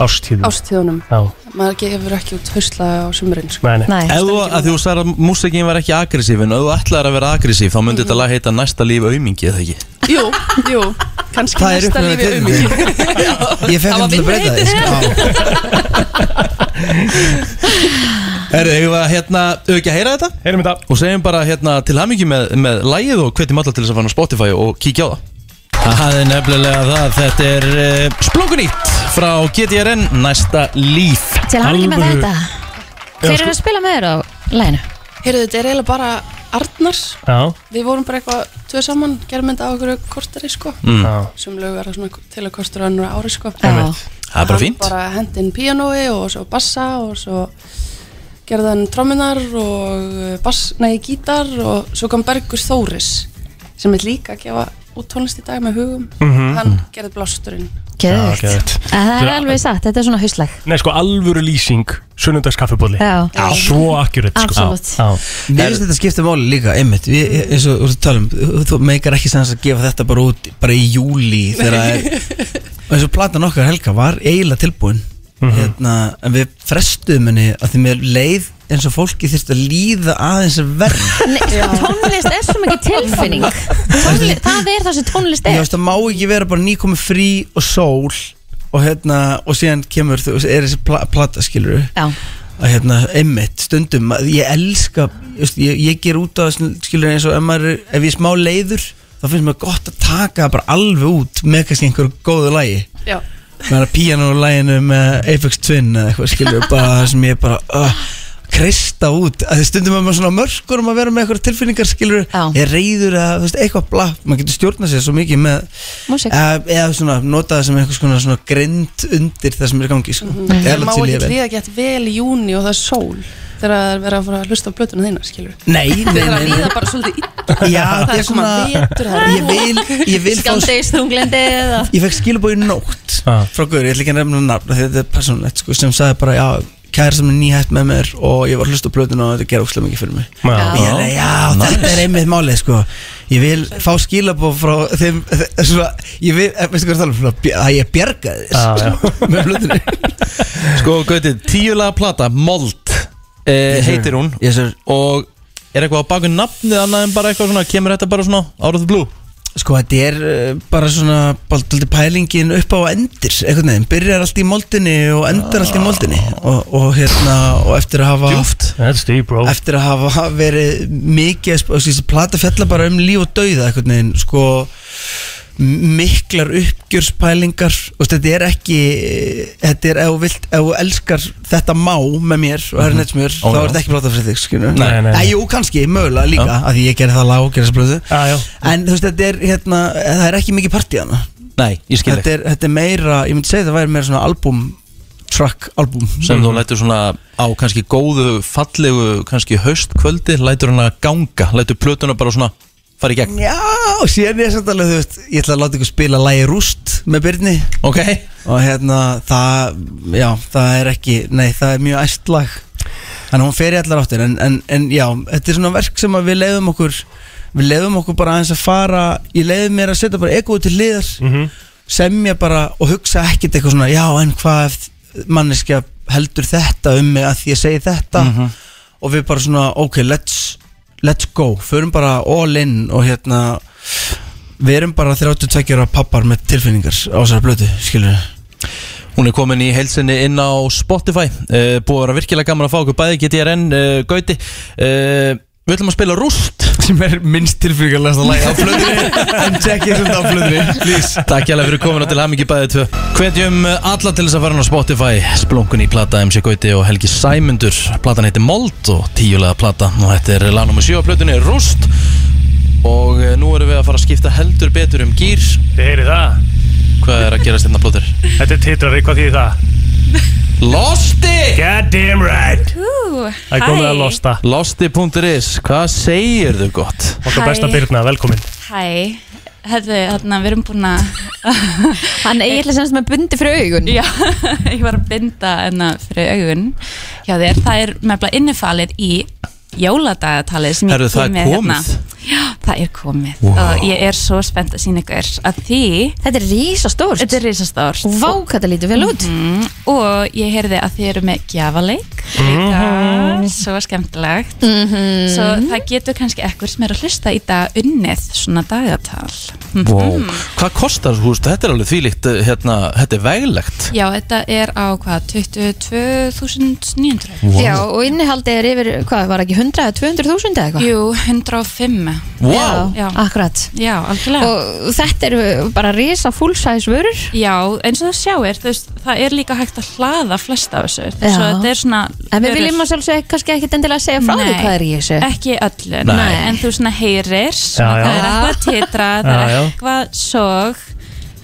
[SPEAKER 3] Ástíðum
[SPEAKER 11] ástíðunum
[SPEAKER 3] Já
[SPEAKER 11] maður gefur ekki út haustlag á sumurinn sko.
[SPEAKER 3] Nei, nei
[SPEAKER 4] Nei,
[SPEAKER 2] Ef þú, að því þú sagði að músikin var ekki aggressíf en ef þú ætlaðir að vera aggressíf þá myndi þetta lag heita Næsta líf aumingi eða ekki
[SPEAKER 11] Jú, jú, kannski
[SPEAKER 6] Það er
[SPEAKER 11] næsta
[SPEAKER 6] upplega
[SPEAKER 11] lífi
[SPEAKER 6] til
[SPEAKER 11] um
[SPEAKER 6] Ég fekk hann til að breyta því sko.
[SPEAKER 2] Herðu, eigum við að hérna, eigum við ekki að heyra þetta?
[SPEAKER 3] Heyrum þetta
[SPEAKER 2] Og segjum bara hérna til hamingi með, með lægið og hvetjum alla til þess að fara á Spotify og kíkja á það Það er nefnilega það, þetta er uh, splungunýtt frá GTRN Næsta líf
[SPEAKER 4] Til hann ekki með
[SPEAKER 3] Alvöru.
[SPEAKER 4] þetta Hver er að spila með þér á læginu?
[SPEAKER 11] Heyrðu, þetta er eiginlega bara Arnar
[SPEAKER 3] Já
[SPEAKER 11] Við vorum bara eitthvað tvö saman, gerum þetta á okkur kortari sko
[SPEAKER 3] Já
[SPEAKER 6] Mm.
[SPEAKER 11] sem lög var svona til að kostur önnur ári sko
[SPEAKER 4] Já,
[SPEAKER 2] Það er bara fínt
[SPEAKER 11] Hann bara hendi inn píanói og svo bassa og svo gerði hann trommunar og eh, bass, nei, gítar og svo kom Bergur Þóris sem er líka að gefa út tónlist í dag með hugum
[SPEAKER 6] Mhm.
[SPEAKER 11] hann gerði blásturinn
[SPEAKER 4] geðvikt
[SPEAKER 3] geðveikt.
[SPEAKER 4] Það er alveg satt, þetta er svona haustlag
[SPEAKER 3] Nei, sko, alvöru lýsing Sunnundags kaffibóli
[SPEAKER 4] Já,
[SPEAKER 3] Svo akkurat sko
[SPEAKER 4] Absolutt.
[SPEAKER 3] Já, já.
[SPEAKER 6] Mér finnst þetta skipta máli líka einmitt, við, eins og þú ert að tala um þú- þú meikar ekki sens að gefa þetta bara út bara í júli þegar það er og eins og platan okkar Helga var eiginlega tilbúin
[SPEAKER 3] Mhm.
[SPEAKER 6] hérna, en við frestuðum henni að því mér leið eins og fólki þyrst að líða aðeins verð
[SPEAKER 4] Nei, sko, tónlist er svo mikið tilfinning Tónli, Það er það sem tónlist
[SPEAKER 6] ég
[SPEAKER 4] er
[SPEAKER 6] veist að má ekki vera bara nýkomi frí og sól og hérna og síðan kemur þú er þessi pla, plata skilur
[SPEAKER 4] Já,
[SPEAKER 6] að hérna, einmitt, stundum að ég elska, ég, veist, ég, ég ger út að skilur eins og ef, maður, er- ef ég er smá leiður þá finnst mér gott að taka það bara alveg út með kannski einhverju góðu lægi
[SPEAKER 11] Já,
[SPEAKER 6] með að píano læginu með Apex Twin eða eitthvað skilur bara það sem ég bara uh, kreista út, að því stundum að maður svona á mörkur um að vera með eitthvað tilfinningar skilur
[SPEAKER 4] Já.
[SPEAKER 6] ég er reyður að, þú veist, eitthvað blá maður getur stjórnað sér svo mikið með
[SPEAKER 4] músík
[SPEAKER 6] eða, eða svona nota það sem einhvers konar svona grind undir það sem er í gangi sko. mm -hmm.
[SPEAKER 11] það Mhm. má ekki líða gett vel í júni og það er sól þegar það er verið að fara að hlusta á blötuna þína skilur
[SPEAKER 6] Nei, nei,
[SPEAKER 11] þegar það
[SPEAKER 6] nei, nei.
[SPEAKER 11] líða bara svolítið illa
[SPEAKER 6] Já,
[SPEAKER 11] það er svona vetur það er
[SPEAKER 6] Ég vil, ég vil fá
[SPEAKER 4] Skamdeistunglindi eða
[SPEAKER 6] Ég fekk skilabóð í nótt
[SPEAKER 3] Ah.
[SPEAKER 6] Frá Guður, ég ætla ekki að nefna nafn af því Þetta er persónlegt, sko, sem sagði bara Já, kæra sem er nýhætt með mér Og ég var hlust á plötuna og þetta gera óslega mikið fyrir mig
[SPEAKER 3] Já.
[SPEAKER 6] Ég er, já, þetta er einmitt málið, sko Ég vil fá skilabóð frá þeim þe- Svona, ég vil, eh, veistu hvað það er svona, bj- Að ég bjargaði
[SPEAKER 3] Ah, já.
[SPEAKER 6] þér Með plötunni
[SPEAKER 2] Sko, gauti, tíu laga plata, Mold eh, heitir hún
[SPEAKER 6] Yes, sir.
[SPEAKER 2] og er eitthvað á bakun nafnið annað en bara eitthvað svona, kemur þetta bara svona out of the blue
[SPEAKER 6] Sko þetta er eh, bara svona bara dálítið pælingin upp á og endir einhvern veginn, byrjar allt í moldinni og endar allt í moldinni og, og hérna og eftir að hafa
[SPEAKER 2] Djúpt.
[SPEAKER 3] That's deep, bro
[SPEAKER 6] eftir að hafa verið mikið að sp- og þessi plata fjalla bara um líf og dauða einhvern veginn sko m- miklar uppgjörspælingar og þetta er ekki eh, þetta er ef þú vilt, ef þú elskar þetta má með mér og herrin eitt smjör
[SPEAKER 2] Ó,
[SPEAKER 6] þá
[SPEAKER 2] já.
[SPEAKER 6] er þetta ekki plata fyrir þig skilur
[SPEAKER 3] Nei, nei, nei.
[SPEAKER 6] Jú, kannski, mögulega líka, af því ég gerði það lág og gerði þessa blöðu
[SPEAKER 3] Já, já.
[SPEAKER 6] En þú veist, þetta er hérna, það er ekki mikið partíðana
[SPEAKER 2] Nei, ég skil
[SPEAKER 6] þetta,
[SPEAKER 2] ekki
[SPEAKER 6] er- þetta er meira, ég myndi segja þetta væri meira svona album, track album
[SPEAKER 2] sem þú lætur svona á kannski góðu, fallegu, kannski haustkvöldi lætur hann að ganga, lætur plötuna bara svona fara í gegn
[SPEAKER 6] Já, síðan er samt alveg, þú veist, ég ætla að láta ykkur spila lægi rúst með Byrni
[SPEAKER 2] Ok,
[SPEAKER 6] Og hérna, það, já, það er ekki, nei, það er mjög æst lag Þannig að hún fer í allar áttir, en, en, en já, þetta er svona verk sem að við leiðum okkur Við leiðum okkur bara aðeins að fara, ég leiðum mér að setja bara egoið til liðar
[SPEAKER 3] Mhm.
[SPEAKER 6] semja bara og hugsa ekkert eitthvað svona já en hvað ef manneskja heldur þetta um mig að því ég segi þetta
[SPEAKER 2] Mhm.
[SPEAKER 6] og við bara svona ok let's, let's go, förum bara all in og hérna við erum bara 32 ára pappar með tilfinningar á þessari blötu, skilur
[SPEAKER 2] Hún er komin í heilsinni inn á Spotify uh, Búið að vera virkilega gaman að fá okkur bæði GTRN, uh, Gauti uh, Við ætlum að spila rúst
[SPEAKER 6] Sem er minnst tilfríkarlegasta lagi á blöðinni En tjekkið sem það á blöðinni, please
[SPEAKER 2] Takk hjá fyrir komin og til hamingi bæði tvö Hvetjum eh, alla til þess að fara inn á Spotify Splunkunni í plata MC Gauti og Helgi Sæmundur Platan heitir Mold og tíulega plata Og þetta er lagnum og sjö á plötunni Rúst Og eh, nú erum við að fara að skipta heldur betur um gýr
[SPEAKER 3] Þið heyri það
[SPEAKER 2] Hvað er að gerast hérna plótur?
[SPEAKER 3] Þetta er titrari, hvað þýðir það?
[SPEAKER 2] Losti!
[SPEAKER 3] God damn right
[SPEAKER 12] Ú,
[SPEAKER 3] Það er komið að losta
[SPEAKER 2] Losti.is, hvað segir þau gott?
[SPEAKER 3] Okkar
[SPEAKER 12] Hæ.
[SPEAKER 3] besta Birna, velkomin
[SPEAKER 12] Hæ, hefðu, þarna, við erum búin að
[SPEAKER 4] Hann eiginlega semst með bundi fyrir augun
[SPEAKER 12] Já, ég var að binda enna fyrir augun hjá þér, það er meðbla innifalið í jóladagatalið sem ég
[SPEAKER 2] Herðu, það
[SPEAKER 12] kem
[SPEAKER 2] er
[SPEAKER 12] með hérna.
[SPEAKER 2] komið.
[SPEAKER 12] Já, það er komið
[SPEAKER 2] Vá.
[SPEAKER 12] og ég er svo spennt að sína ykkur að því
[SPEAKER 4] Þetta er risastórt
[SPEAKER 12] Þetta er risastórt Mhm.
[SPEAKER 4] Vá, hvað það lítur vel út
[SPEAKER 12] Og ég heyrði að þið eru með gjafaleik líka,
[SPEAKER 3] Mhm.
[SPEAKER 12] svo skemmtilegt
[SPEAKER 4] Mhm.
[SPEAKER 12] Svo það getur kannski ekkur sem er að hlusta í dag unnið svona dagatal
[SPEAKER 2] Wow. Hvað kostar þú veist, þetta er alveg þvílíkt eh, hérna, þetta er veglegt
[SPEAKER 12] Já, þetta er á hvað, 22.900
[SPEAKER 2] Vá.
[SPEAKER 4] Já, og innihaldið er yfir, hvað, var ekki 100 eða 200.000 eða eitthvað?
[SPEAKER 12] Jú, 105
[SPEAKER 2] Vá.
[SPEAKER 12] Já,
[SPEAKER 4] akkurat
[SPEAKER 12] Já, algjörlega
[SPEAKER 4] Og þetta eru bara risa fullsæðis vörur
[SPEAKER 12] Já, eins og það sjáir, þú veist, það er líka hægt að hlaða flest af þessu
[SPEAKER 4] Já.
[SPEAKER 12] Svo þetta er svona
[SPEAKER 4] En við
[SPEAKER 12] vörur-
[SPEAKER 4] viljum að sjálfsög kannski ekkit endilega segja frá því
[SPEAKER 12] Nei,
[SPEAKER 4] hvað er í þessu
[SPEAKER 12] Ekki öllu,
[SPEAKER 4] Nei.
[SPEAKER 12] en þú svona heyrir svona,
[SPEAKER 4] Já, já.
[SPEAKER 12] Það er eitthvað titra, það
[SPEAKER 4] Já,
[SPEAKER 12] er
[SPEAKER 4] já.
[SPEAKER 12] eitthvað sog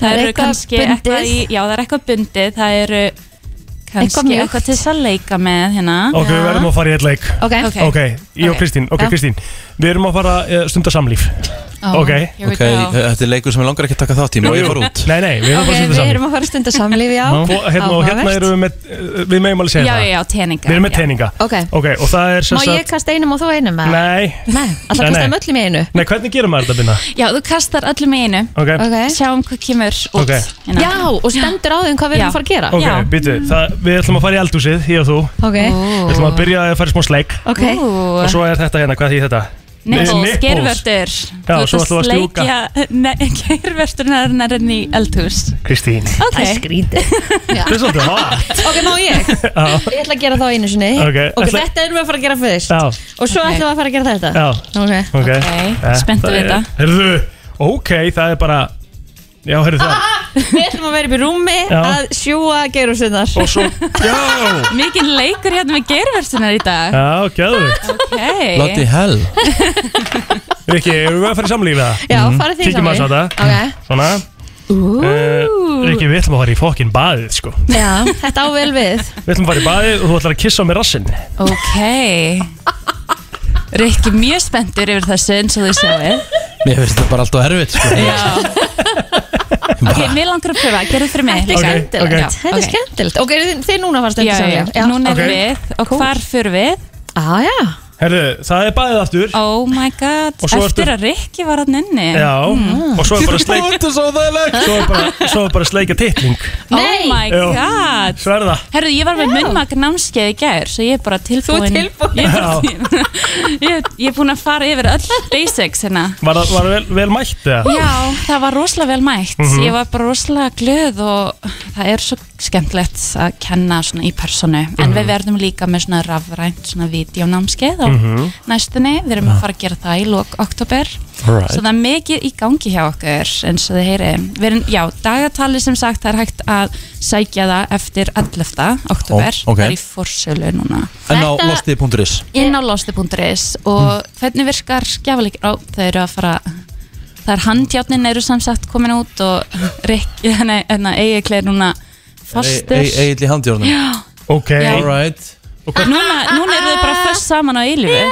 [SPEAKER 4] Það er
[SPEAKER 12] eru
[SPEAKER 4] eitthvað
[SPEAKER 12] kannski
[SPEAKER 4] bundið.
[SPEAKER 12] eitthvað í, Já, það er eitthvað bundið, það eru
[SPEAKER 4] Eitthvað
[SPEAKER 12] kannski
[SPEAKER 4] mjúkt.
[SPEAKER 12] eitthvað til þess að leika með hérna
[SPEAKER 3] Ok, við verðum að fara í eitt leik
[SPEAKER 12] Ok.
[SPEAKER 3] Ok, ég og
[SPEAKER 12] Ok.
[SPEAKER 3] Kristín Ok,
[SPEAKER 12] Já.
[SPEAKER 3] Kristín, við erum að fara að stunda samlíf
[SPEAKER 4] Oh,
[SPEAKER 3] Ok
[SPEAKER 4] here we Ok, go. eh,
[SPEAKER 2] þetta er leikur sem ég langar ekki að taka þátt í, má ég fara út?
[SPEAKER 3] Nei, nei, við erum
[SPEAKER 4] Ok,
[SPEAKER 3] að fara að
[SPEAKER 4] við
[SPEAKER 3] stunda samlíf
[SPEAKER 4] erum að fara að stunda samlíf, já
[SPEAKER 3] Og hérna, og hérna
[SPEAKER 4] Áhugavert.
[SPEAKER 3] erum við með eh, Við meðum alveg segja
[SPEAKER 4] Já,
[SPEAKER 3] það
[SPEAKER 4] já, já, teninga,
[SPEAKER 3] Við erum
[SPEAKER 4] já.
[SPEAKER 3] með teninga
[SPEAKER 4] Ok.
[SPEAKER 3] Ok, og það er sem
[SPEAKER 4] Má ég
[SPEAKER 3] sagt
[SPEAKER 4] kasta einum og þú einum? eða?
[SPEAKER 3] Nei
[SPEAKER 4] Nei,
[SPEAKER 3] Nei,
[SPEAKER 4] alltaf kasta
[SPEAKER 3] nei.
[SPEAKER 4] um öllum í einu
[SPEAKER 3] Nei, hvernig gerum maður þetta, Binna?
[SPEAKER 12] Já, þú kastar öllum í einu
[SPEAKER 3] Ok. Ok.
[SPEAKER 12] Sjáum hvað kemur út
[SPEAKER 3] Ok.
[SPEAKER 12] hérna.
[SPEAKER 4] Já, og stendur á þeim hvað við erum að fara að gera
[SPEAKER 3] Ok, býtu, það- við ætlum að fara í eldhúsið, ég og þú
[SPEAKER 4] Ok.
[SPEAKER 3] Við ætlum að byrja að fara í smá sleik
[SPEAKER 4] Ok. Ú.
[SPEAKER 3] Og svo er þetta hérna, hvað því þetta?
[SPEAKER 12] Nipples,
[SPEAKER 3] Nipples.
[SPEAKER 12] gervörtur
[SPEAKER 3] Já, svo ætlum við að stjúka
[SPEAKER 12] sleikja gervörturnar enn í eldhús
[SPEAKER 3] Kristín
[SPEAKER 12] Ok
[SPEAKER 4] Það er skrítið
[SPEAKER 3] Þetta er svolítið hot
[SPEAKER 4] Ok, má ég?
[SPEAKER 3] Já.
[SPEAKER 4] Ég ætla að gera þá einu sinni
[SPEAKER 3] Ok,
[SPEAKER 4] Ok,
[SPEAKER 3] ætla-
[SPEAKER 4] þetta erum við að fara að gera fyrst
[SPEAKER 3] Já.
[SPEAKER 4] Og svo ætlum við að fara að gera þetta
[SPEAKER 3] Já.
[SPEAKER 4] Ok,
[SPEAKER 3] Ok, Eh,
[SPEAKER 4] okay. spenntu við þetta
[SPEAKER 3] Herðu, ok, það er bara Já, herðu það
[SPEAKER 4] Við ætlum að vera upp í rúmi
[SPEAKER 3] Já.
[SPEAKER 4] að sjúa geirursinnar
[SPEAKER 3] Og svo, já
[SPEAKER 12] Mikið leikur hérna með gervörstunar í dag
[SPEAKER 3] Já, gæðu
[SPEAKER 12] Ok
[SPEAKER 2] hell
[SPEAKER 3] Rikki, erum við að fara í samlíf eða?
[SPEAKER 12] Já, farið þið í
[SPEAKER 3] Kíkjum að
[SPEAKER 12] samlíf.
[SPEAKER 3] þetta
[SPEAKER 4] Ok.
[SPEAKER 3] Svona uh, Rikki, við ætlum að fara í fokkin baðið sko
[SPEAKER 4] Já, þetta á vel við
[SPEAKER 3] Við ætlum að fara í baðið og þú ætlar að kissa á mér rassinn
[SPEAKER 12] Ok Rikki mjög spenntur yfir þessu eins og þau sjáu
[SPEAKER 2] Mér finnst þetta bara alltaf erfitt sko.
[SPEAKER 12] Ok, mér langar að pröfa, gerðu fyrir mig
[SPEAKER 4] Þetta er skemmtilegt Þetta er skemmtilegt Ok, eruð þið, þið núna að fara að stunda
[SPEAKER 12] Já, já,
[SPEAKER 4] samlíf
[SPEAKER 12] núna erum við og hvar fyrir við?
[SPEAKER 4] Ah, já.
[SPEAKER 3] Herðu, það er baðið aftur
[SPEAKER 12] Oh my god,
[SPEAKER 3] Og svo ertu-
[SPEAKER 12] eftir að Rikki var hann inni Mm.
[SPEAKER 3] Já, og svo er bara sleik
[SPEAKER 2] Þetta er svo þægilegt
[SPEAKER 3] Svo er bara, svo er bara sleikja titling
[SPEAKER 12] Oh my
[SPEAKER 3] Jú.
[SPEAKER 12] god
[SPEAKER 3] Svo er það
[SPEAKER 12] Herru, ég var með munnmaka námskeið í gær Svo ég er bara tilbúin Þú er tilbúin Ég er, bara, ég, ég er búin að fara yfir öll basics hérna
[SPEAKER 3] Var það var það vel, vel mætt eða?
[SPEAKER 12] Já, það var rosalega vel mætt
[SPEAKER 3] Mhm.
[SPEAKER 12] Ég var bara rosalega glöð og það er svo skemmtilegt að kenna svona í personu En
[SPEAKER 3] Mhm.
[SPEAKER 12] við verðum líka með svona rafrænt svona videónámskeið á
[SPEAKER 3] Mhm.
[SPEAKER 12] næstunni Við erum að fara að gera það í lok oktober
[SPEAKER 3] Alright.
[SPEAKER 12] Svo það er mikið í gangi hjá okkur eins og þið heyri Við erum, já, dagatali sem sagt það er hægt að sækja það eftir 11. oktober
[SPEAKER 2] Ó, ok.
[SPEAKER 12] Það er í forsölu núna
[SPEAKER 2] En á losti.is
[SPEAKER 12] inn á losti.is
[SPEAKER 2] Mm.
[SPEAKER 12] og hvernig virkar skjafaleik á þau eru að fara það er handjárnin eru samsagt komin út og Rick, nei, hérna, Egil er núna fastur
[SPEAKER 2] Egil í handjórnum
[SPEAKER 12] Já.
[SPEAKER 3] Ok
[SPEAKER 12] Já.
[SPEAKER 2] Alright
[SPEAKER 12] núna,
[SPEAKER 4] Ah,
[SPEAKER 12] núna eru þau bara fyrst saman á eilífi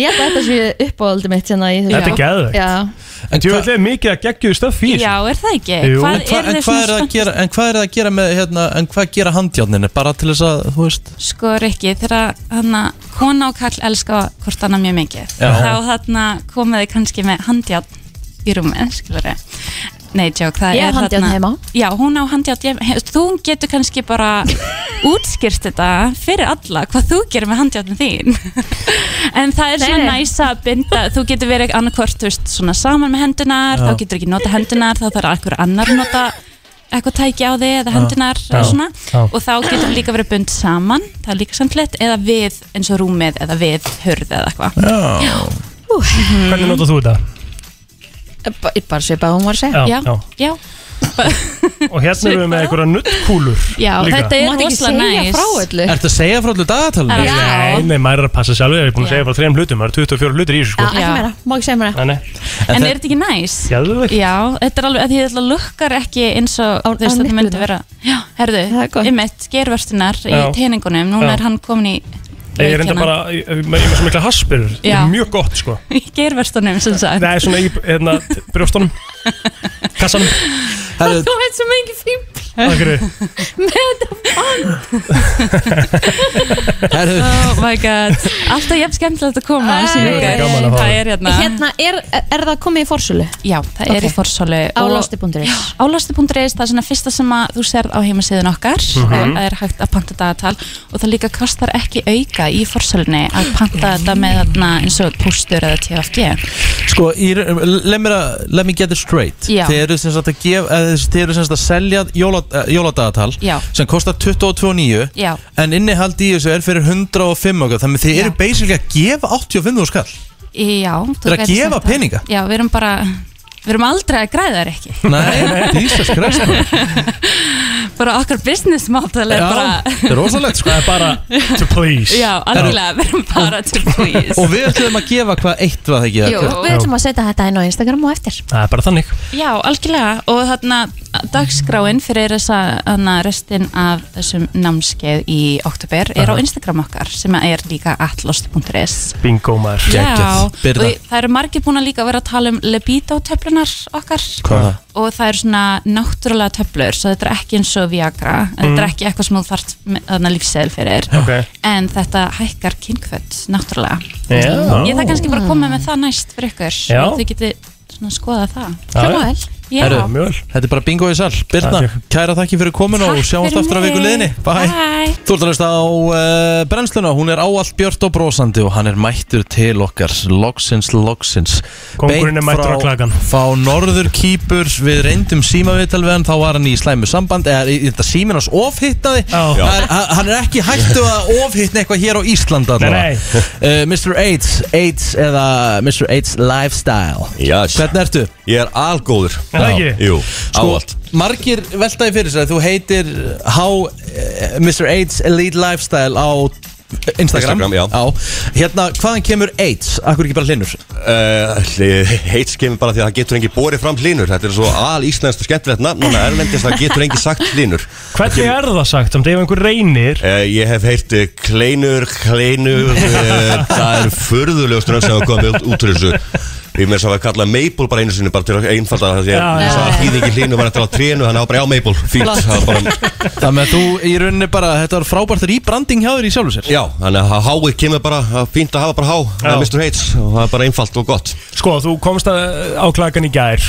[SPEAKER 4] Ég held að þetta sé uppáhaldi mitt hérna í þessu
[SPEAKER 3] Þetta er geðveikt.
[SPEAKER 4] Já,
[SPEAKER 3] En þú ætlaði mikið að geggjuðu stöf í þessu
[SPEAKER 12] já, er það ekki?
[SPEAKER 3] Jú.
[SPEAKER 12] hvað
[SPEAKER 2] En hva-
[SPEAKER 12] eru
[SPEAKER 2] en hvað
[SPEAKER 12] þau
[SPEAKER 2] er
[SPEAKER 12] svona
[SPEAKER 2] það að
[SPEAKER 12] spennt?
[SPEAKER 2] gera En hvað er það að gera með hérna, En hvað gera handjárninu Bara til þess að Þú veist
[SPEAKER 12] sko Rikki, þegar hann að hérna, kona og kall elska hvort annað mjög mikið
[SPEAKER 2] Já.
[SPEAKER 12] hérna, þá þarna komuðu kannski með handjárn í rúmið, skilur Nei, joke, það
[SPEAKER 4] Ég
[SPEAKER 12] er
[SPEAKER 4] á handjárn
[SPEAKER 12] þarna-
[SPEAKER 4] heima.
[SPEAKER 12] Já, hún á handjátt heima Þú getur kannski bara útskýrt þetta fyrir alla hvað þú gerir með handjáttin þín En það er
[SPEAKER 4] Nei,
[SPEAKER 12] svona
[SPEAKER 4] nei.
[SPEAKER 12] næsa að binda Þú getur verið annarkvort, þú veist, svona saman með hendunar
[SPEAKER 4] Já.
[SPEAKER 12] Þá getur ekki nota hendunar, þá þarf einhver annar að nota eitthvað tæki á þig eða
[SPEAKER 4] Já.
[SPEAKER 12] hendunar
[SPEAKER 4] Já.
[SPEAKER 12] og svona
[SPEAKER 4] Já.
[SPEAKER 12] og þá getur líka verið bund saman það er líka samtlegt, eða við eins og rúmið eða við hurð eða eitthvað
[SPEAKER 3] Já. Hvernig notar þú þetta?
[SPEAKER 4] Mhm. Ba- Ég bara svipað að hún var að segja
[SPEAKER 3] Já, já.
[SPEAKER 12] já.
[SPEAKER 3] Og hérna erum við með einhverja nuttkúlur
[SPEAKER 12] Já,
[SPEAKER 3] líka.
[SPEAKER 12] þetta er
[SPEAKER 4] Mátti ekki
[SPEAKER 12] rosalega
[SPEAKER 4] segja
[SPEAKER 12] næs.
[SPEAKER 4] frá öllu.
[SPEAKER 2] Ertu að segja frá allir dagatalinu?
[SPEAKER 12] Já.
[SPEAKER 3] Nei, nei, maður er að passa sjálfur, ég er búin að segja bara þrejum hlutum, það eru 24 hlutir í þessu
[SPEAKER 4] Já,
[SPEAKER 3] sko.
[SPEAKER 4] ekki meira, má ekki segja meira
[SPEAKER 3] Nei, nei.
[SPEAKER 12] En, er þetta ekki næs?
[SPEAKER 3] Geðveikt.
[SPEAKER 12] Já, þetta er alveg, að því þetta lukkar ekki eins og þú veist þetta myndi vera Já, herðu, ymmit, gervörstunar í
[SPEAKER 3] Já.
[SPEAKER 12] teiningunum, núna
[SPEAKER 3] Já.
[SPEAKER 12] er hann komin í
[SPEAKER 3] Ég er enda bara, ég ég- ég er með svo mikla haspirur,
[SPEAKER 12] hérna- Já.
[SPEAKER 3] mjög gott sko.
[SPEAKER 12] í gervörstunum sem sagt
[SPEAKER 3] Nei, svona í hérna, brjóstunum, kassanum.
[SPEAKER 4] Þú veit svo mikið fíbl
[SPEAKER 3] Takk fyrir.
[SPEAKER 4] Með þetta band
[SPEAKER 12] Oh my god, alltaf jafn skemmtilegt að koma sem
[SPEAKER 4] Æ.
[SPEAKER 12] ég er.
[SPEAKER 4] Gaman að fá
[SPEAKER 12] Það
[SPEAKER 4] þig.
[SPEAKER 12] er hérna
[SPEAKER 4] Hérna, er, er það komið í fórsölu?
[SPEAKER 12] Já, það er í fórsölu
[SPEAKER 4] Á
[SPEAKER 12] og-
[SPEAKER 4] losti.is
[SPEAKER 12] Álasti.is, það er svona fyrsta sem að þú serð á heimasíðun okkar mm
[SPEAKER 4] Mhm.
[SPEAKER 12] er hægt að panta dagatal og það líka kostar ekki auka í forsölunni að panta þetta með þarna eins og pústur eða TFG
[SPEAKER 2] Sko, í ra- let me, let me get it straight
[SPEAKER 12] Já.
[SPEAKER 2] Þið eru sem sagt að, gef, eða þið eru sem sagt að selja jóla, eh, jóladagatal
[SPEAKER 12] Já.
[SPEAKER 2] sem kostar 22.9
[SPEAKER 12] Já,
[SPEAKER 2] en innihald í þessu er fyrir 105 okkar þannig að þið eru basically að gefa 85 skall
[SPEAKER 12] já þú
[SPEAKER 2] Þeir að
[SPEAKER 12] gætir
[SPEAKER 2] gefa
[SPEAKER 12] sagt það.
[SPEAKER 2] peninga.
[SPEAKER 12] Já, við erum bara, við erum aldrei að græða þær ekki
[SPEAKER 2] Nei, Jesus Christ maður.
[SPEAKER 12] bara okkar business model er bara
[SPEAKER 2] þetta er rosalegt sko
[SPEAKER 3] Það er bara to please
[SPEAKER 12] Já, algjörlega, við erum bara to please
[SPEAKER 2] Og við ætlum að gefa hvað eitt var það ekki
[SPEAKER 4] Jú, við ætlum að setja þetta inn á Instagram og eftir
[SPEAKER 3] Það er bara þannig
[SPEAKER 12] Já, algjörlega og þarna dagskráin fyrir þessa þarna, restin af þessum námskeið í oktober er á
[SPEAKER 3] Aha.
[SPEAKER 12] Instagram okkar sem er líka atlost.is
[SPEAKER 3] Bingo maður
[SPEAKER 12] Já, og það eru margir búin að líka vera að tala um libido-töflunar okkar
[SPEAKER 3] Hvað er það?
[SPEAKER 12] og það eru svona náttúrulega töflur svo þetta er ekki eins og Viagra þetta er
[SPEAKER 3] Mm.
[SPEAKER 12] ekki eitthvað sem þú þarft með- þarna lífseðil fyrir
[SPEAKER 3] Ok.
[SPEAKER 12] en þetta hækkar kynkvöld náttúrulega
[SPEAKER 3] Já.
[SPEAKER 12] ég það kannski bara að koma með það næst fyrir ykkur
[SPEAKER 2] Já.
[SPEAKER 12] og þau geti svona skoða
[SPEAKER 2] Já,
[SPEAKER 12] það
[SPEAKER 2] já. Hljómar
[SPEAKER 12] Já,
[SPEAKER 2] Herru, Þetta er bara bingo í sal Birna, kæra þakki fyrir komin og sjáumst
[SPEAKER 12] fyrir
[SPEAKER 2] aftur að viku
[SPEAKER 12] mig.
[SPEAKER 2] liðinni Bye.
[SPEAKER 12] Bye.
[SPEAKER 2] Þú ert að hlusta á uh, brennsluna Hún er áallt björt og brósandi og hann er mættur til okkar Loksins, loksins
[SPEAKER 3] Kóngurinn er
[SPEAKER 2] Beint
[SPEAKER 3] mættur á
[SPEAKER 2] frá-
[SPEAKER 3] klakann.
[SPEAKER 2] Fá norður kýpur Við reyndum símavital við hann Þá var hann í slæmu samband Eða í- þetta símin hans ofhittaði
[SPEAKER 3] Já.
[SPEAKER 2] Það er- hann- Hann er ekki hættu að ofhittna eitthvað hér á Eh, Íslanda
[SPEAKER 3] Nei,
[SPEAKER 2] Mr. AIDS AIDS eða Mr. AIDS Lifestyle
[SPEAKER 13] Yes.
[SPEAKER 2] Hvernig ertu?
[SPEAKER 13] Ég er algóður
[SPEAKER 2] Er það ekki?
[SPEAKER 13] Jú,
[SPEAKER 2] Sko,
[SPEAKER 13] áallt
[SPEAKER 2] margir veltaði fyrir sér að þú heitir How eh, Mr. AIDS Elite Lifestyle á Instagram,
[SPEAKER 13] Instagram, já.
[SPEAKER 2] Hérna, hvaðan kemur AIDS? Akkur ekki bara hlinur?
[SPEAKER 13] uh, Heits kemur bara því að það getur engi borið fram hlínur Þetta er svo al íslenskt og skemmtilegt nafn Núna erlendist það getur engi sagt hlínur
[SPEAKER 3] Hvernig er það sagt, um þetta ef einhver reynir
[SPEAKER 13] uh, Ég hef heyrt uh, kleinur, kleinur uh, Það er furðulegust nöfn sem hafa komið út, út úr þessu Ég með þess að hafa kallað Maple bara einu sinni bara til að einfalda það því
[SPEAKER 2] Já,
[SPEAKER 13] að ég
[SPEAKER 2] já,
[SPEAKER 13] sá að þýðingi hlínu var eftir á trénu þannig að það var bara já Maple, fínt
[SPEAKER 2] Flott.
[SPEAKER 13] það var bara
[SPEAKER 2] Þannig að þú í rauninni bara, þetta var frábært rýbranding hjá þér í sjálfu sér
[SPEAKER 13] Já, þannig að háið kemur bara, það er fínt að hafa bara há, það er Mr. Hates og það er bara einfalt og gott
[SPEAKER 3] Sko, þú komst að, á klakan í gær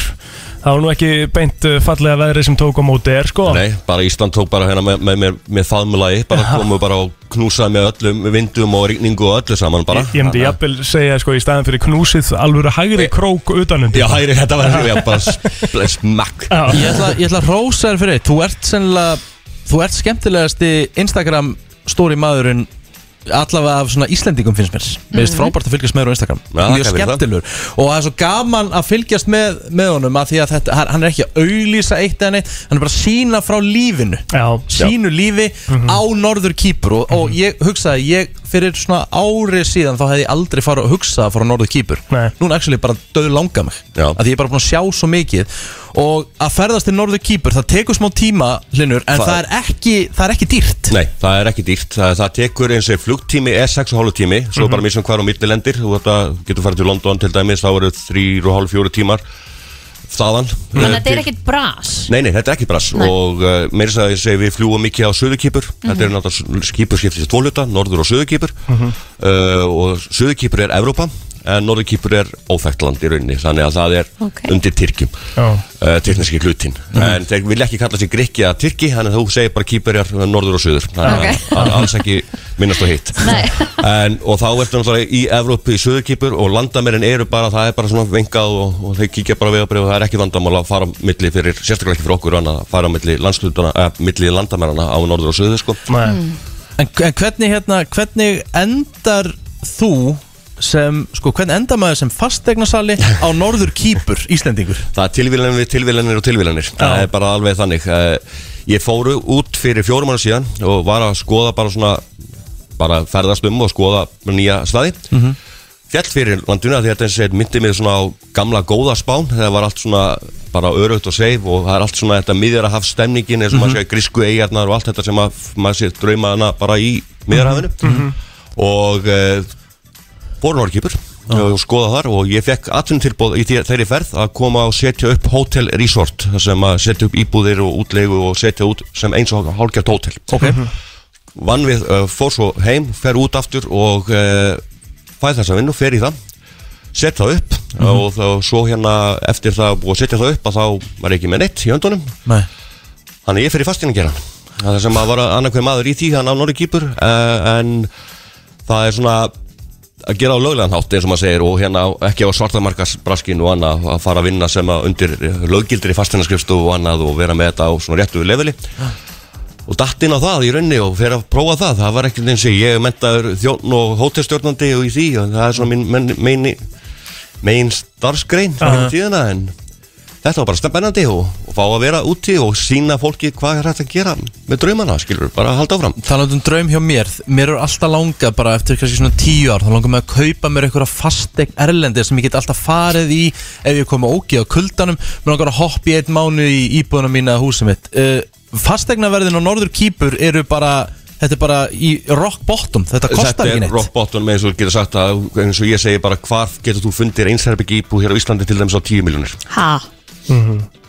[SPEAKER 3] Það var nú ekki beint uh, fallega veðrið sem tók á móti er, sko
[SPEAKER 13] Nei, bara Ísland tók bara hérna með, með, með, með faðmulagi, bara komu bara og knúsaði með öllum vindum og rigningu og öllu saman bara
[SPEAKER 3] Ég myndi jafnvel segja, sko, í staðan fyrir knúsið alvöru hægri krók utanundi
[SPEAKER 13] Eh, Já, hægri, þetta var já, bara sp- smakk
[SPEAKER 2] Ég ætla, ég ætla að rósa þér fyrir eitt. Þú ert sennilega, þú ert skemmtilegasti Instagram stóri maðurinn allavega af svona Íslendingum finnst mér Mér finnst
[SPEAKER 13] Mhm.
[SPEAKER 2] frábært að fylgjast með þér á Instagram
[SPEAKER 13] Já,
[SPEAKER 2] Mjög
[SPEAKER 13] þakka fyrir það.
[SPEAKER 2] skemmtilegur Og það er svo gaman að fylgjast með, með honum að Því að þetta, hann- hann er ekki að auglýsa eitt eða neitt Hann er bara að sína frá lífinu
[SPEAKER 3] Já, Mhm.
[SPEAKER 2] Sínu lífi á norður kýpur og, og ég hugsaði, ég fyrir svona ári síðan Þá hefði ég aldrei farið að hugsa að fara á norður kýpur
[SPEAKER 3] Nei.
[SPEAKER 2] Núna actually bara döð langa mig Já. Að ég er bara búin að sjá svo mikið Og að ferðast til norður kýpur, það tekur smá tíma, Hlinur En
[SPEAKER 13] Það-
[SPEAKER 2] það, er ekki, það er ekki dýrt
[SPEAKER 13] Nei, það er ekki dýrt, það, það tekur eins og flugtími er 6,5 tími,
[SPEAKER 4] Mhm.
[SPEAKER 13] svo bara misum hvar á millilendir Þú ert að- getur farið til London til dæmis, þá eru 3,5-4 tímar þaðan
[SPEAKER 4] Þannig að
[SPEAKER 13] eh,
[SPEAKER 4] þetta er
[SPEAKER 13] til-
[SPEAKER 4] ekkit bras
[SPEAKER 13] Nei, nei, þetta er ekki brass
[SPEAKER 4] Nei.
[SPEAKER 13] og uh, meira þess að ég segi við fljúum mikið á söðukýpur
[SPEAKER 14] Mhm.
[SPEAKER 13] þetta er náttúrulega skipur skiptist í tvo hluta, norður og söðukýpur
[SPEAKER 3] Mhm.
[SPEAKER 13] uh, og söðukýpur er Evrópa en Norðurkýpur er óþægt land í rauninni þannig að það er
[SPEAKER 14] Ok.
[SPEAKER 13] undir Tyrkjum
[SPEAKER 3] Já. Mhm.
[SPEAKER 13] uh, tyrkneski hlutin en þeir vilja ekki kalla sig Grikki að Tyrki þannig að þú segir bara Kýpurjar uh, norður og suður þannig
[SPEAKER 14] Ok.
[SPEAKER 13] að að alls ekki minnast á hitt
[SPEAKER 14] Nei.
[SPEAKER 13] en, og þá ertu náttúrulega í Evrópu í Suðurkýpur og landamerin eru bara það er bara svona vengað og, og þeir kíkja bara við og það er ekki vandamál að fara á milli fyrir sérstaklega ekki fyrir okkur annað að fara á milli landslutana eh, milli landamerana á norður og suður sko.
[SPEAKER 2] Mm. en, en hvernig hérna hvernig endar þú sem, sko, hvernig endar maður sem fastegnasali á norður kýpur Íslendingur?
[SPEAKER 13] Það er tilvílanir við tilvílanir og tilvílanir Það er bara alveg þannig Eh, Ég fóru út fyrir fjórum ára síðan og var að skoða bara svona bara ferðast um og skoða nýja staði
[SPEAKER 14] Mhm.
[SPEAKER 13] fjall fyrir landinu af því að þetta eins og segir, myndi mig svona á gamla góða spán þegar var allt svona bara örugt og seif og það er allt svona þetta miðjarahaf stemningin eins og maður
[SPEAKER 14] Mhm.
[SPEAKER 13] segja grísku eigarnar og allt þetta sem að maður sé drauma hana bara í miðjarahafinu
[SPEAKER 14] Mhm.
[SPEAKER 13] og uh, fóru Norrkipur og skoða þar og ég fekk atvinnum tilbúð í því- þeirri ferð að koma og setja upp Hotel Resort þar sem að setja upp íbúðir og útlegu og setja út sem eins og hálfgjart hótel Mhm.
[SPEAKER 2] Ok.
[SPEAKER 13] vann við, uh, fór svo heim, fer út aftur og uh, fæð þessa vinnu, fer í það set það upp og þá svo hérna eftir það búið að setja það upp að þá var ég ekki með neitt í höndunum
[SPEAKER 2] Nei.
[SPEAKER 13] þannig að ég fer í fastin að gera það sem að var annarkveð maður í því hann á Norri Kýpur uh, en það er svona að gera á löglegan hátt eins og maður segir og hérna ekki á svartamarkasbraskin og annað að fara að vinna sem að undir löggildri fastinaskristu og annað og vera með þetta á svona réttu leveli og datt inn á það í raunni og fer að prófa það það var ekkert eins og ég er mentaður þjón og hótelstjórnandi og í því og það er svona mín mein, mein, mein starfsgrein
[SPEAKER 14] Aha.
[SPEAKER 13] fyrir tíðina en þetta var bara spennandi og, og fá að vera úti og sína fólki hvað er hægt að gera með draumana skilur, bara að halda áfram
[SPEAKER 2] Talandi um draum hjá mér, mér er alltaf langað bara eftir kannski svona tíu ár, þá langar mig að kaupa mér einhverja fastegn erlendi sem ég get alltaf farið í ef ég koma ógi á kuldanum mér langar að hoppa í einn mánu í íbúðuna mína að húsum mitt. Uh, fastegnaverðin á Norður Kýpur eru bara þetta er bara í rock bottom þetta kostar ekki
[SPEAKER 13] Þetta er
[SPEAKER 2] neitt.
[SPEAKER 13] rock bottom eins og getur sagt að, eins og ég segi bara hvað getur þú fundir einsherbyggji íbúð hér á Íslandi til dæmis á 10 miljónir
[SPEAKER 4] Ha?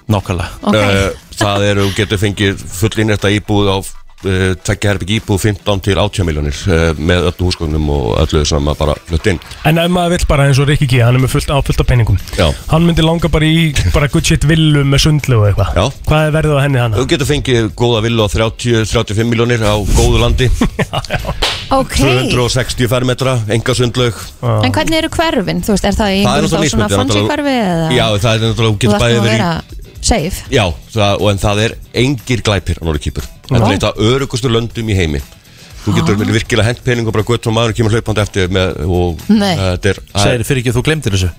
[SPEAKER 13] Nákvæmlega Eh,
[SPEAKER 4] Ok.
[SPEAKER 13] Það eru, getur fengið fullin þetta íbúð á uh, tekja herbyggi íbúð 15 til 80 miljónir uh, með öllu húsgögnum og öllu sem að bara flutt inn
[SPEAKER 3] En ef maður vill bara eins og Rikki G, hann er með fullt áfullt af penningum
[SPEAKER 13] Já.
[SPEAKER 3] Hann myndi langa bara í bara good shit villu með sundlu og eitthvað
[SPEAKER 13] Já.
[SPEAKER 3] Hvað er verðið á henni hana?
[SPEAKER 13] Þú getur fengið góða villu á 30-35 miljónir á góðu landi
[SPEAKER 4] Ok
[SPEAKER 13] 260 fermetra, enga sundlaug
[SPEAKER 4] En hvernig eru hverfin? Þú veist, er það í
[SPEAKER 13] Það er
[SPEAKER 4] einhverjum þá svona
[SPEAKER 13] náttúrulega mismunandi,
[SPEAKER 4] fancy
[SPEAKER 13] náttúrulega-
[SPEAKER 4] hverfi eða?
[SPEAKER 13] Já, það er náttúrulega, þú
[SPEAKER 4] Þú
[SPEAKER 13] getur
[SPEAKER 4] þarft
[SPEAKER 13] bæðið
[SPEAKER 4] nú að
[SPEAKER 13] verið í
[SPEAKER 4] vera safe
[SPEAKER 13] Já, það, og en það er engir glæpir á Norðurkýpur Þetta er
[SPEAKER 4] Vá.
[SPEAKER 13] eitt af örugustu löndum í heimi Þú getur
[SPEAKER 4] Ah.
[SPEAKER 13] virkilega hent pening og bara gutt og maður kemur hlaupandi eftir með, og
[SPEAKER 4] Nei.
[SPEAKER 13] uh, þetta er
[SPEAKER 2] Segirðu fyrir ekki að þú glemdir þessu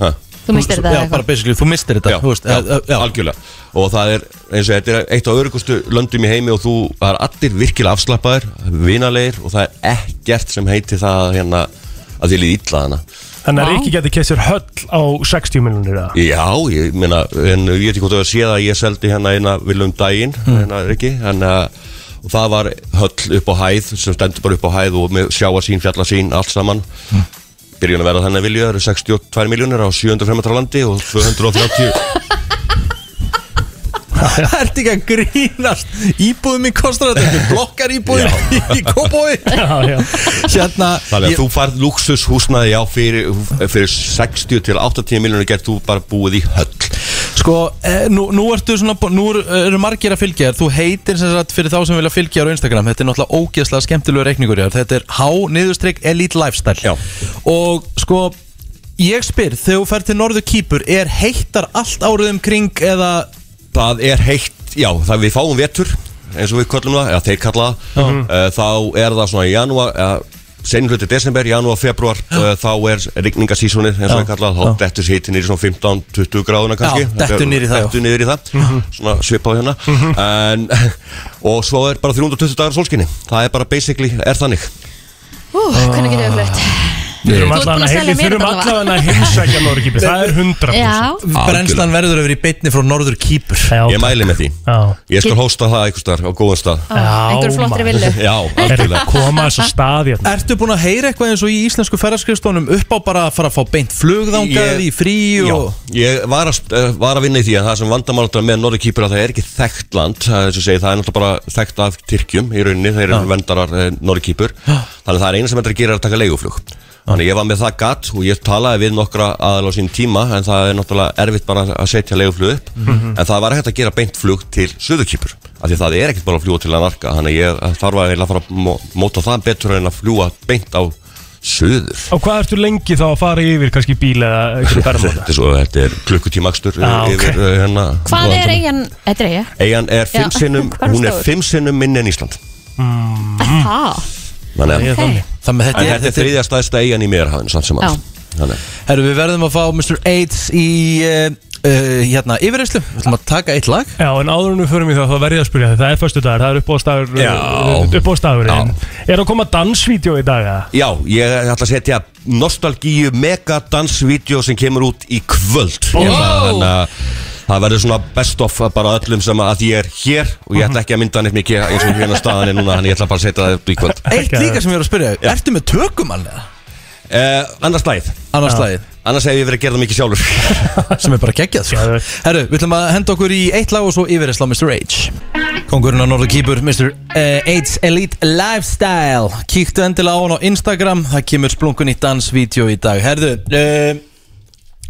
[SPEAKER 13] ha?
[SPEAKER 4] Þú misstir þetta eða
[SPEAKER 2] Já,
[SPEAKER 4] eitthvað?
[SPEAKER 2] bara basically, þú mistir þetta
[SPEAKER 13] Já,
[SPEAKER 2] þú veist,
[SPEAKER 13] já,
[SPEAKER 2] eh, eh,
[SPEAKER 13] algjörlega og það er eins og þetta er eitt af örugustu löndum í heimi og þú það er allir virkilega afslappaðir, vinalegir og það er ekkert sem heiti það hérna að því líði illa hana
[SPEAKER 3] Þannig að Rikki geti kessir höll á 60 miljonir eða?
[SPEAKER 13] Já, ég meina, en ég veit ekki hvort þú að sé það að ég seldi hérna eina viljum daginn,
[SPEAKER 3] Mm.
[SPEAKER 13] hérna ekki, en uh, og það var höll upp á hæð, sem stendur bara upp á hæð og með sjáa sín, fjalla sín, allt saman. Byrjun að vera þannig að vilja, það eru 62 miljónir á 750 landi og 230...
[SPEAKER 2] Það ert ekki að grínast Íbúðum mín kostar þetta ekki Blokkar íbúðum í kópói Hérna
[SPEAKER 13] Þannig að
[SPEAKER 2] ég-
[SPEAKER 13] þú færð luxushúsnaði já fyrir, fyrir 60 til 80 miljónir gert þú bara búið í höll.
[SPEAKER 2] Sko, eh, nú, nú, ertu svona, bú- nú eru- eru margir að fylgja þér Þú heitir sem sagt fyrir þá sem vilja fylgja þér á Instagram Þetta er náttúrulega ógeðslega skemmtilegu reikningur hjá þér. Þetta er H-niðurstrykk Elite Lifestyle Já. Og sko, ég spyr Þegar þú fer til Norður Kýpur Er heittar allt árið um kring eða
[SPEAKER 13] Það er heitt, já, það við fáum vetur eins og við kallum það, eða þeir kalla það
[SPEAKER 14] Mhm.
[SPEAKER 13] uh, þá er það svona í janúar uh, senjum hluti desember, janúar, februar uh, þá er rigningasísonið eins og
[SPEAKER 14] Já.
[SPEAKER 13] við kalla það, þá dettur hittin niður í svona 15-20 gráðuna kannski
[SPEAKER 14] Já, dettur niður í það, já.
[SPEAKER 13] dettur niður í það
[SPEAKER 14] Mhm.
[SPEAKER 13] svona svipað hérna en, og svo er bara 320 dagar sólskinni það er bara basically, er þannig
[SPEAKER 4] Ú, hvernig getur við flutt?
[SPEAKER 13] Við
[SPEAKER 3] Þurfum
[SPEAKER 4] Þú ert búin að
[SPEAKER 3] allavega
[SPEAKER 4] selja
[SPEAKER 3] að-
[SPEAKER 4] mér
[SPEAKER 3] þurfum
[SPEAKER 4] þetta
[SPEAKER 3] allavega að heimsækja Norgipi, það er 100%
[SPEAKER 4] Já.
[SPEAKER 2] Brennslan verður yfir í beitni frá Norður Kýpur
[SPEAKER 13] Ég mæli með því Ég skal hósta það einhvers staðar á góðan stað
[SPEAKER 4] Já, einhverju flottri maður. villu.
[SPEAKER 13] Já, algjörlega
[SPEAKER 3] staði
[SPEAKER 2] Ertu búin að heyra eitthvað eins og í íslensku ferðarskriðstónum upp á bara að fara að fá beint flugðangað í frí og...
[SPEAKER 13] Já, ég var að, eh, var að vinna í því að það sem vandamálatra með Norðurkýpur að það er ekki þekkt land það er, sem segi, það er náttúrulega bara þekkt af Tyrkjum í rauninni, þeir eru vendarar eh, Norðurkýpur þannig að það er eina sem þetta er að gera er að taka leiguflug
[SPEAKER 2] Já,
[SPEAKER 13] Þannig að ég var með það gatt og ég talaði við nokkra aðal á sín tíma en það er náttúrulega erfitt bara að setja leiguflug upp
[SPEAKER 14] Mhm.
[SPEAKER 13] en það var ekkert að gera beint flug til Suðurkýpur af því það er ekkert bara að fljúa til að narka þannig að ég eh, þarf að eiginlega fara að mó- móta það betur en að fljúa beint á Suður
[SPEAKER 3] Og hvað ertu lengi þá að fara yfir, kannski bíl eða einhverjum ferðamáta?
[SPEAKER 13] Þetta er, svo, þetta er klukkutímakstur
[SPEAKER 3] Já, ok.
[SPEAKER 13] yfir uh, hérna
[SPEAKER 4] Hvað
[SPEAKER 13] Norðurlöndum.
[SPEAKER 4] er eigin, þetta er eiga
[SPEAKER 13] Eyjan er fimm
[SPEAKER 4] Já.
[SPEAKER 13] sinnum,
[SPEAKER 4] Hvað er
[SPEAKER 13] hún er
[SPEAKER 4] stór?
[SPEAKER 13] fimm sinnum minni en Ísland
[SPEAKER 6] Mm.
[SPEAKER 4] Mm. Það,
[SPEAKER 13] Þannig
[SPEAKER 4] Ok.
[SPEAKER 13] að
[SPEAKER 2] Þannig að þetta
[SPEAKER 13] þetta,
[SPEAKER 2] er-
[SPEAKER 13] en þetta er þriðja staðista eyjan í Mérhafin samt sem
[SPEAKER 4] Já.
[SPEAKER 13] að Þannig
[SPEAKER 2] Herru, við verðum að fá Mr. AIDS í uh, uh, hérna yfirreyslu Við ætlum að taka eitt lag
[SPEAKER 3] Já, en áður en við förum í það, þá verð ég að spyrja þig, það er förstu dagur, það er uppbóðstafur,
[SPEAKER 13] Já.
[SPEAKER 3] uppbóðstafurinn. Er að koma dansvídeó í dag, eða?
[SPEAKER 13] Já, ég ætla að setja nostalgíu megadansvídeó sem kemur út í kvöld
[SPEAKER 3] Ó.
[SPEAKER 13] Þannig að hérna, það verður svona best of bara öllum sem að því ég er hér og ég ætla ekki að mynda neitt mikið eins og hérna staðan er núna þannig ég ætla bara að setja það upp í kvöld
[SPEAKER 2] Eitt líka sem ég er að spyrja, ja. ertu með tökumann eða?
[SPEAKER 13] eh, Annars lagið
[SPEAKER 2] Annars lagið.
[SPEAKER 13] Annars hef ég verið að gera það mikið sjálfur
[SPEAKER 2] sem er bara geggjað sko. Herru, við ætlum að henda okkur í eitt lag og svo yfirreysla á Mr. H Kongurinn á Norður Kýpur, Mr. eh, AIDS Elite Lifestyle Kíktu endilega á hann á Instagram, það kemur splunkun í dansvídeó í dag Herru, uh,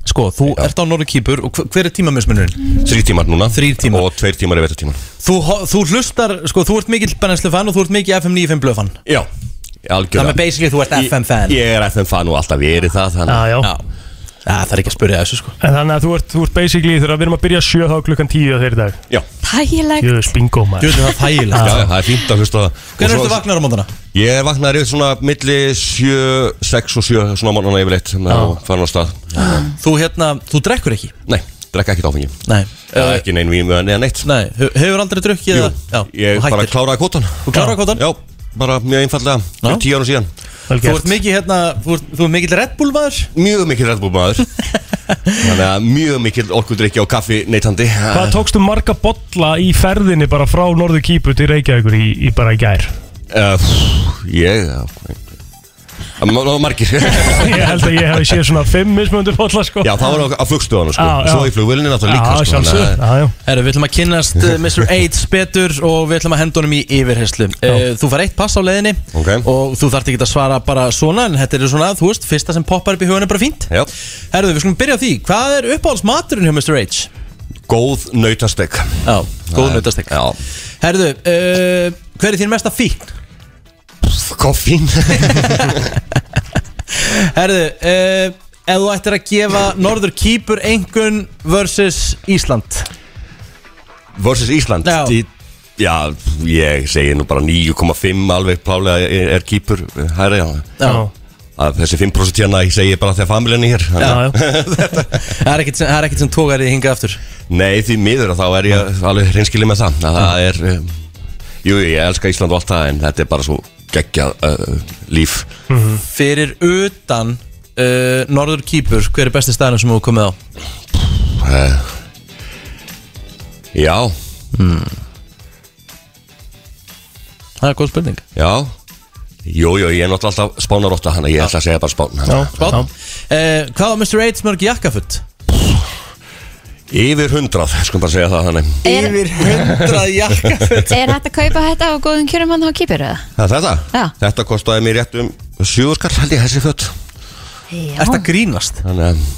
[SPEAKER 2] sko, þú ert á Norður Kýpur og hver, hver er tímamismunurinn?
[SPEAKER 13] Þrý tímar núna
[SPEAKER 2] Þrýr tímar
[SPEAKER 13] Og tveir tímar er vetartímar
[SPEAKER 2] Þú, ho- þú hlustar, sko, þú ert mikill Bennenslu fan og þú ert mikill FM 95 blöð fan
[SPEAKER 13] Já, algjörlega
[SPEAKER 2] Þannig að basically þú ert FM fan
[SPEAKER 13] Ég er FM fan og alltaf verið það þannig
[SPEAKER 3] Já, já.
[SPEAKER 2] Það er ekki að spyrja þessu sko
[SPEAKER 3] En þannig að þú ert, þú ert basically, þegar við erum að byrja sjö þá er klukkan tíu þegar í dag.
[SPEAKER 13] Já.
[SPEAKER 4] þægilegt
[SPEAKER 3] Jöðus, bingo maður.
[SPEAKER 2] Jöðus, það er þægilegt.
[SPEAKER 13] Já, já, það er fínt að hlusta á það
[SPEAKER 2] Hvernig
[SPEAKER 13] Og svo-
[SPEAKER 2] ertu vaknar á móndana?
[SPEAKER 13] Ég er vaknaður yfir svona milli 7, 6 og 7 svona mánana yfirleitt þannig að
[SPEAKER 2] Já.
[SPEAKER 13] farin á stað
[SPEAKER 2] Þú hérna, þú drekkur ekki?
[SPEAKER 13] Nei, drekka ekkert áfengi
[SPEAKER 2] Nei
[SPEAKER 13] Það er ekki nein vímu eða neitt
[SPEAKER 2] Nei, hefur aldrei drukkið
[SPEAKER 13] Jú,
[SPEAKER 2] eða- Já,
[SPEAKER 13] ég
[SPEAKER 2] og
[SPEAKER 13] bara
[SPEAKER 2] hættir.
[SPEAKER 13] kláraði kvotan
[SPEAKER 2] Þú kláraði kvótann?
[SPEAKER 13] Já, bara mjög einfallega Fyrir tíu árum síðan
[SPEAKER 2] Þú ert mikið hérna, þú ert, þú ert mikið Red Bull maður
[SPEAKER 13] Mjög mikil Red Bull maður Þannig að mjög mikil orkudrykki og kaffi neytandi
[SPEAKER 3] Hvað tókstu marga bolla í ferðinni bara frá Norður Kýpu til Reykjavíkur í, í bara í gær?
[SPEAKER 13] Uh, pff, ég eh, Það var margir
[SPEAKER 3] Ég held að ég hef séð svona fimm mismöndu bolla sko Ah,
[SPEAKER 13] Já, það var á flugstöðunum sko
[SPEAKER 3] Já, já.
[SPEAKER 13] Svo í flugvölinni náttúrulega
[SPEAKER 3] Já,
[SPEAKER 13] líka sko, þannig
[SPEAKER 3] sjálfsögðu.
[SPEAKER 13] að-
[SPEAKER 3] Já, já.
[SPEAKER 2] Herru, við ætlum að kynnast eh, Mr. AIDS betur og við ætlum að henda honum í yfirherslu uh, Þú far eitt pass á leiðinni
[SPEAKER 13] Ok.
[SPEAKER 2] og þú þarft ekki að svara bara svona en þetta er svona, þú veist, fyrsta sem poppar upp í hugan er bara fínt
[SPEAKER 13] Já.
[SPEAKER 2] Herru, við skulum byrja á því, hvað er uppáhaldsmaturinn hjá Mr. AIDS?
[SPEAKER 13] Góð nautastek
[SPEAKER 2] Já, góð nautastek
[SPEAKER 13] Já
[SPEAKER 2] Herru, uh, hver er þín mesta fíkn?
[SPEAKER 13] Koffín
[SPEAKER 2] Herru, uh, ef þú ættir að gefa Norður Kýpur engun versus Ísland
[SPEAKER 13] Versus Ísland
[SPEAKER 2] Já.
[SPEAKER 13] Því- Já, ég segi nú bara 9,5 alveg plálega er, er kýpur hæra já
[SPEAKER 2] Já.
[SPEAKER 13] Að þessi 5% hérna ég segi bara þegar familjan er hér
[SPEAKER 2] Já, já. Það er ekkert sem, það er ekkert sem tókar þið hingað aftur
[SPEAKER 13] Nei, því miður að þá er ég alveg hreinskilið með það að Það er, um, jú, ég elska Ísland og allt það en þetta er bara svo geggjað uh, líf
[SPEAKER 2] Fyrir utan uh, Norður Kýpur, hver er besti staðinu sem þú hefur komið á?
[SPEAKER 13] uh, Já
[SPEAKER 2] Hmm. Það er góð spurning
[SPEAKER 13] Já Jú, jú, ég er náttúrulega alltaf spánarótta hana, ég ætla að segja bara spán hana.
[SPEAKER 2] Spátt uh, Hvað var Mr. AIDS mörg jakkafutt?
[SPEAKER 13] Yfir hundrað, skulum bara segja það þannig
[SPEAKER 2] Yfir hundrað jakkafutt
[SPEAKER 4] Er hægt að kaupa þetta á góðum kjörum hann á kýpur eða?
[SPEAKER 13] Það er þetta?
[SPEAKER 4] Já.
[SPEAKER 13] Þetta kostaði mér rétt um sjúurskall held ég þessi fött
[SPEAKER 4] Já,
[SPEAKER 2] Ertu að grínast?
[SPEAKER 13] Þannig að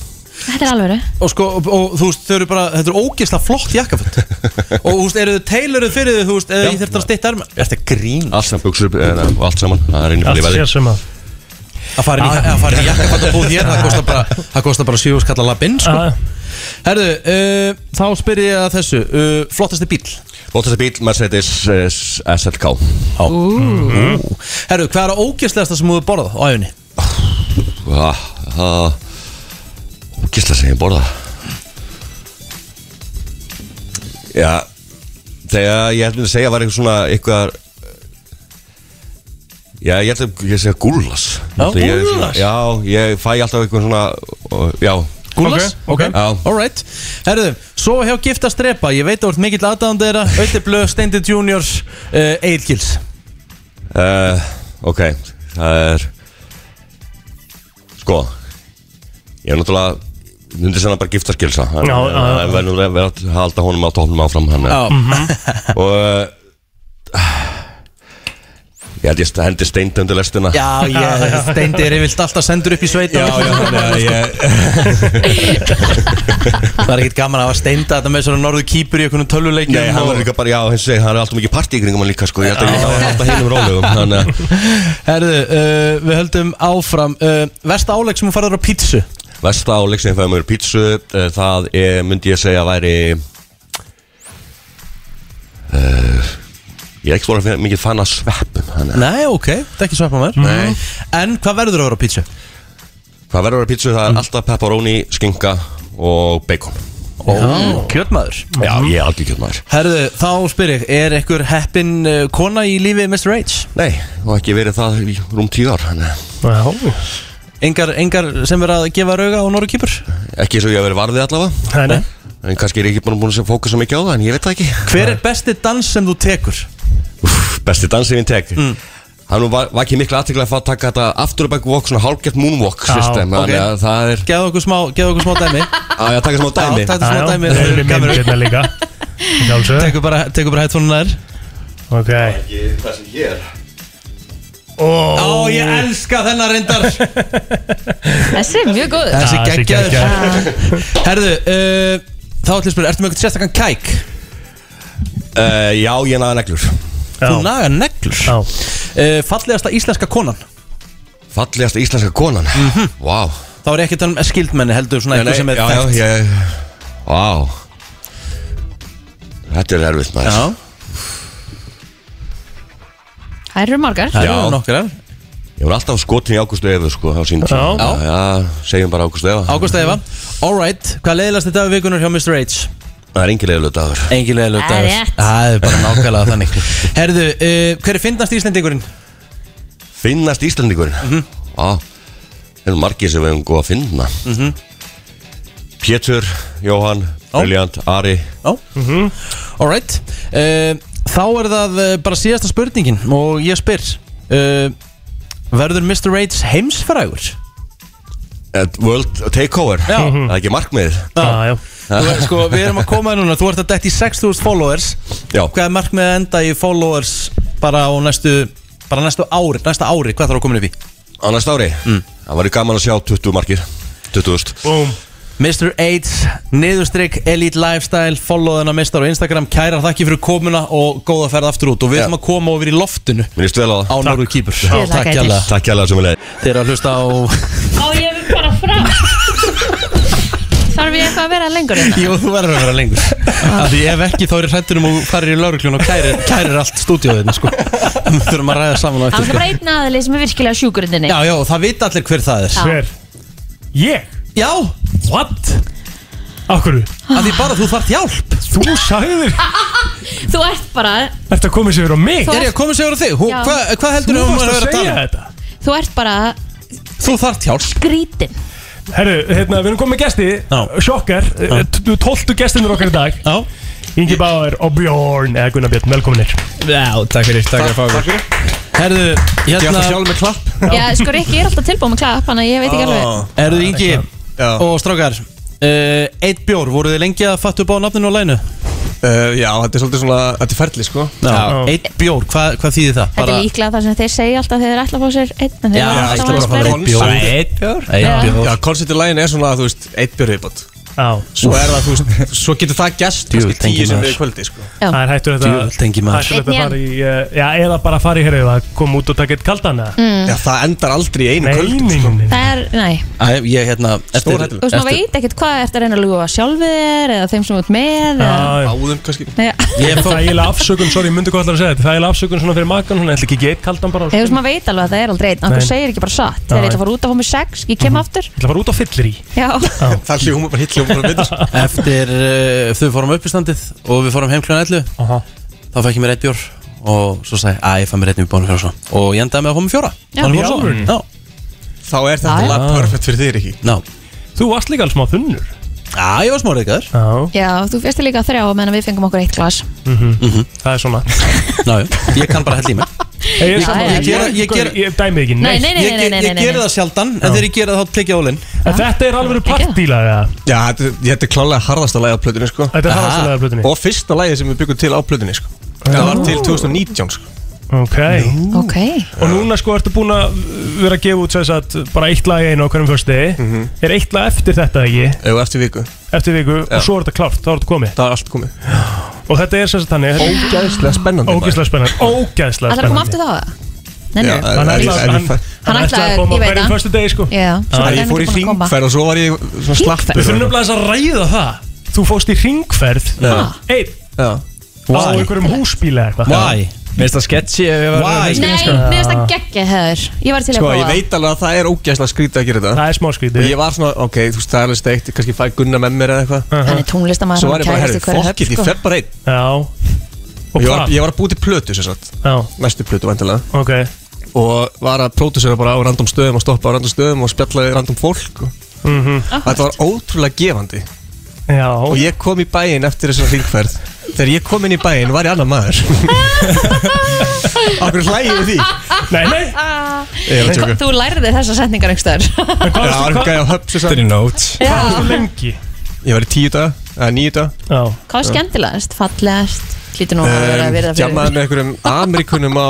[SPEAKER 4] þetta er alveg
[SPEAKER 2] Og sko, og, og þú veist, þau eru bara, þetta eru ógeðslega flott jakkafutt Og þú veist, eru þau tailoruð fyrir þau, þú veist, eða ég þurft að steytta arma Ertu að grínast?
[SPEAKER 13] allt sem buksur eh, og allt saman Það er einu fyrir
[SPEAKER 3] Allt
[SPEAKER 13] veði
[SPEAKER 3] sér sem að
[SPEAKER 2] Að fara inn í, að Ah, fara inn í jakkafutt að búð hér, það kostar bara, það kostar bara sjú skall að labba inn, sko
[SPEAKER 13] Ah.
[SPEAKER 3] Já.
[SPEAKER 2] Herðu, uh, þá spyr ég að þessu, uh, flottasti bíl?
[SPEAKER 13] Lóttast bíl Mercedes eh, s- SLK
[SPEAKER 2] Já Ú. Herru, hvað er að ógæstlegasta sem þú hefur borðað á æfinni?
[SPEAKER 13] Það Gísla sem ég borða Já Þegar ég ætlum að segja var eitthvað svona eitthvað Já, ég ætlum að segja gúllas
[SPEAKER 2] Já,
[SPEAKER 13] Ég er svona-
[SPEAKER 2] gúllas.
[SPEAKER 13] Já, ég fæ alltaf eitthvað svona ó, Já
[SPEAKER 2] Gúllas?
[SPEAKER 13] Ok, ok. Já.
[SPEAKER 2] Alright Herru, svo hjá giftast drepa Ég veit að þú ert mikill aðdáðan þeirra Ötti Blöð, Steindi Junior, uh, Egil Gils
[SPEAKER 13] uh, Ok, það er Sko Ég er náttúrulega Nundi sem bara giftast gilsa Það
[SPEAKER 3] Já, já, já.
[SPEAKER 13] er verður að vera að halda honum
[SPEAKER 3] Mhm.
[SPEAKER 13] á tóknum áfram hann,
[SPEAKER 2] Já.
[SPEAKER 13] Og uh, eh, Ég held ég hendi steindi undir lestina
[SPEAKER 2] Já, ég, Steindi er yfirlt alltaf sendur upp í sveita
[SPEAKER 13] Já, já, þannig að ég
[SPEAKER 2] Það er ekkert gaman að hafa Steinda þetta með svona norðu kýpur í einhvern tölvuleikjum
[SPEAKER 13] Nei, hann
[SPEAKER 2] og-
[SPEAKER 13] var líka bara, já, hins veginn, hann er alltaf mikið partí í kringum hann líka, sko Ég held að ég náði alltaf hinum rólegum Þannig að
[SPEAKER 2] Herðu, uh, við höldum áfram uh, Vesta áleik sem hún farður á pítsu
[SPEAKER 13] Vesta á leiksin fæðum við pítsu eh, Það er, myndi ég segja væri uh, Ég er ekki svona mikið fann að sveppum þannig að-
[SPEAKER 2] Nei, ok, þetta er ekki sveppa maður
[SPEAKER 13] Nei.
[SPEAKER 2] En hvað verður að vera á pítsu? Mm.
[SPEAKER 13] Hvað verður að vera pítsu? Það er alltaf pepperoni, skinka og bacon
[SPEAKER 2] Ó, Kjötmaður
[SPEAKER 13] Já, ég er algjör kjötmaður
[SPEAKER 2] Herðu, þá spyr ég, er einhver heppin uh, kona í lífi Mr. H?
[SPEAKER 13] Nei, og ekki verið það í rúm tíu ár þannig að-
[SPEAKER 3] Já
[SPEAKER 2] Engar, engar sem er að gefa rauga á Norru Kýpur?
[SPEAKER 13] Ekki svo ég hef verið varðið allavega
[SPEAKER 3] Nei,
[SPEAKER 13] En kannski er ég ekki búin búin að fókusa mikið á það En ég veit það ekki
[SPEAKER 2] Hver er besti dans sem þú tekur? Mm.
[SPEAKER 13] Besti dansið minn tek Hann var, var ekki miklu aðtekla að fá að taka þetta aftur og back walk, svona hálfgert moonwalk
[SPEAKER 2] Já,
[SPEAKER 13] system,
[SPEAKER 2] ok.
[SPEAKER 13] þannig að það er
[SPEAKER 2] Gefðu okkur smá, gefðu okkur smá dæmi
[SPEAKER 13] Já, já, taka smá dæmi
[SPEAKER 2] Já, taka smá dæmi
[SPEAKER 3] Það er mynd hérna líka
[SPEAKER 2] Tekur bara, tekur bara hætt hún nær
[SPEAKER 3] Ok
[SPEAKER 13] Það sem ég er
[SPEAKER 2] Ó, ég elska þennan reyndar Ah,
[SPEAKER 4] Þessi er mjög góð
[SPEAKER 2] Þessi geggjaður Herðu, uh, þá ætlum ég að spyrja, ertu með eitthvað sérstakann kæk?
[SPEAKER 13] uh, Já, ég naga neglur
[SPEAKER 2] Þú naga neglur?
[SPEAKER 3] Já
[SPEAKER 2] uh, Fallegasta íslenska konan? Mhm.
[SPEAKER 13] Fallegasta íslenska konan? Vá mm -hmm. wow.
[SPEAKER 2] Þá er ég ekki um skildmenni heldur svona eitthvað sem er
[SPEAKER 13] já, já,
[SPEAKER 2] þekkt
[SPEAKER 13] ég Vá Þetta er erfitt maður
[SPEAKER 2] Já,
[SPEAKER 4] Það eru margar
[SPEAKER 13] Já. Já,
[SPEAKER 2] nokkrar
[SPEAKER 13] Ég var alltaf skotin í Ágústu Efu sko á sín tíma
[SPEAKER 2] Já.
[SPEAKER 13] já, segjum bara Ágústu Efa
[SPEAKER 2] Ágúst Eva Alright, hvað leiðilegast þetta vikunur hjá Mr. H?
[SPEAKER 13] Það er engin leiðilegu dagur
[SPEAKER 2] Engin leiðilegu
[SPEAKER 13] Það er rétt.
[SPEAKER 2] Það er bara nákvæmlega þannig Herðu, uh, hver er fyndnast íslendingurinn?
[SPEAKER 13] Finnast Íslandingurinn mm
[SPEAKER 2] Mhm.
[SPEAKER 13] -hmm. Já Það eru margir sem við hefum góð að finna
[SPEAKER 2] Mm
[SPEAKER 13] Pétur, Jóhann, Brilliant, Ari
[SPEAKER 2] Já mm -hmm. Alright uh, Þá er það uh, bara síðasta spurningin Og ég spyr uh, Verður Mr. H heimsfrægur?
[SPEAKER 13] At World Takeover
[SPEAKER 2] Já.
[SPEAKER 13] Það er ekki markmiðið
[SPEAKER 3] Já, já
[SPEAKER 2] Þú veist, Sko, við erum að koma þér núna Þú ert að detti 6.000 followers
[SPEAKER 13] Já
[SPEAKER 2] Hvað er markmið að enda í followers Bara á næstu Bara næstu ári, næsta ári, hvað þarf að koma upp í?
[SPEAKER 13] Á næsta ári
[SPEAKER 2] Mm.
[SPEAKER 13] Það væri gaman að sjá 20 markir 20.000
[SPEAKER 3] Búm
[SPEAKER 2] Mr. Aids, niðurstrykk, Elite Lifestyle Followðuna mistar á Instagram Kærar þakki fyrir komuna og góða ferð aftur út Og við ætlum að koma over í loftinu
[SPEAKER 13] Mér líst vel á það
[SPEAKER 2] Á Norður Kýpur
[SPEAKER 13] Já.
[SPEAKER 2] Takk hjálpa
[SPEAKER 13] Takk hjálpa sem við leiði
[SPEAKER 2] Þeir eru að hlusta á
[SPEAKER 4] Á ég vil bara fram Þarf ég eitthvað að vera lengur hérna?
[SPEAKER 2] Jú, þú verður að vera lengur Af því ef ekki þá er ég hrættur um að þú farir í lauruglun og kærir, kærir allt stúdíóðinu sko. Við þurfum að ræða saman á
[SPEAKER 4] Það
[SPEAKER 2] eftir
[SPEAKER 4] er
[SPEAKER 2] sko.
[SPEAKER 4] bara einn aðli sem er virkilega hérna sjúkurindinni
[SPEAKER 2] Já, já, og það vita allir hver það er
[SPEAKER 4] Já. Hver?
[SPEAKER 3] Ég?
[SPEAKER 2] Já
[SPEAKER 3] What? Akkur?
[SPEAKER 2] Af því bara þú þarft hjálp
[SPEAKER 3] Þú sagðir
[SPEAKER 4] Þú ert bara
[SPEAKER 3] Þetta komið sér á mig
[SPEAKER 4] Þú- Er ég að koma
[SPEAKER 2] sér á þig?
[SPEAKER 4] Hú- Já. hvað- hvað heldurðu
[SPEAKER 3] Þú
[SPEAKER 4] að hún
[SPEAKER 3] varst
[SPEAKER 4] var að vera að
[SPEAKER 3] segja
[SPEAKER 4] tala um?
[SPEAKER 3] þetta
[SPEAKER 4] Þú ert bara
[SPEAKER 2] Þú þart hjálp
[SPEAKER 4] Grítin
[SPEAKER 3] Herru, hérna, við erum komið með gesti Sjokkar eh, t- Tóltu gestinur okkar í dag
[SPEAKER 2] Já
[SPEAKER 3] Ingi Báður og Björn Eða Gunnar Björn, velkominir
[SPEAKER 14] Já, takk fyrir, takk fyrir að fá okkur
[SPEAKER 2] Herðu,
[SPEAKER 14] Ég ætla
[SPEAKER 2] hérna-
[SPEAKER 14] sjálf með klapp
[SPEAKER 4] Já, sko Rikki er alltaf tilbúin með klapp Þannig að ég veit ekki alveg
[SPEAKER 14] Ah.
[SPEAKER 2] Erðu yngi og strákar uh, Eitt bjór, voruð þið lengi að fatta upp á nafninu og lænu?
[SPEAKER 14] uh, Já, þetta er svolítið svona, þetta er ferli sko
[SPEAKER 2] Já, eitt bjór, hvað, hvað þýðir það?
[SPEAKER 4] Þetta er líklega það sem þeir segja alltaf þegar þeir ætla að fá sér einn en þeir eru alltaf aðeins fleiri.
[SPEAKER 14] Eitt bjór
[SPEAKER 2] Eitt
[SPEAKER 14] Já.
[SPEAKER 2] bjór.
[SPEAKER 14] Já, konceptið lægin er svona, þú veist, eitt bjór viðbót
[SPEAKER 3] Já
[SPEAKER 14] Svo er það, þú veist, svo getur það gæst
[SPEAKER 2] Djú,
[SPEAKER 14] kannski
[SPEAKER 2] tengi
[SPEAKER 14] tíu sem
[SPEAKER 2] maður.
[SPEAKER 14] við kvöldi sko
[SPEAKER 4] Já.
[SPEAKER 3] Það er hættur þetta
[SPEAKER 2] Djöfull, tengi maður.
[SPEAKER 3] hættur þetta að fara í eh, Já, eða bara fara í herru Það kom út og taka eitt kaldan eða?
[SPEAKER 4] Mm.
[SPEAKER 14] Já, það endar aldrei í einu
[SPEAKER 3] kvöldi sko.
[SPEAKER 4] Það er, nei
[SPEAKER 2] Æ, ég hérna eftir,
[SPEAKER 4] Þú veist, maður veit ekkert hvað ertu að reyna að ljúga sjálf þér eða þeim sem þú ert með eða...
[SPEAKER 14] Áðum kannski
[SPEAKER 4] Já.
[SPEAKER 3] Ég er þægilega afsökun, sorry, ég myndi hvað ætlar að segja þetta Þægilega afsökun svona fyrir makan, hún ætla ekki geitt kaldan bara
[SPEAKER 4] Þú veist, maður veit alveg að það er aldrei einn Akkur
[SPEAKER 3] Nei.
[SPEAKER 4] segir ekki bara satt Þegar
[SPEAKER 3] Já, Mhm.
[SPEAKER 4] ég ætla að fara út að fá mig sex, ég kem aftur
[SPEAKER 3] ætla að fara út á fyllir í
[SPEAKER 4] Já,
[SPEAKER 14] Það hljóma bara hitt hljóma bara betur sko.
[SPEAKER 2] eftir uh, þau fórum upp í standið og við fórum heim kljóðan 11
[SPEAKER 3] Aha.
[SPEAKER 2] þá fekk ég mér eitt bjór og svo sagði ég, að ég fann mér eitt bjór og svo og ég endaði með að koma með fjóra
[SPEAKER 3] Já. Í
[SPEAKER 2] Þannig fór svo.
[SPEAKER 3] alvörunni?
[SPEAKER 2] Já.
[SPEAKER 14] Þá er þetta
[SPEAKER 2] Já, já.
[SPEAKER 14] lag perfect fyrir þér ekki
[SPEAKER 2] Ná
[SPEAKER 3] Þú varst líka alls smá þunnur
[SPEAKER 2] Já, ég var smá reykaður
[SPEAKER 3] Já
[SPEAKER 4] já þú fyrst líka þrjá meðan við fengum okkur eitt glas
[SPEAKER 3] Það er svona
[SPEAKER 2] Mhm. Ná, já, ég kann bara hella í mig
[SPEAKER 3] Ég er
[SPEAKER 2] Ég-
[SPEAKER 3] sammála.
[SPEAKER 2] ég gera- ég gera-
[SPEAKER 3] Ég dæmi ekki
[SPEAKER 4] Nei, nei, nei,
[SPEAKER 2] Ég-
[SPEAKER 4] nei, nei,
[SPEAKER 2] ég-
[SPEAKER 4] nei,
[SPEAKER 2] Ég
[SPEAKER 4] nei,
[SPEAKER 2] gera
[SPEAKER 4] nei.
[SPEAKER 2] það sjaldan, en þegar ég gera það þá tek ég ólinn
[SPEAKER 3] En þetta er alveg partílag eða?
[SPEAKER 14] Já, þetta, er- þetta er klálega harðasta lagi á plötunni sko
[SPEAKER 3] Þetta er harðasta lagið á plötunni.
[SPEAKER 14] Og fyrsta lagi sem við byggum til á plötunni sko Það var til 2019 sko
[SPEAKER 3] Ok,
[SPEAKER 4] Ok
[SPEAKER 3] og núna sko ertu búin að vera að gefa út sem sagt, bara eitt lag einu á hverjum fyrstu
[SPEAKER 14] Mhm.
[SPEAKER 3] er eitt lag eftir þetta ekki?
[SPEAKER 14] Eða eftir viku
[SPEAKER 3] Eftir viku
[SPEAKER 14] Já.
[SPEAKER 3] og svo er þetta klárt, þá er þetta komið
[SPEAKER 14] Það er allt komið
[SPEAKER 3] Og þetta er sem sagt þannig
[SPEAKER 14] Ógæðslega spennandi
[SPEAKER 3] Ógæðslega spennandi Ógæðslega
[SPEAKER 4] Ætlar að koma aftur
[SPEAKER 3] spennandi
[SPEAKER 4] þá eða? Nei, nei.
[SPEAKER 14] eh,
[SPEAKER 3] Hann ætlaði- hann-
[SPEAKER 4] Hann
[SPEAKER 3] hann ætlaði
[SPEAKER 4] ætlaði,
[SPEAKER 3] að koma
[SPEAKER 4] ég
[SPEAKER 3] á
[SPEAKER 4] veit
[SPEAKER 3] hverjum föstu degi sko
[SPEAKER 4] Já, svo var
[SPEAKER 14] Ég
[SPEAKER 4] hann
[SPEAKER 14] fór í
[SPEAKER 4] ekki búinn að koma.
[SPEAKER 14] hringferð og svo var ég svona slappur
[SPEAKER 3] Við þurfum nefnilega að ræða það Þú fóst í ringferð
[SPEAKER 14] Já.
[SPEAKER 3] Einn
[SPEAKER 14] Já
[SPEAKER 3] Á einhverjum húsbíla eða eitthvað
[SPEAKER 14] Why?
[SPEAKER 2] Mér finnst það sketchy
[SPEAKER 4] Nei, mér finnst
[SPEAKER 3] Ah.
[SPEAKER 4] það geggja hefur Ég var til að
[SPEAKER 14] Sko, ég
[SPEAKER 4] prófa
[SPEAKER 14] veit alveg að það er ógæðslega skrítið að gera þetta
[SPEAKER 3] Það er smá skrítið
[SPEAKER 14] Og ég var svona, ok, þú veist, það er alveg steikt Kannski fæ Gunna með mér eða eitthvað
[SPEAKER 4] Hann er tónlistamaður,
[SPEAKER 14] Svo
[SPEAKER 4] hann
[SPEAKER 14] var ég bara,
[SPEAKER 4] kærist í
[SPEAKER 14] herri,
[SPEAKER 4] hverri höfn,
[SPEAKER 14] fokkið,
[SPEAKER 4] sko.
[SPEAKER 14] ég fer bara einn
[SPEAKER 3] Já
[SPEAKER 14] Og ég var,
[SPEAKER 3] hvað?
[SPEAKER 14] ég var að búið til plötu, sér satt
[SPEAKER 3] Já
[SPEAKER 14] Næstu plötu, vantilega
[SPEAKER 3] Ok
[SPEAKER 14] Og var að pródusera bara á random stöðum Og stoppa á random stöðum og spjalla við random fólk og...
[SPEAKER 3] Mhm.
[SPEAKER 14] Þetta var ótrúlega gefandi
[SPEAKER 3] Já Og
[SPEAKER 14] ég kom í bæinn eftir þessar hringferð Þegar ég kom inn í bæinn var ég annar maður Akkur hlægir því
[SPEAKER 3] Nei, nei
[SPEAKER 14] Ég er að
[SPEAKER 4] Hva-
[SPEAKER 14] tjóka.
[SPEAKER 4] Þú lærði þessar setningar einhverstaðar
[SPEAKER 14] Já, það var eitthvað gæði á höfn Þetta er í nót
[SPEAKER 4] Hvað varstu
[SPEAKER 3] lengi?
[SPEAKER 14] Ég var í tíu daga, eða níu daga
[SPEAKER 3] Já
[SPEAKER 4] Hvað er skemmtilegast, fallegast Lítur nú að vera að vera það
[SPEAKER 14] Jammaði með einhverjum Amerikunum á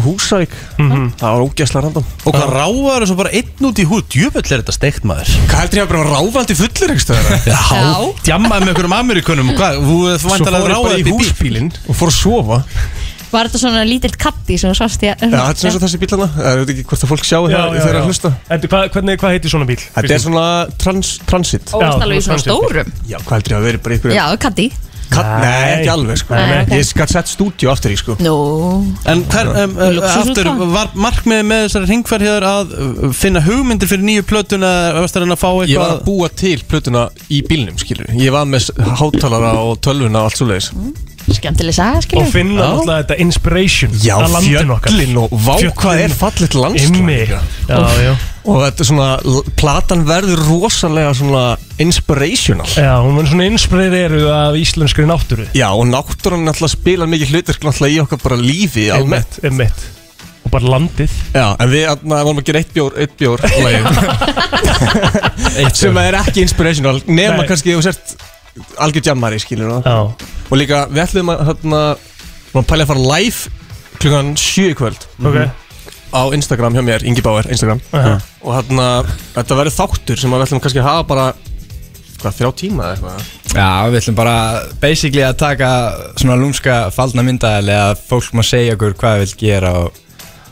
[SPEAKER 14] Húsavík
[SPEAKER 3] Mhm.
[SPEAKER 14] Það var ógæsla random
[SPEAKER 2] Og hvað ráðar þessu bara einn út í húð Djöfull er þetta steikt maður
[SPEAKER 14] Hvað heldur ég að bara ráðvaldi fullur einhverstaðar?
[SPEAKER 2] Já, djammaði með einhverjum amerikunum og Hvað, þú þú
[SPEAKER 14] Svo fór
[SPEAKER 2] væntanlega
[SPEAKER 14] ég bara
[SPEAKER 2] ráðaði
[SPEAKER 14] í
[SPEAKER 2] upp bíl.
[SPEAKER 14] húsbílinn og fór að sofa
[SPEAKER 4] Var þetta svona lítilt katti sem þú sást í að
[SPEAKER 14] Já, þetta er svona eins og þessi bílana Það veit ekki hvort að fólk sjáu
[SPEAKER 3] Já,
[SPEAKER 14] það
[SPEAKER 3] já, já.
[SPEAKER 14] þegar að hlusta
[SPEAKER 3] En hvað- hvernig, hvað heitir svona bíl?
[SPEAKER 14] Þetta er svona trans, transit
[SPEAKER 4] Ó, varstu alveg í svona stórum?
[SPEAKER 14] Já, hvað heldur ég að vera bara í
[SPEAKER 4] Já,
[SPEAKER 14] einhverju
[SPEAKER 4] katti
[SPEAKER 14] Katt, nei, ekki alveg sko
[SPEAKER 4] Nei, nei, ok.
[SPEAKER 14] Ég skal sett stúdíu aftur í sko
[SPEAKER 4] Nú
[SPEAKER 2] En hver, um, uh,
[SPEAKER 14] eh,
[SPEAKER 4] Lúxusútgáfa.
[SPEAKER 2] aftur, var markmiðið með þessari hringferðhjöður að uh, finna hugmyndir fyrir nýju plötuna eða varstu að reyna að fá eitthvað
[SPEAKER 14] Ég var að búa til plötuna í bílnum, skilur Ég var með s- hátalara og tölvuna og allt svo leiðis
[SPEAKER 4] Skemmtileg saga,
[SPEAKER 3] Og
[SPEAKER 4] skilur
[SPEAKER 3] finna alltaf þetta inspiration
[SPEAKER 14] Já,
[SPEAKER 3] að landinu okkar.
[SPEAKER 14] fjöllin og vá hvað er fallit
[SPEAKER 3] Einmitt.
[SPEAKER 14] landslag
[SPEAKER 3] Já, já
[SPEAKER 14] Og þetta er svona, l- platan verður rosalega svona inspirational
[SPEAKER 3] Já, hún var svona inspireruð af íslenskri náttúru
[SPEAKER 14] Já, og náttúran náttúrulega spila mikið hlutur náttúrulega í okkar bara lífi almennt
[SPEAKER 3] Einmitt Og bara landið
[SPEAKER 14] Já, en við na, vorum að gera eitt bjór, eitt bjór lagið. sem er ekki inspirational nema
[SPEAKER 3] Nei.
[SPEAKER 14] kannski þú sért algjör jammari skilur
[SPEAKER 3] Já.
[SPEAKER 14] og líka við ætlum að hérna, vorum að pæla að fara live klukkan 7 í kvöld Mhm.
[SPEAKER 3] Ok.
[SPEAKER 14] á Instagram hjá mér, Ingi Bauer, Instagram
[SPEAKER 3] Aha.
[SPEAKER 14] og hérna, þetta verður þáttur sem að við ætlum kannski að hafa bara hvað, þrjá tíma eða eitthvað
[SPEAKER 15] Já, við ætlum bara basically að taka svona lúmska faldna myndaðal eða fólk má segja okkur hvað við vil gera og við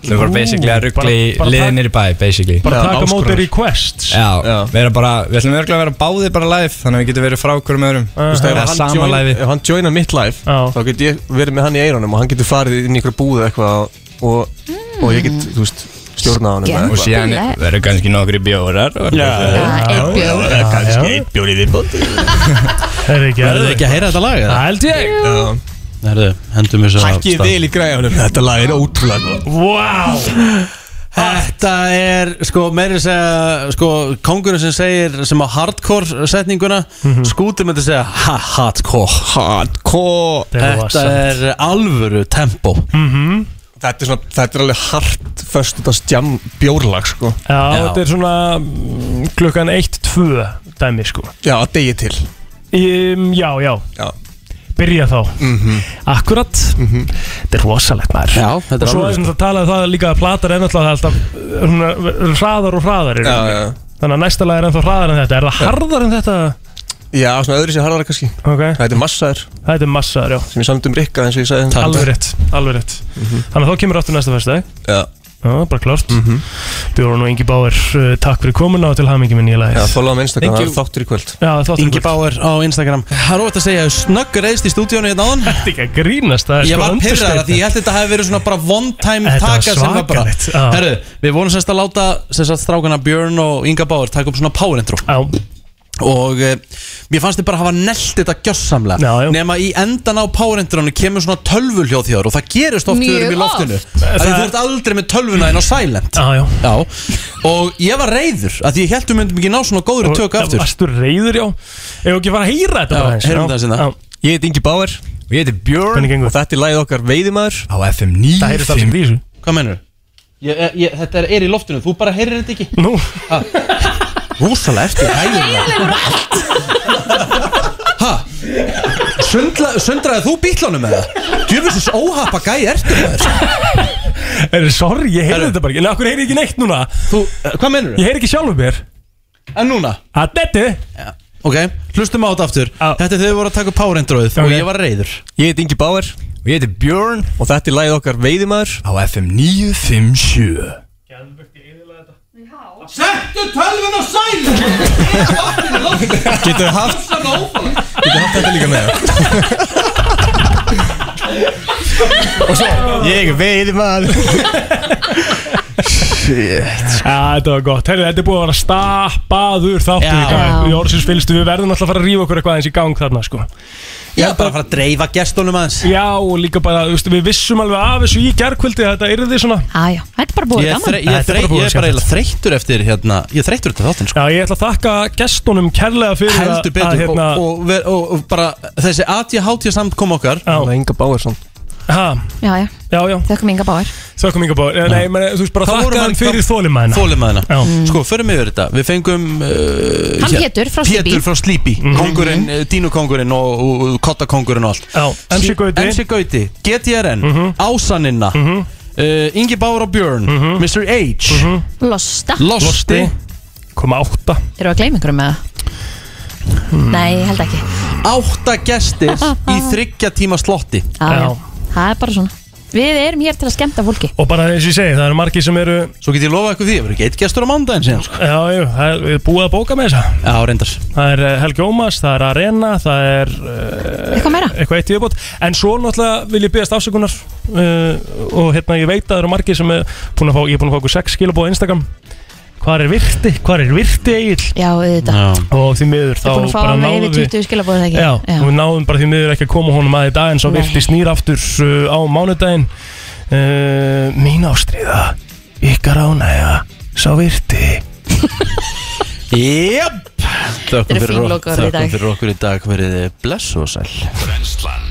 [SPEAKER 15] ætlum bara
[SPEAKER 3] Ú,
[SPEAKER 15] basically að ruggla
[SPEAKER 3] bara-
[SPEAKER 15] í
[SPEAKER 3] bara
[SPEAKER 15] liðið
[SPEAKER 3] taka-
[SPEAKER 15] niður í bæ, basically
[SPEAKER 3] Bara taka á móti requests
[SPEAKER 15] Já, við erum bara, við ætlum örgulega að vera báðir bara live þannig að við getum verið frá okkur um öðrum
[SPEAKER 14] Þú veist, ef
[SPEAKER 15] eða
[SPEAKER 14] hann,
[SPEAKER 15] sama
[SPEAKER 14] join,
[SPEAKER 15] live
[SPEAKER 14] ef hann joinar mitt live þá get ég verið með hann í eironum og hann getur farið inn í einhverja búð eða eitthvað og, og,
[SPEAKER 15] Hmm.
[SPEAKER 14] og ég get, þú veist, stjórnað honum eða
[SPEAKER 15] og
[SPEAKER 14] eitthvað.
[SPEAKER 15] síðan verður kannski nokkri bjórar og-
[SPEAKER 14] Já,
[SPEAKER 15] einn bjór.
[SPEAKER 14] já, kannski einn bjór í viðbót
[SPEAKER 3] Er ekki
[SPEAKER 2] Verður þið ekki að heyra þetta lag? eða?
[SPEAKER 3] Held ég
[SPEAKER 2] Herðu, hendum þessu af stað.
[SPEAKER 14] Hækkið vel í græðunum, þetta lag er ótrúlega gott.
[SPEAKER 3] Wow
[SPEAKER 2] Þetta er sko meiri segja sko kongurinn sem segir sem á hardcore setninguna mm skútir með þetta segja ha, hardcore
[SPEAKER 14] hardcore
[SPEAKER 2] Þetta er alvöru tempo
[SPEAKER 3] -hmm.
[SPEAKER 14] þetta, er svona, þetta er alveg hart föstudags jam bjórlag sko
[SPEAKER 3] Já, þetta er svona mm, klukkan 1-2 dæmi sko
[SPEAKER 14] Já, að degi til
[SPEAKER 3] um, Já, já
[SPEAKER 14] Já Mhm.
[SPEAKER 3] Byrja þá Akkurat Þetta er rosalegt maður
[SPEAKER 2] Já, þetta
[SPEAKER 3] Og
[SPEAKER 2] er
[SPEAKER 3] svo er
[SPEAKER 2] alvöru
[SPEAKER 3] þetta talað um það líka að platar er náttúrulega alltaf uh, hún er- er hraðar og hraðar já,
[SPEAKER 14] já.
[SPEAKER 3] Þannig að næsta lag er ennþá hraðar en þetta Er það harðar en þetta?
[SPEAKER 14] Já, svona öðru sér harðara kannski
[SPEAKER 3] okay.
[SPEAKER 14] Þetta er massaður
[SPEAKER 3] Þetta er massaður, já
[SPEAKER 14] Sem ég samt um Mhm. Rikka eins og ég sagði
[SPEAKER 3] Alveg rétt, alveg rétt Þannig að þá kemur aftur næsta fyrstæk
[SPEAKER 14] Já. Mhm.
[SPEAKER 3] Já, bara klart mm -hmm. Bjórn og Ingi Báir, uh, takk fyrir komuna og til hamingi minn í lagið
[SPEAKER 14] Já, follow á Instagram,
[SPEAKER 3] Thank
[SPEAKER 14] það
[SPEAKER 3] you.
[SPEAKER 14] er þáttur í kvöld
[SPEAKER 3] Já, þáttur í
[SPEAKER 2] Ingi
[SPEAKER 3] kvöld.
[SPEAKER 2] Bauer á Instagram Það er óvægt að segja snöggur reyðst í stúdíónu hérna áðan
[SPEAKER 3] Þetta er ekki að grínast það er
[SPEAKER 2] Ég
[SPEAKER 3] sko
[SPEAKER 2] var pyrrar
[SPEAKER 3] understatement.
[SPEAKER 2] að því ég held þetta hafi verið svona bara one time
[SPEAKER 3] Þetta var
[SPEAKER 2] taka sem var bara
[SPEAKER 3] svakalegt, já.
[SPEAKER 2] Herru, við vorum semst að láta semst að strákana Björn og Inga Báður taka upp svona power intro
[SPEAKER 3] já.
[SPEAKER 2] og e, mér fannst þið bara hafa nelt þetta gjörsamlega já, nema í endan á power intronu kemur svona tölvuljóð hjá þér og það gerist oft
[SPEAKER 3] Mjög
[SPEAKER 2] þegar við erum í loftinu
[SPEAKER 3] oft.
[SPEAKER 2] að
[SPEAKER 3] Það-
[SPEAKER 2] þú ert aldrei með tölvuna inn á silent
[SPEAKER 3] já, já.
[SPEAKER 2] og ég var reyður að því ég held við myndum ekki ná svona góður
[SPEAKER 3] Og-
[SPEAKER 2] tök aftur
[SPEAKER 3] Varstu reyður, já Ef ekki fara að heyra þetta bara eins
[SPEAKER 2] heyrum það sinna
[SPEAKER 14] Ég heiti Ingi Bauer
[SPEAKER 15] Og ég heiti Björn
[SPEAKER 14] Og þetta er lagið okkar Veiðimaður
[SPEAKER 15] Á FM 9
[SPEAKER 2] Það heyrist alls
[SPEAKER 3] í þessu
[SPEAKER 2] Hvað mennur? Ég, ég, þetta er, er í loftinu, þú bara heyrir þetta ekki
[SPEAKER 3] Nú
[SPEAKER 2] Rúsalega ertu hægur
[SPEAKER 4] Hægur
[SPEAKER 2] Ha? Sundla, sundraði þú bítlunum með það? Djöfisins óhappa gæi ertu maður
[SPEAKER 3] Erðu, sorry, ég heyrði þetta bara ekki En okkur heyrði ég ekki neitt núna
[SPEAKER 2] Þú, eh, hvað mennur
[SPEAKER 3] Ég heyrði ekki sjálfur mér
[SPEAKER 2] En núna?
[SPEAKER 3] Að þetta
[SPEAKER 2] Ok, hlustum á þetta aftur Þetta er þegar við vorum að taka Power Endroið og ég var reyður
[SPEAKER 14] Ég heiti Ingi Bauer og ég heiti Björn og þetta er lagið okkar Veiðimaður á FM 957
[SPEAKER 1] Settu tölvun á sælu
[SPEAKER 14] Getur haft Getur haft þetta líka með Og svo Ég veiði maður
[SPEAKER 3] Shit Þetta var gott Herðu, þetta er búið að vera stappaður þáttur í gang Í orðsins fylgstu Við verðum alltaf að fara að rífa okkur eitthvað eins í gang þarna sko
[SPEAKER 2] Ég er bara að fara að dreifa gestunum aðeins
[SPEAKER 3] Já, og líka bara, þú veist, við vissum alveg af þessu í gerkvöldi Þetta er þið svona
[SPEAKER 4] Æja, þetta er bara búið
[SPEAKER 2] Ég er,
[SPEAKER 4] gaman
[SPEAKER 2] þre, ég er, þre, ég er bara eiginlega þreyttur eftir hérna, ég er þreyttur eftir þáttinn sko.
[SPEAKER 3] Já, ég ætla að þakka gestunum kærlega fyrir að-
[SPEAKER 2] Heldur betur
[SPEAKER 3] að, hérna-
[SPEAKER 2] og, og, ver- og, og bara þessi ADHD samt kom okkar
[SPEAKER 3] Það
[SPEAKER 14] er Inga Báersson
[SPEAKER 3] Ha,
[SPEAKER 4] Já, já,
[SPEAKER 3] já, já
[SPEAKER 4] þökkum ynga báðar
[SPEAKER 3] Þökkum yngar báður Nei, meni, þú veist bara þakka hann fyrir þólimaðina
[SPEAKER 2] Þólimaðina,
[SPEAKER 3] Já.
[SPEAKER 2] sko, förum yfir þetta Við fengum uh,
[SPEAKER 4] Hann
[SPEAKER 2] hér-
[SPEAKER 4] Pétur frá Sleepy.
[SPEAKER 2] Pétur frá Sleepy
[SPEAKER 3] Mhm.
[SPEAKER 2] Kongurinn, uh, Dínukongurinn og, og, og Kottakongurinn og allt
[SPEAKER 3] Já, Mm. MC Gauti. Mhm.
[SPEAKER 2] MC Gauti, GTRN, Ásaninna uh, Ingi Báur og Björn
[SPEAKER 3] Mhm.
[SPEAKER 2] Mr. H
[SPEAKER 4] Losta
[SPEAKER 2] Losti
[SPEAKER 3] Koma átta
[SPEAKER 4] Eru að gleyma einhverjum með það?
[SPEAKER 14] Hmm.
[SPEAKER 4] Nei, ég held ekki
[SPEAKER 2] Átta gestir í þryggja tíma slotti
[SPEAKER 4] Ah, Já, já. Það er bara svona Við erum hér til að skemmta fólki
[SPEAKER 3] Og bara eins og ég segi, það eru margir sem eru
[SPEAKER 2] Svo get ég lofað ykkur því, það verður ekki eitt gestur á mándaginn síðan sko.
[SPEAKER 3] Já, já, það er við erum búið að bóka með þessa
[SPEAKER 2] Já, reyndar
[SPEAKER 3] Það er eh, Helgi Ómas, það er Arena, það er uh,
[SPEAKER 4] Eitthvað meira
[SPEAKER 3] Eitthvað eitt í viðbót En svo náttúrulega vil ég byggast afsökunar uh, Og hérna ég veit að það eru margir sem er búin að fá, Ég er búin að fá okkur sex skilabóð á Instagram Hvar er virti? Hvar er virti eigil?
[SPEAKER 4] Já, auðvitað
[SPEAKER 3] Og því miður þá
[SPEAKER 4] Ég er búin að fá
[SPEAKER 3] bara
[SPEAKER 4] alveg
[SPEAKER 3] náðum
[SPEAKER 4] yfir 20 skilabóð ekki
[SPEAKER 3] Já, og við náðum bara því miður ekki að koma honum að í dag en svo
[SPEAKER 4] Nei.
[SPEAKER 3] virti snýr aftur uh, á mánudaginn uh, Mín ástríða, ykkar ánægja, sá virti
[SPEAKER 2] Jöp
[SPEAKER 1] Þetta eru
[SPEAKER 2] Þökkum fyrir,
[SPEAKER 1] fín
[SPEAKER 2] ok-
[SPEAKER 1] lokaorð í dag.
[SPEAKER 2] þökkum fyrir okkur í dag Verið þið bless og sæl
[SPEAKER 1] Brenslan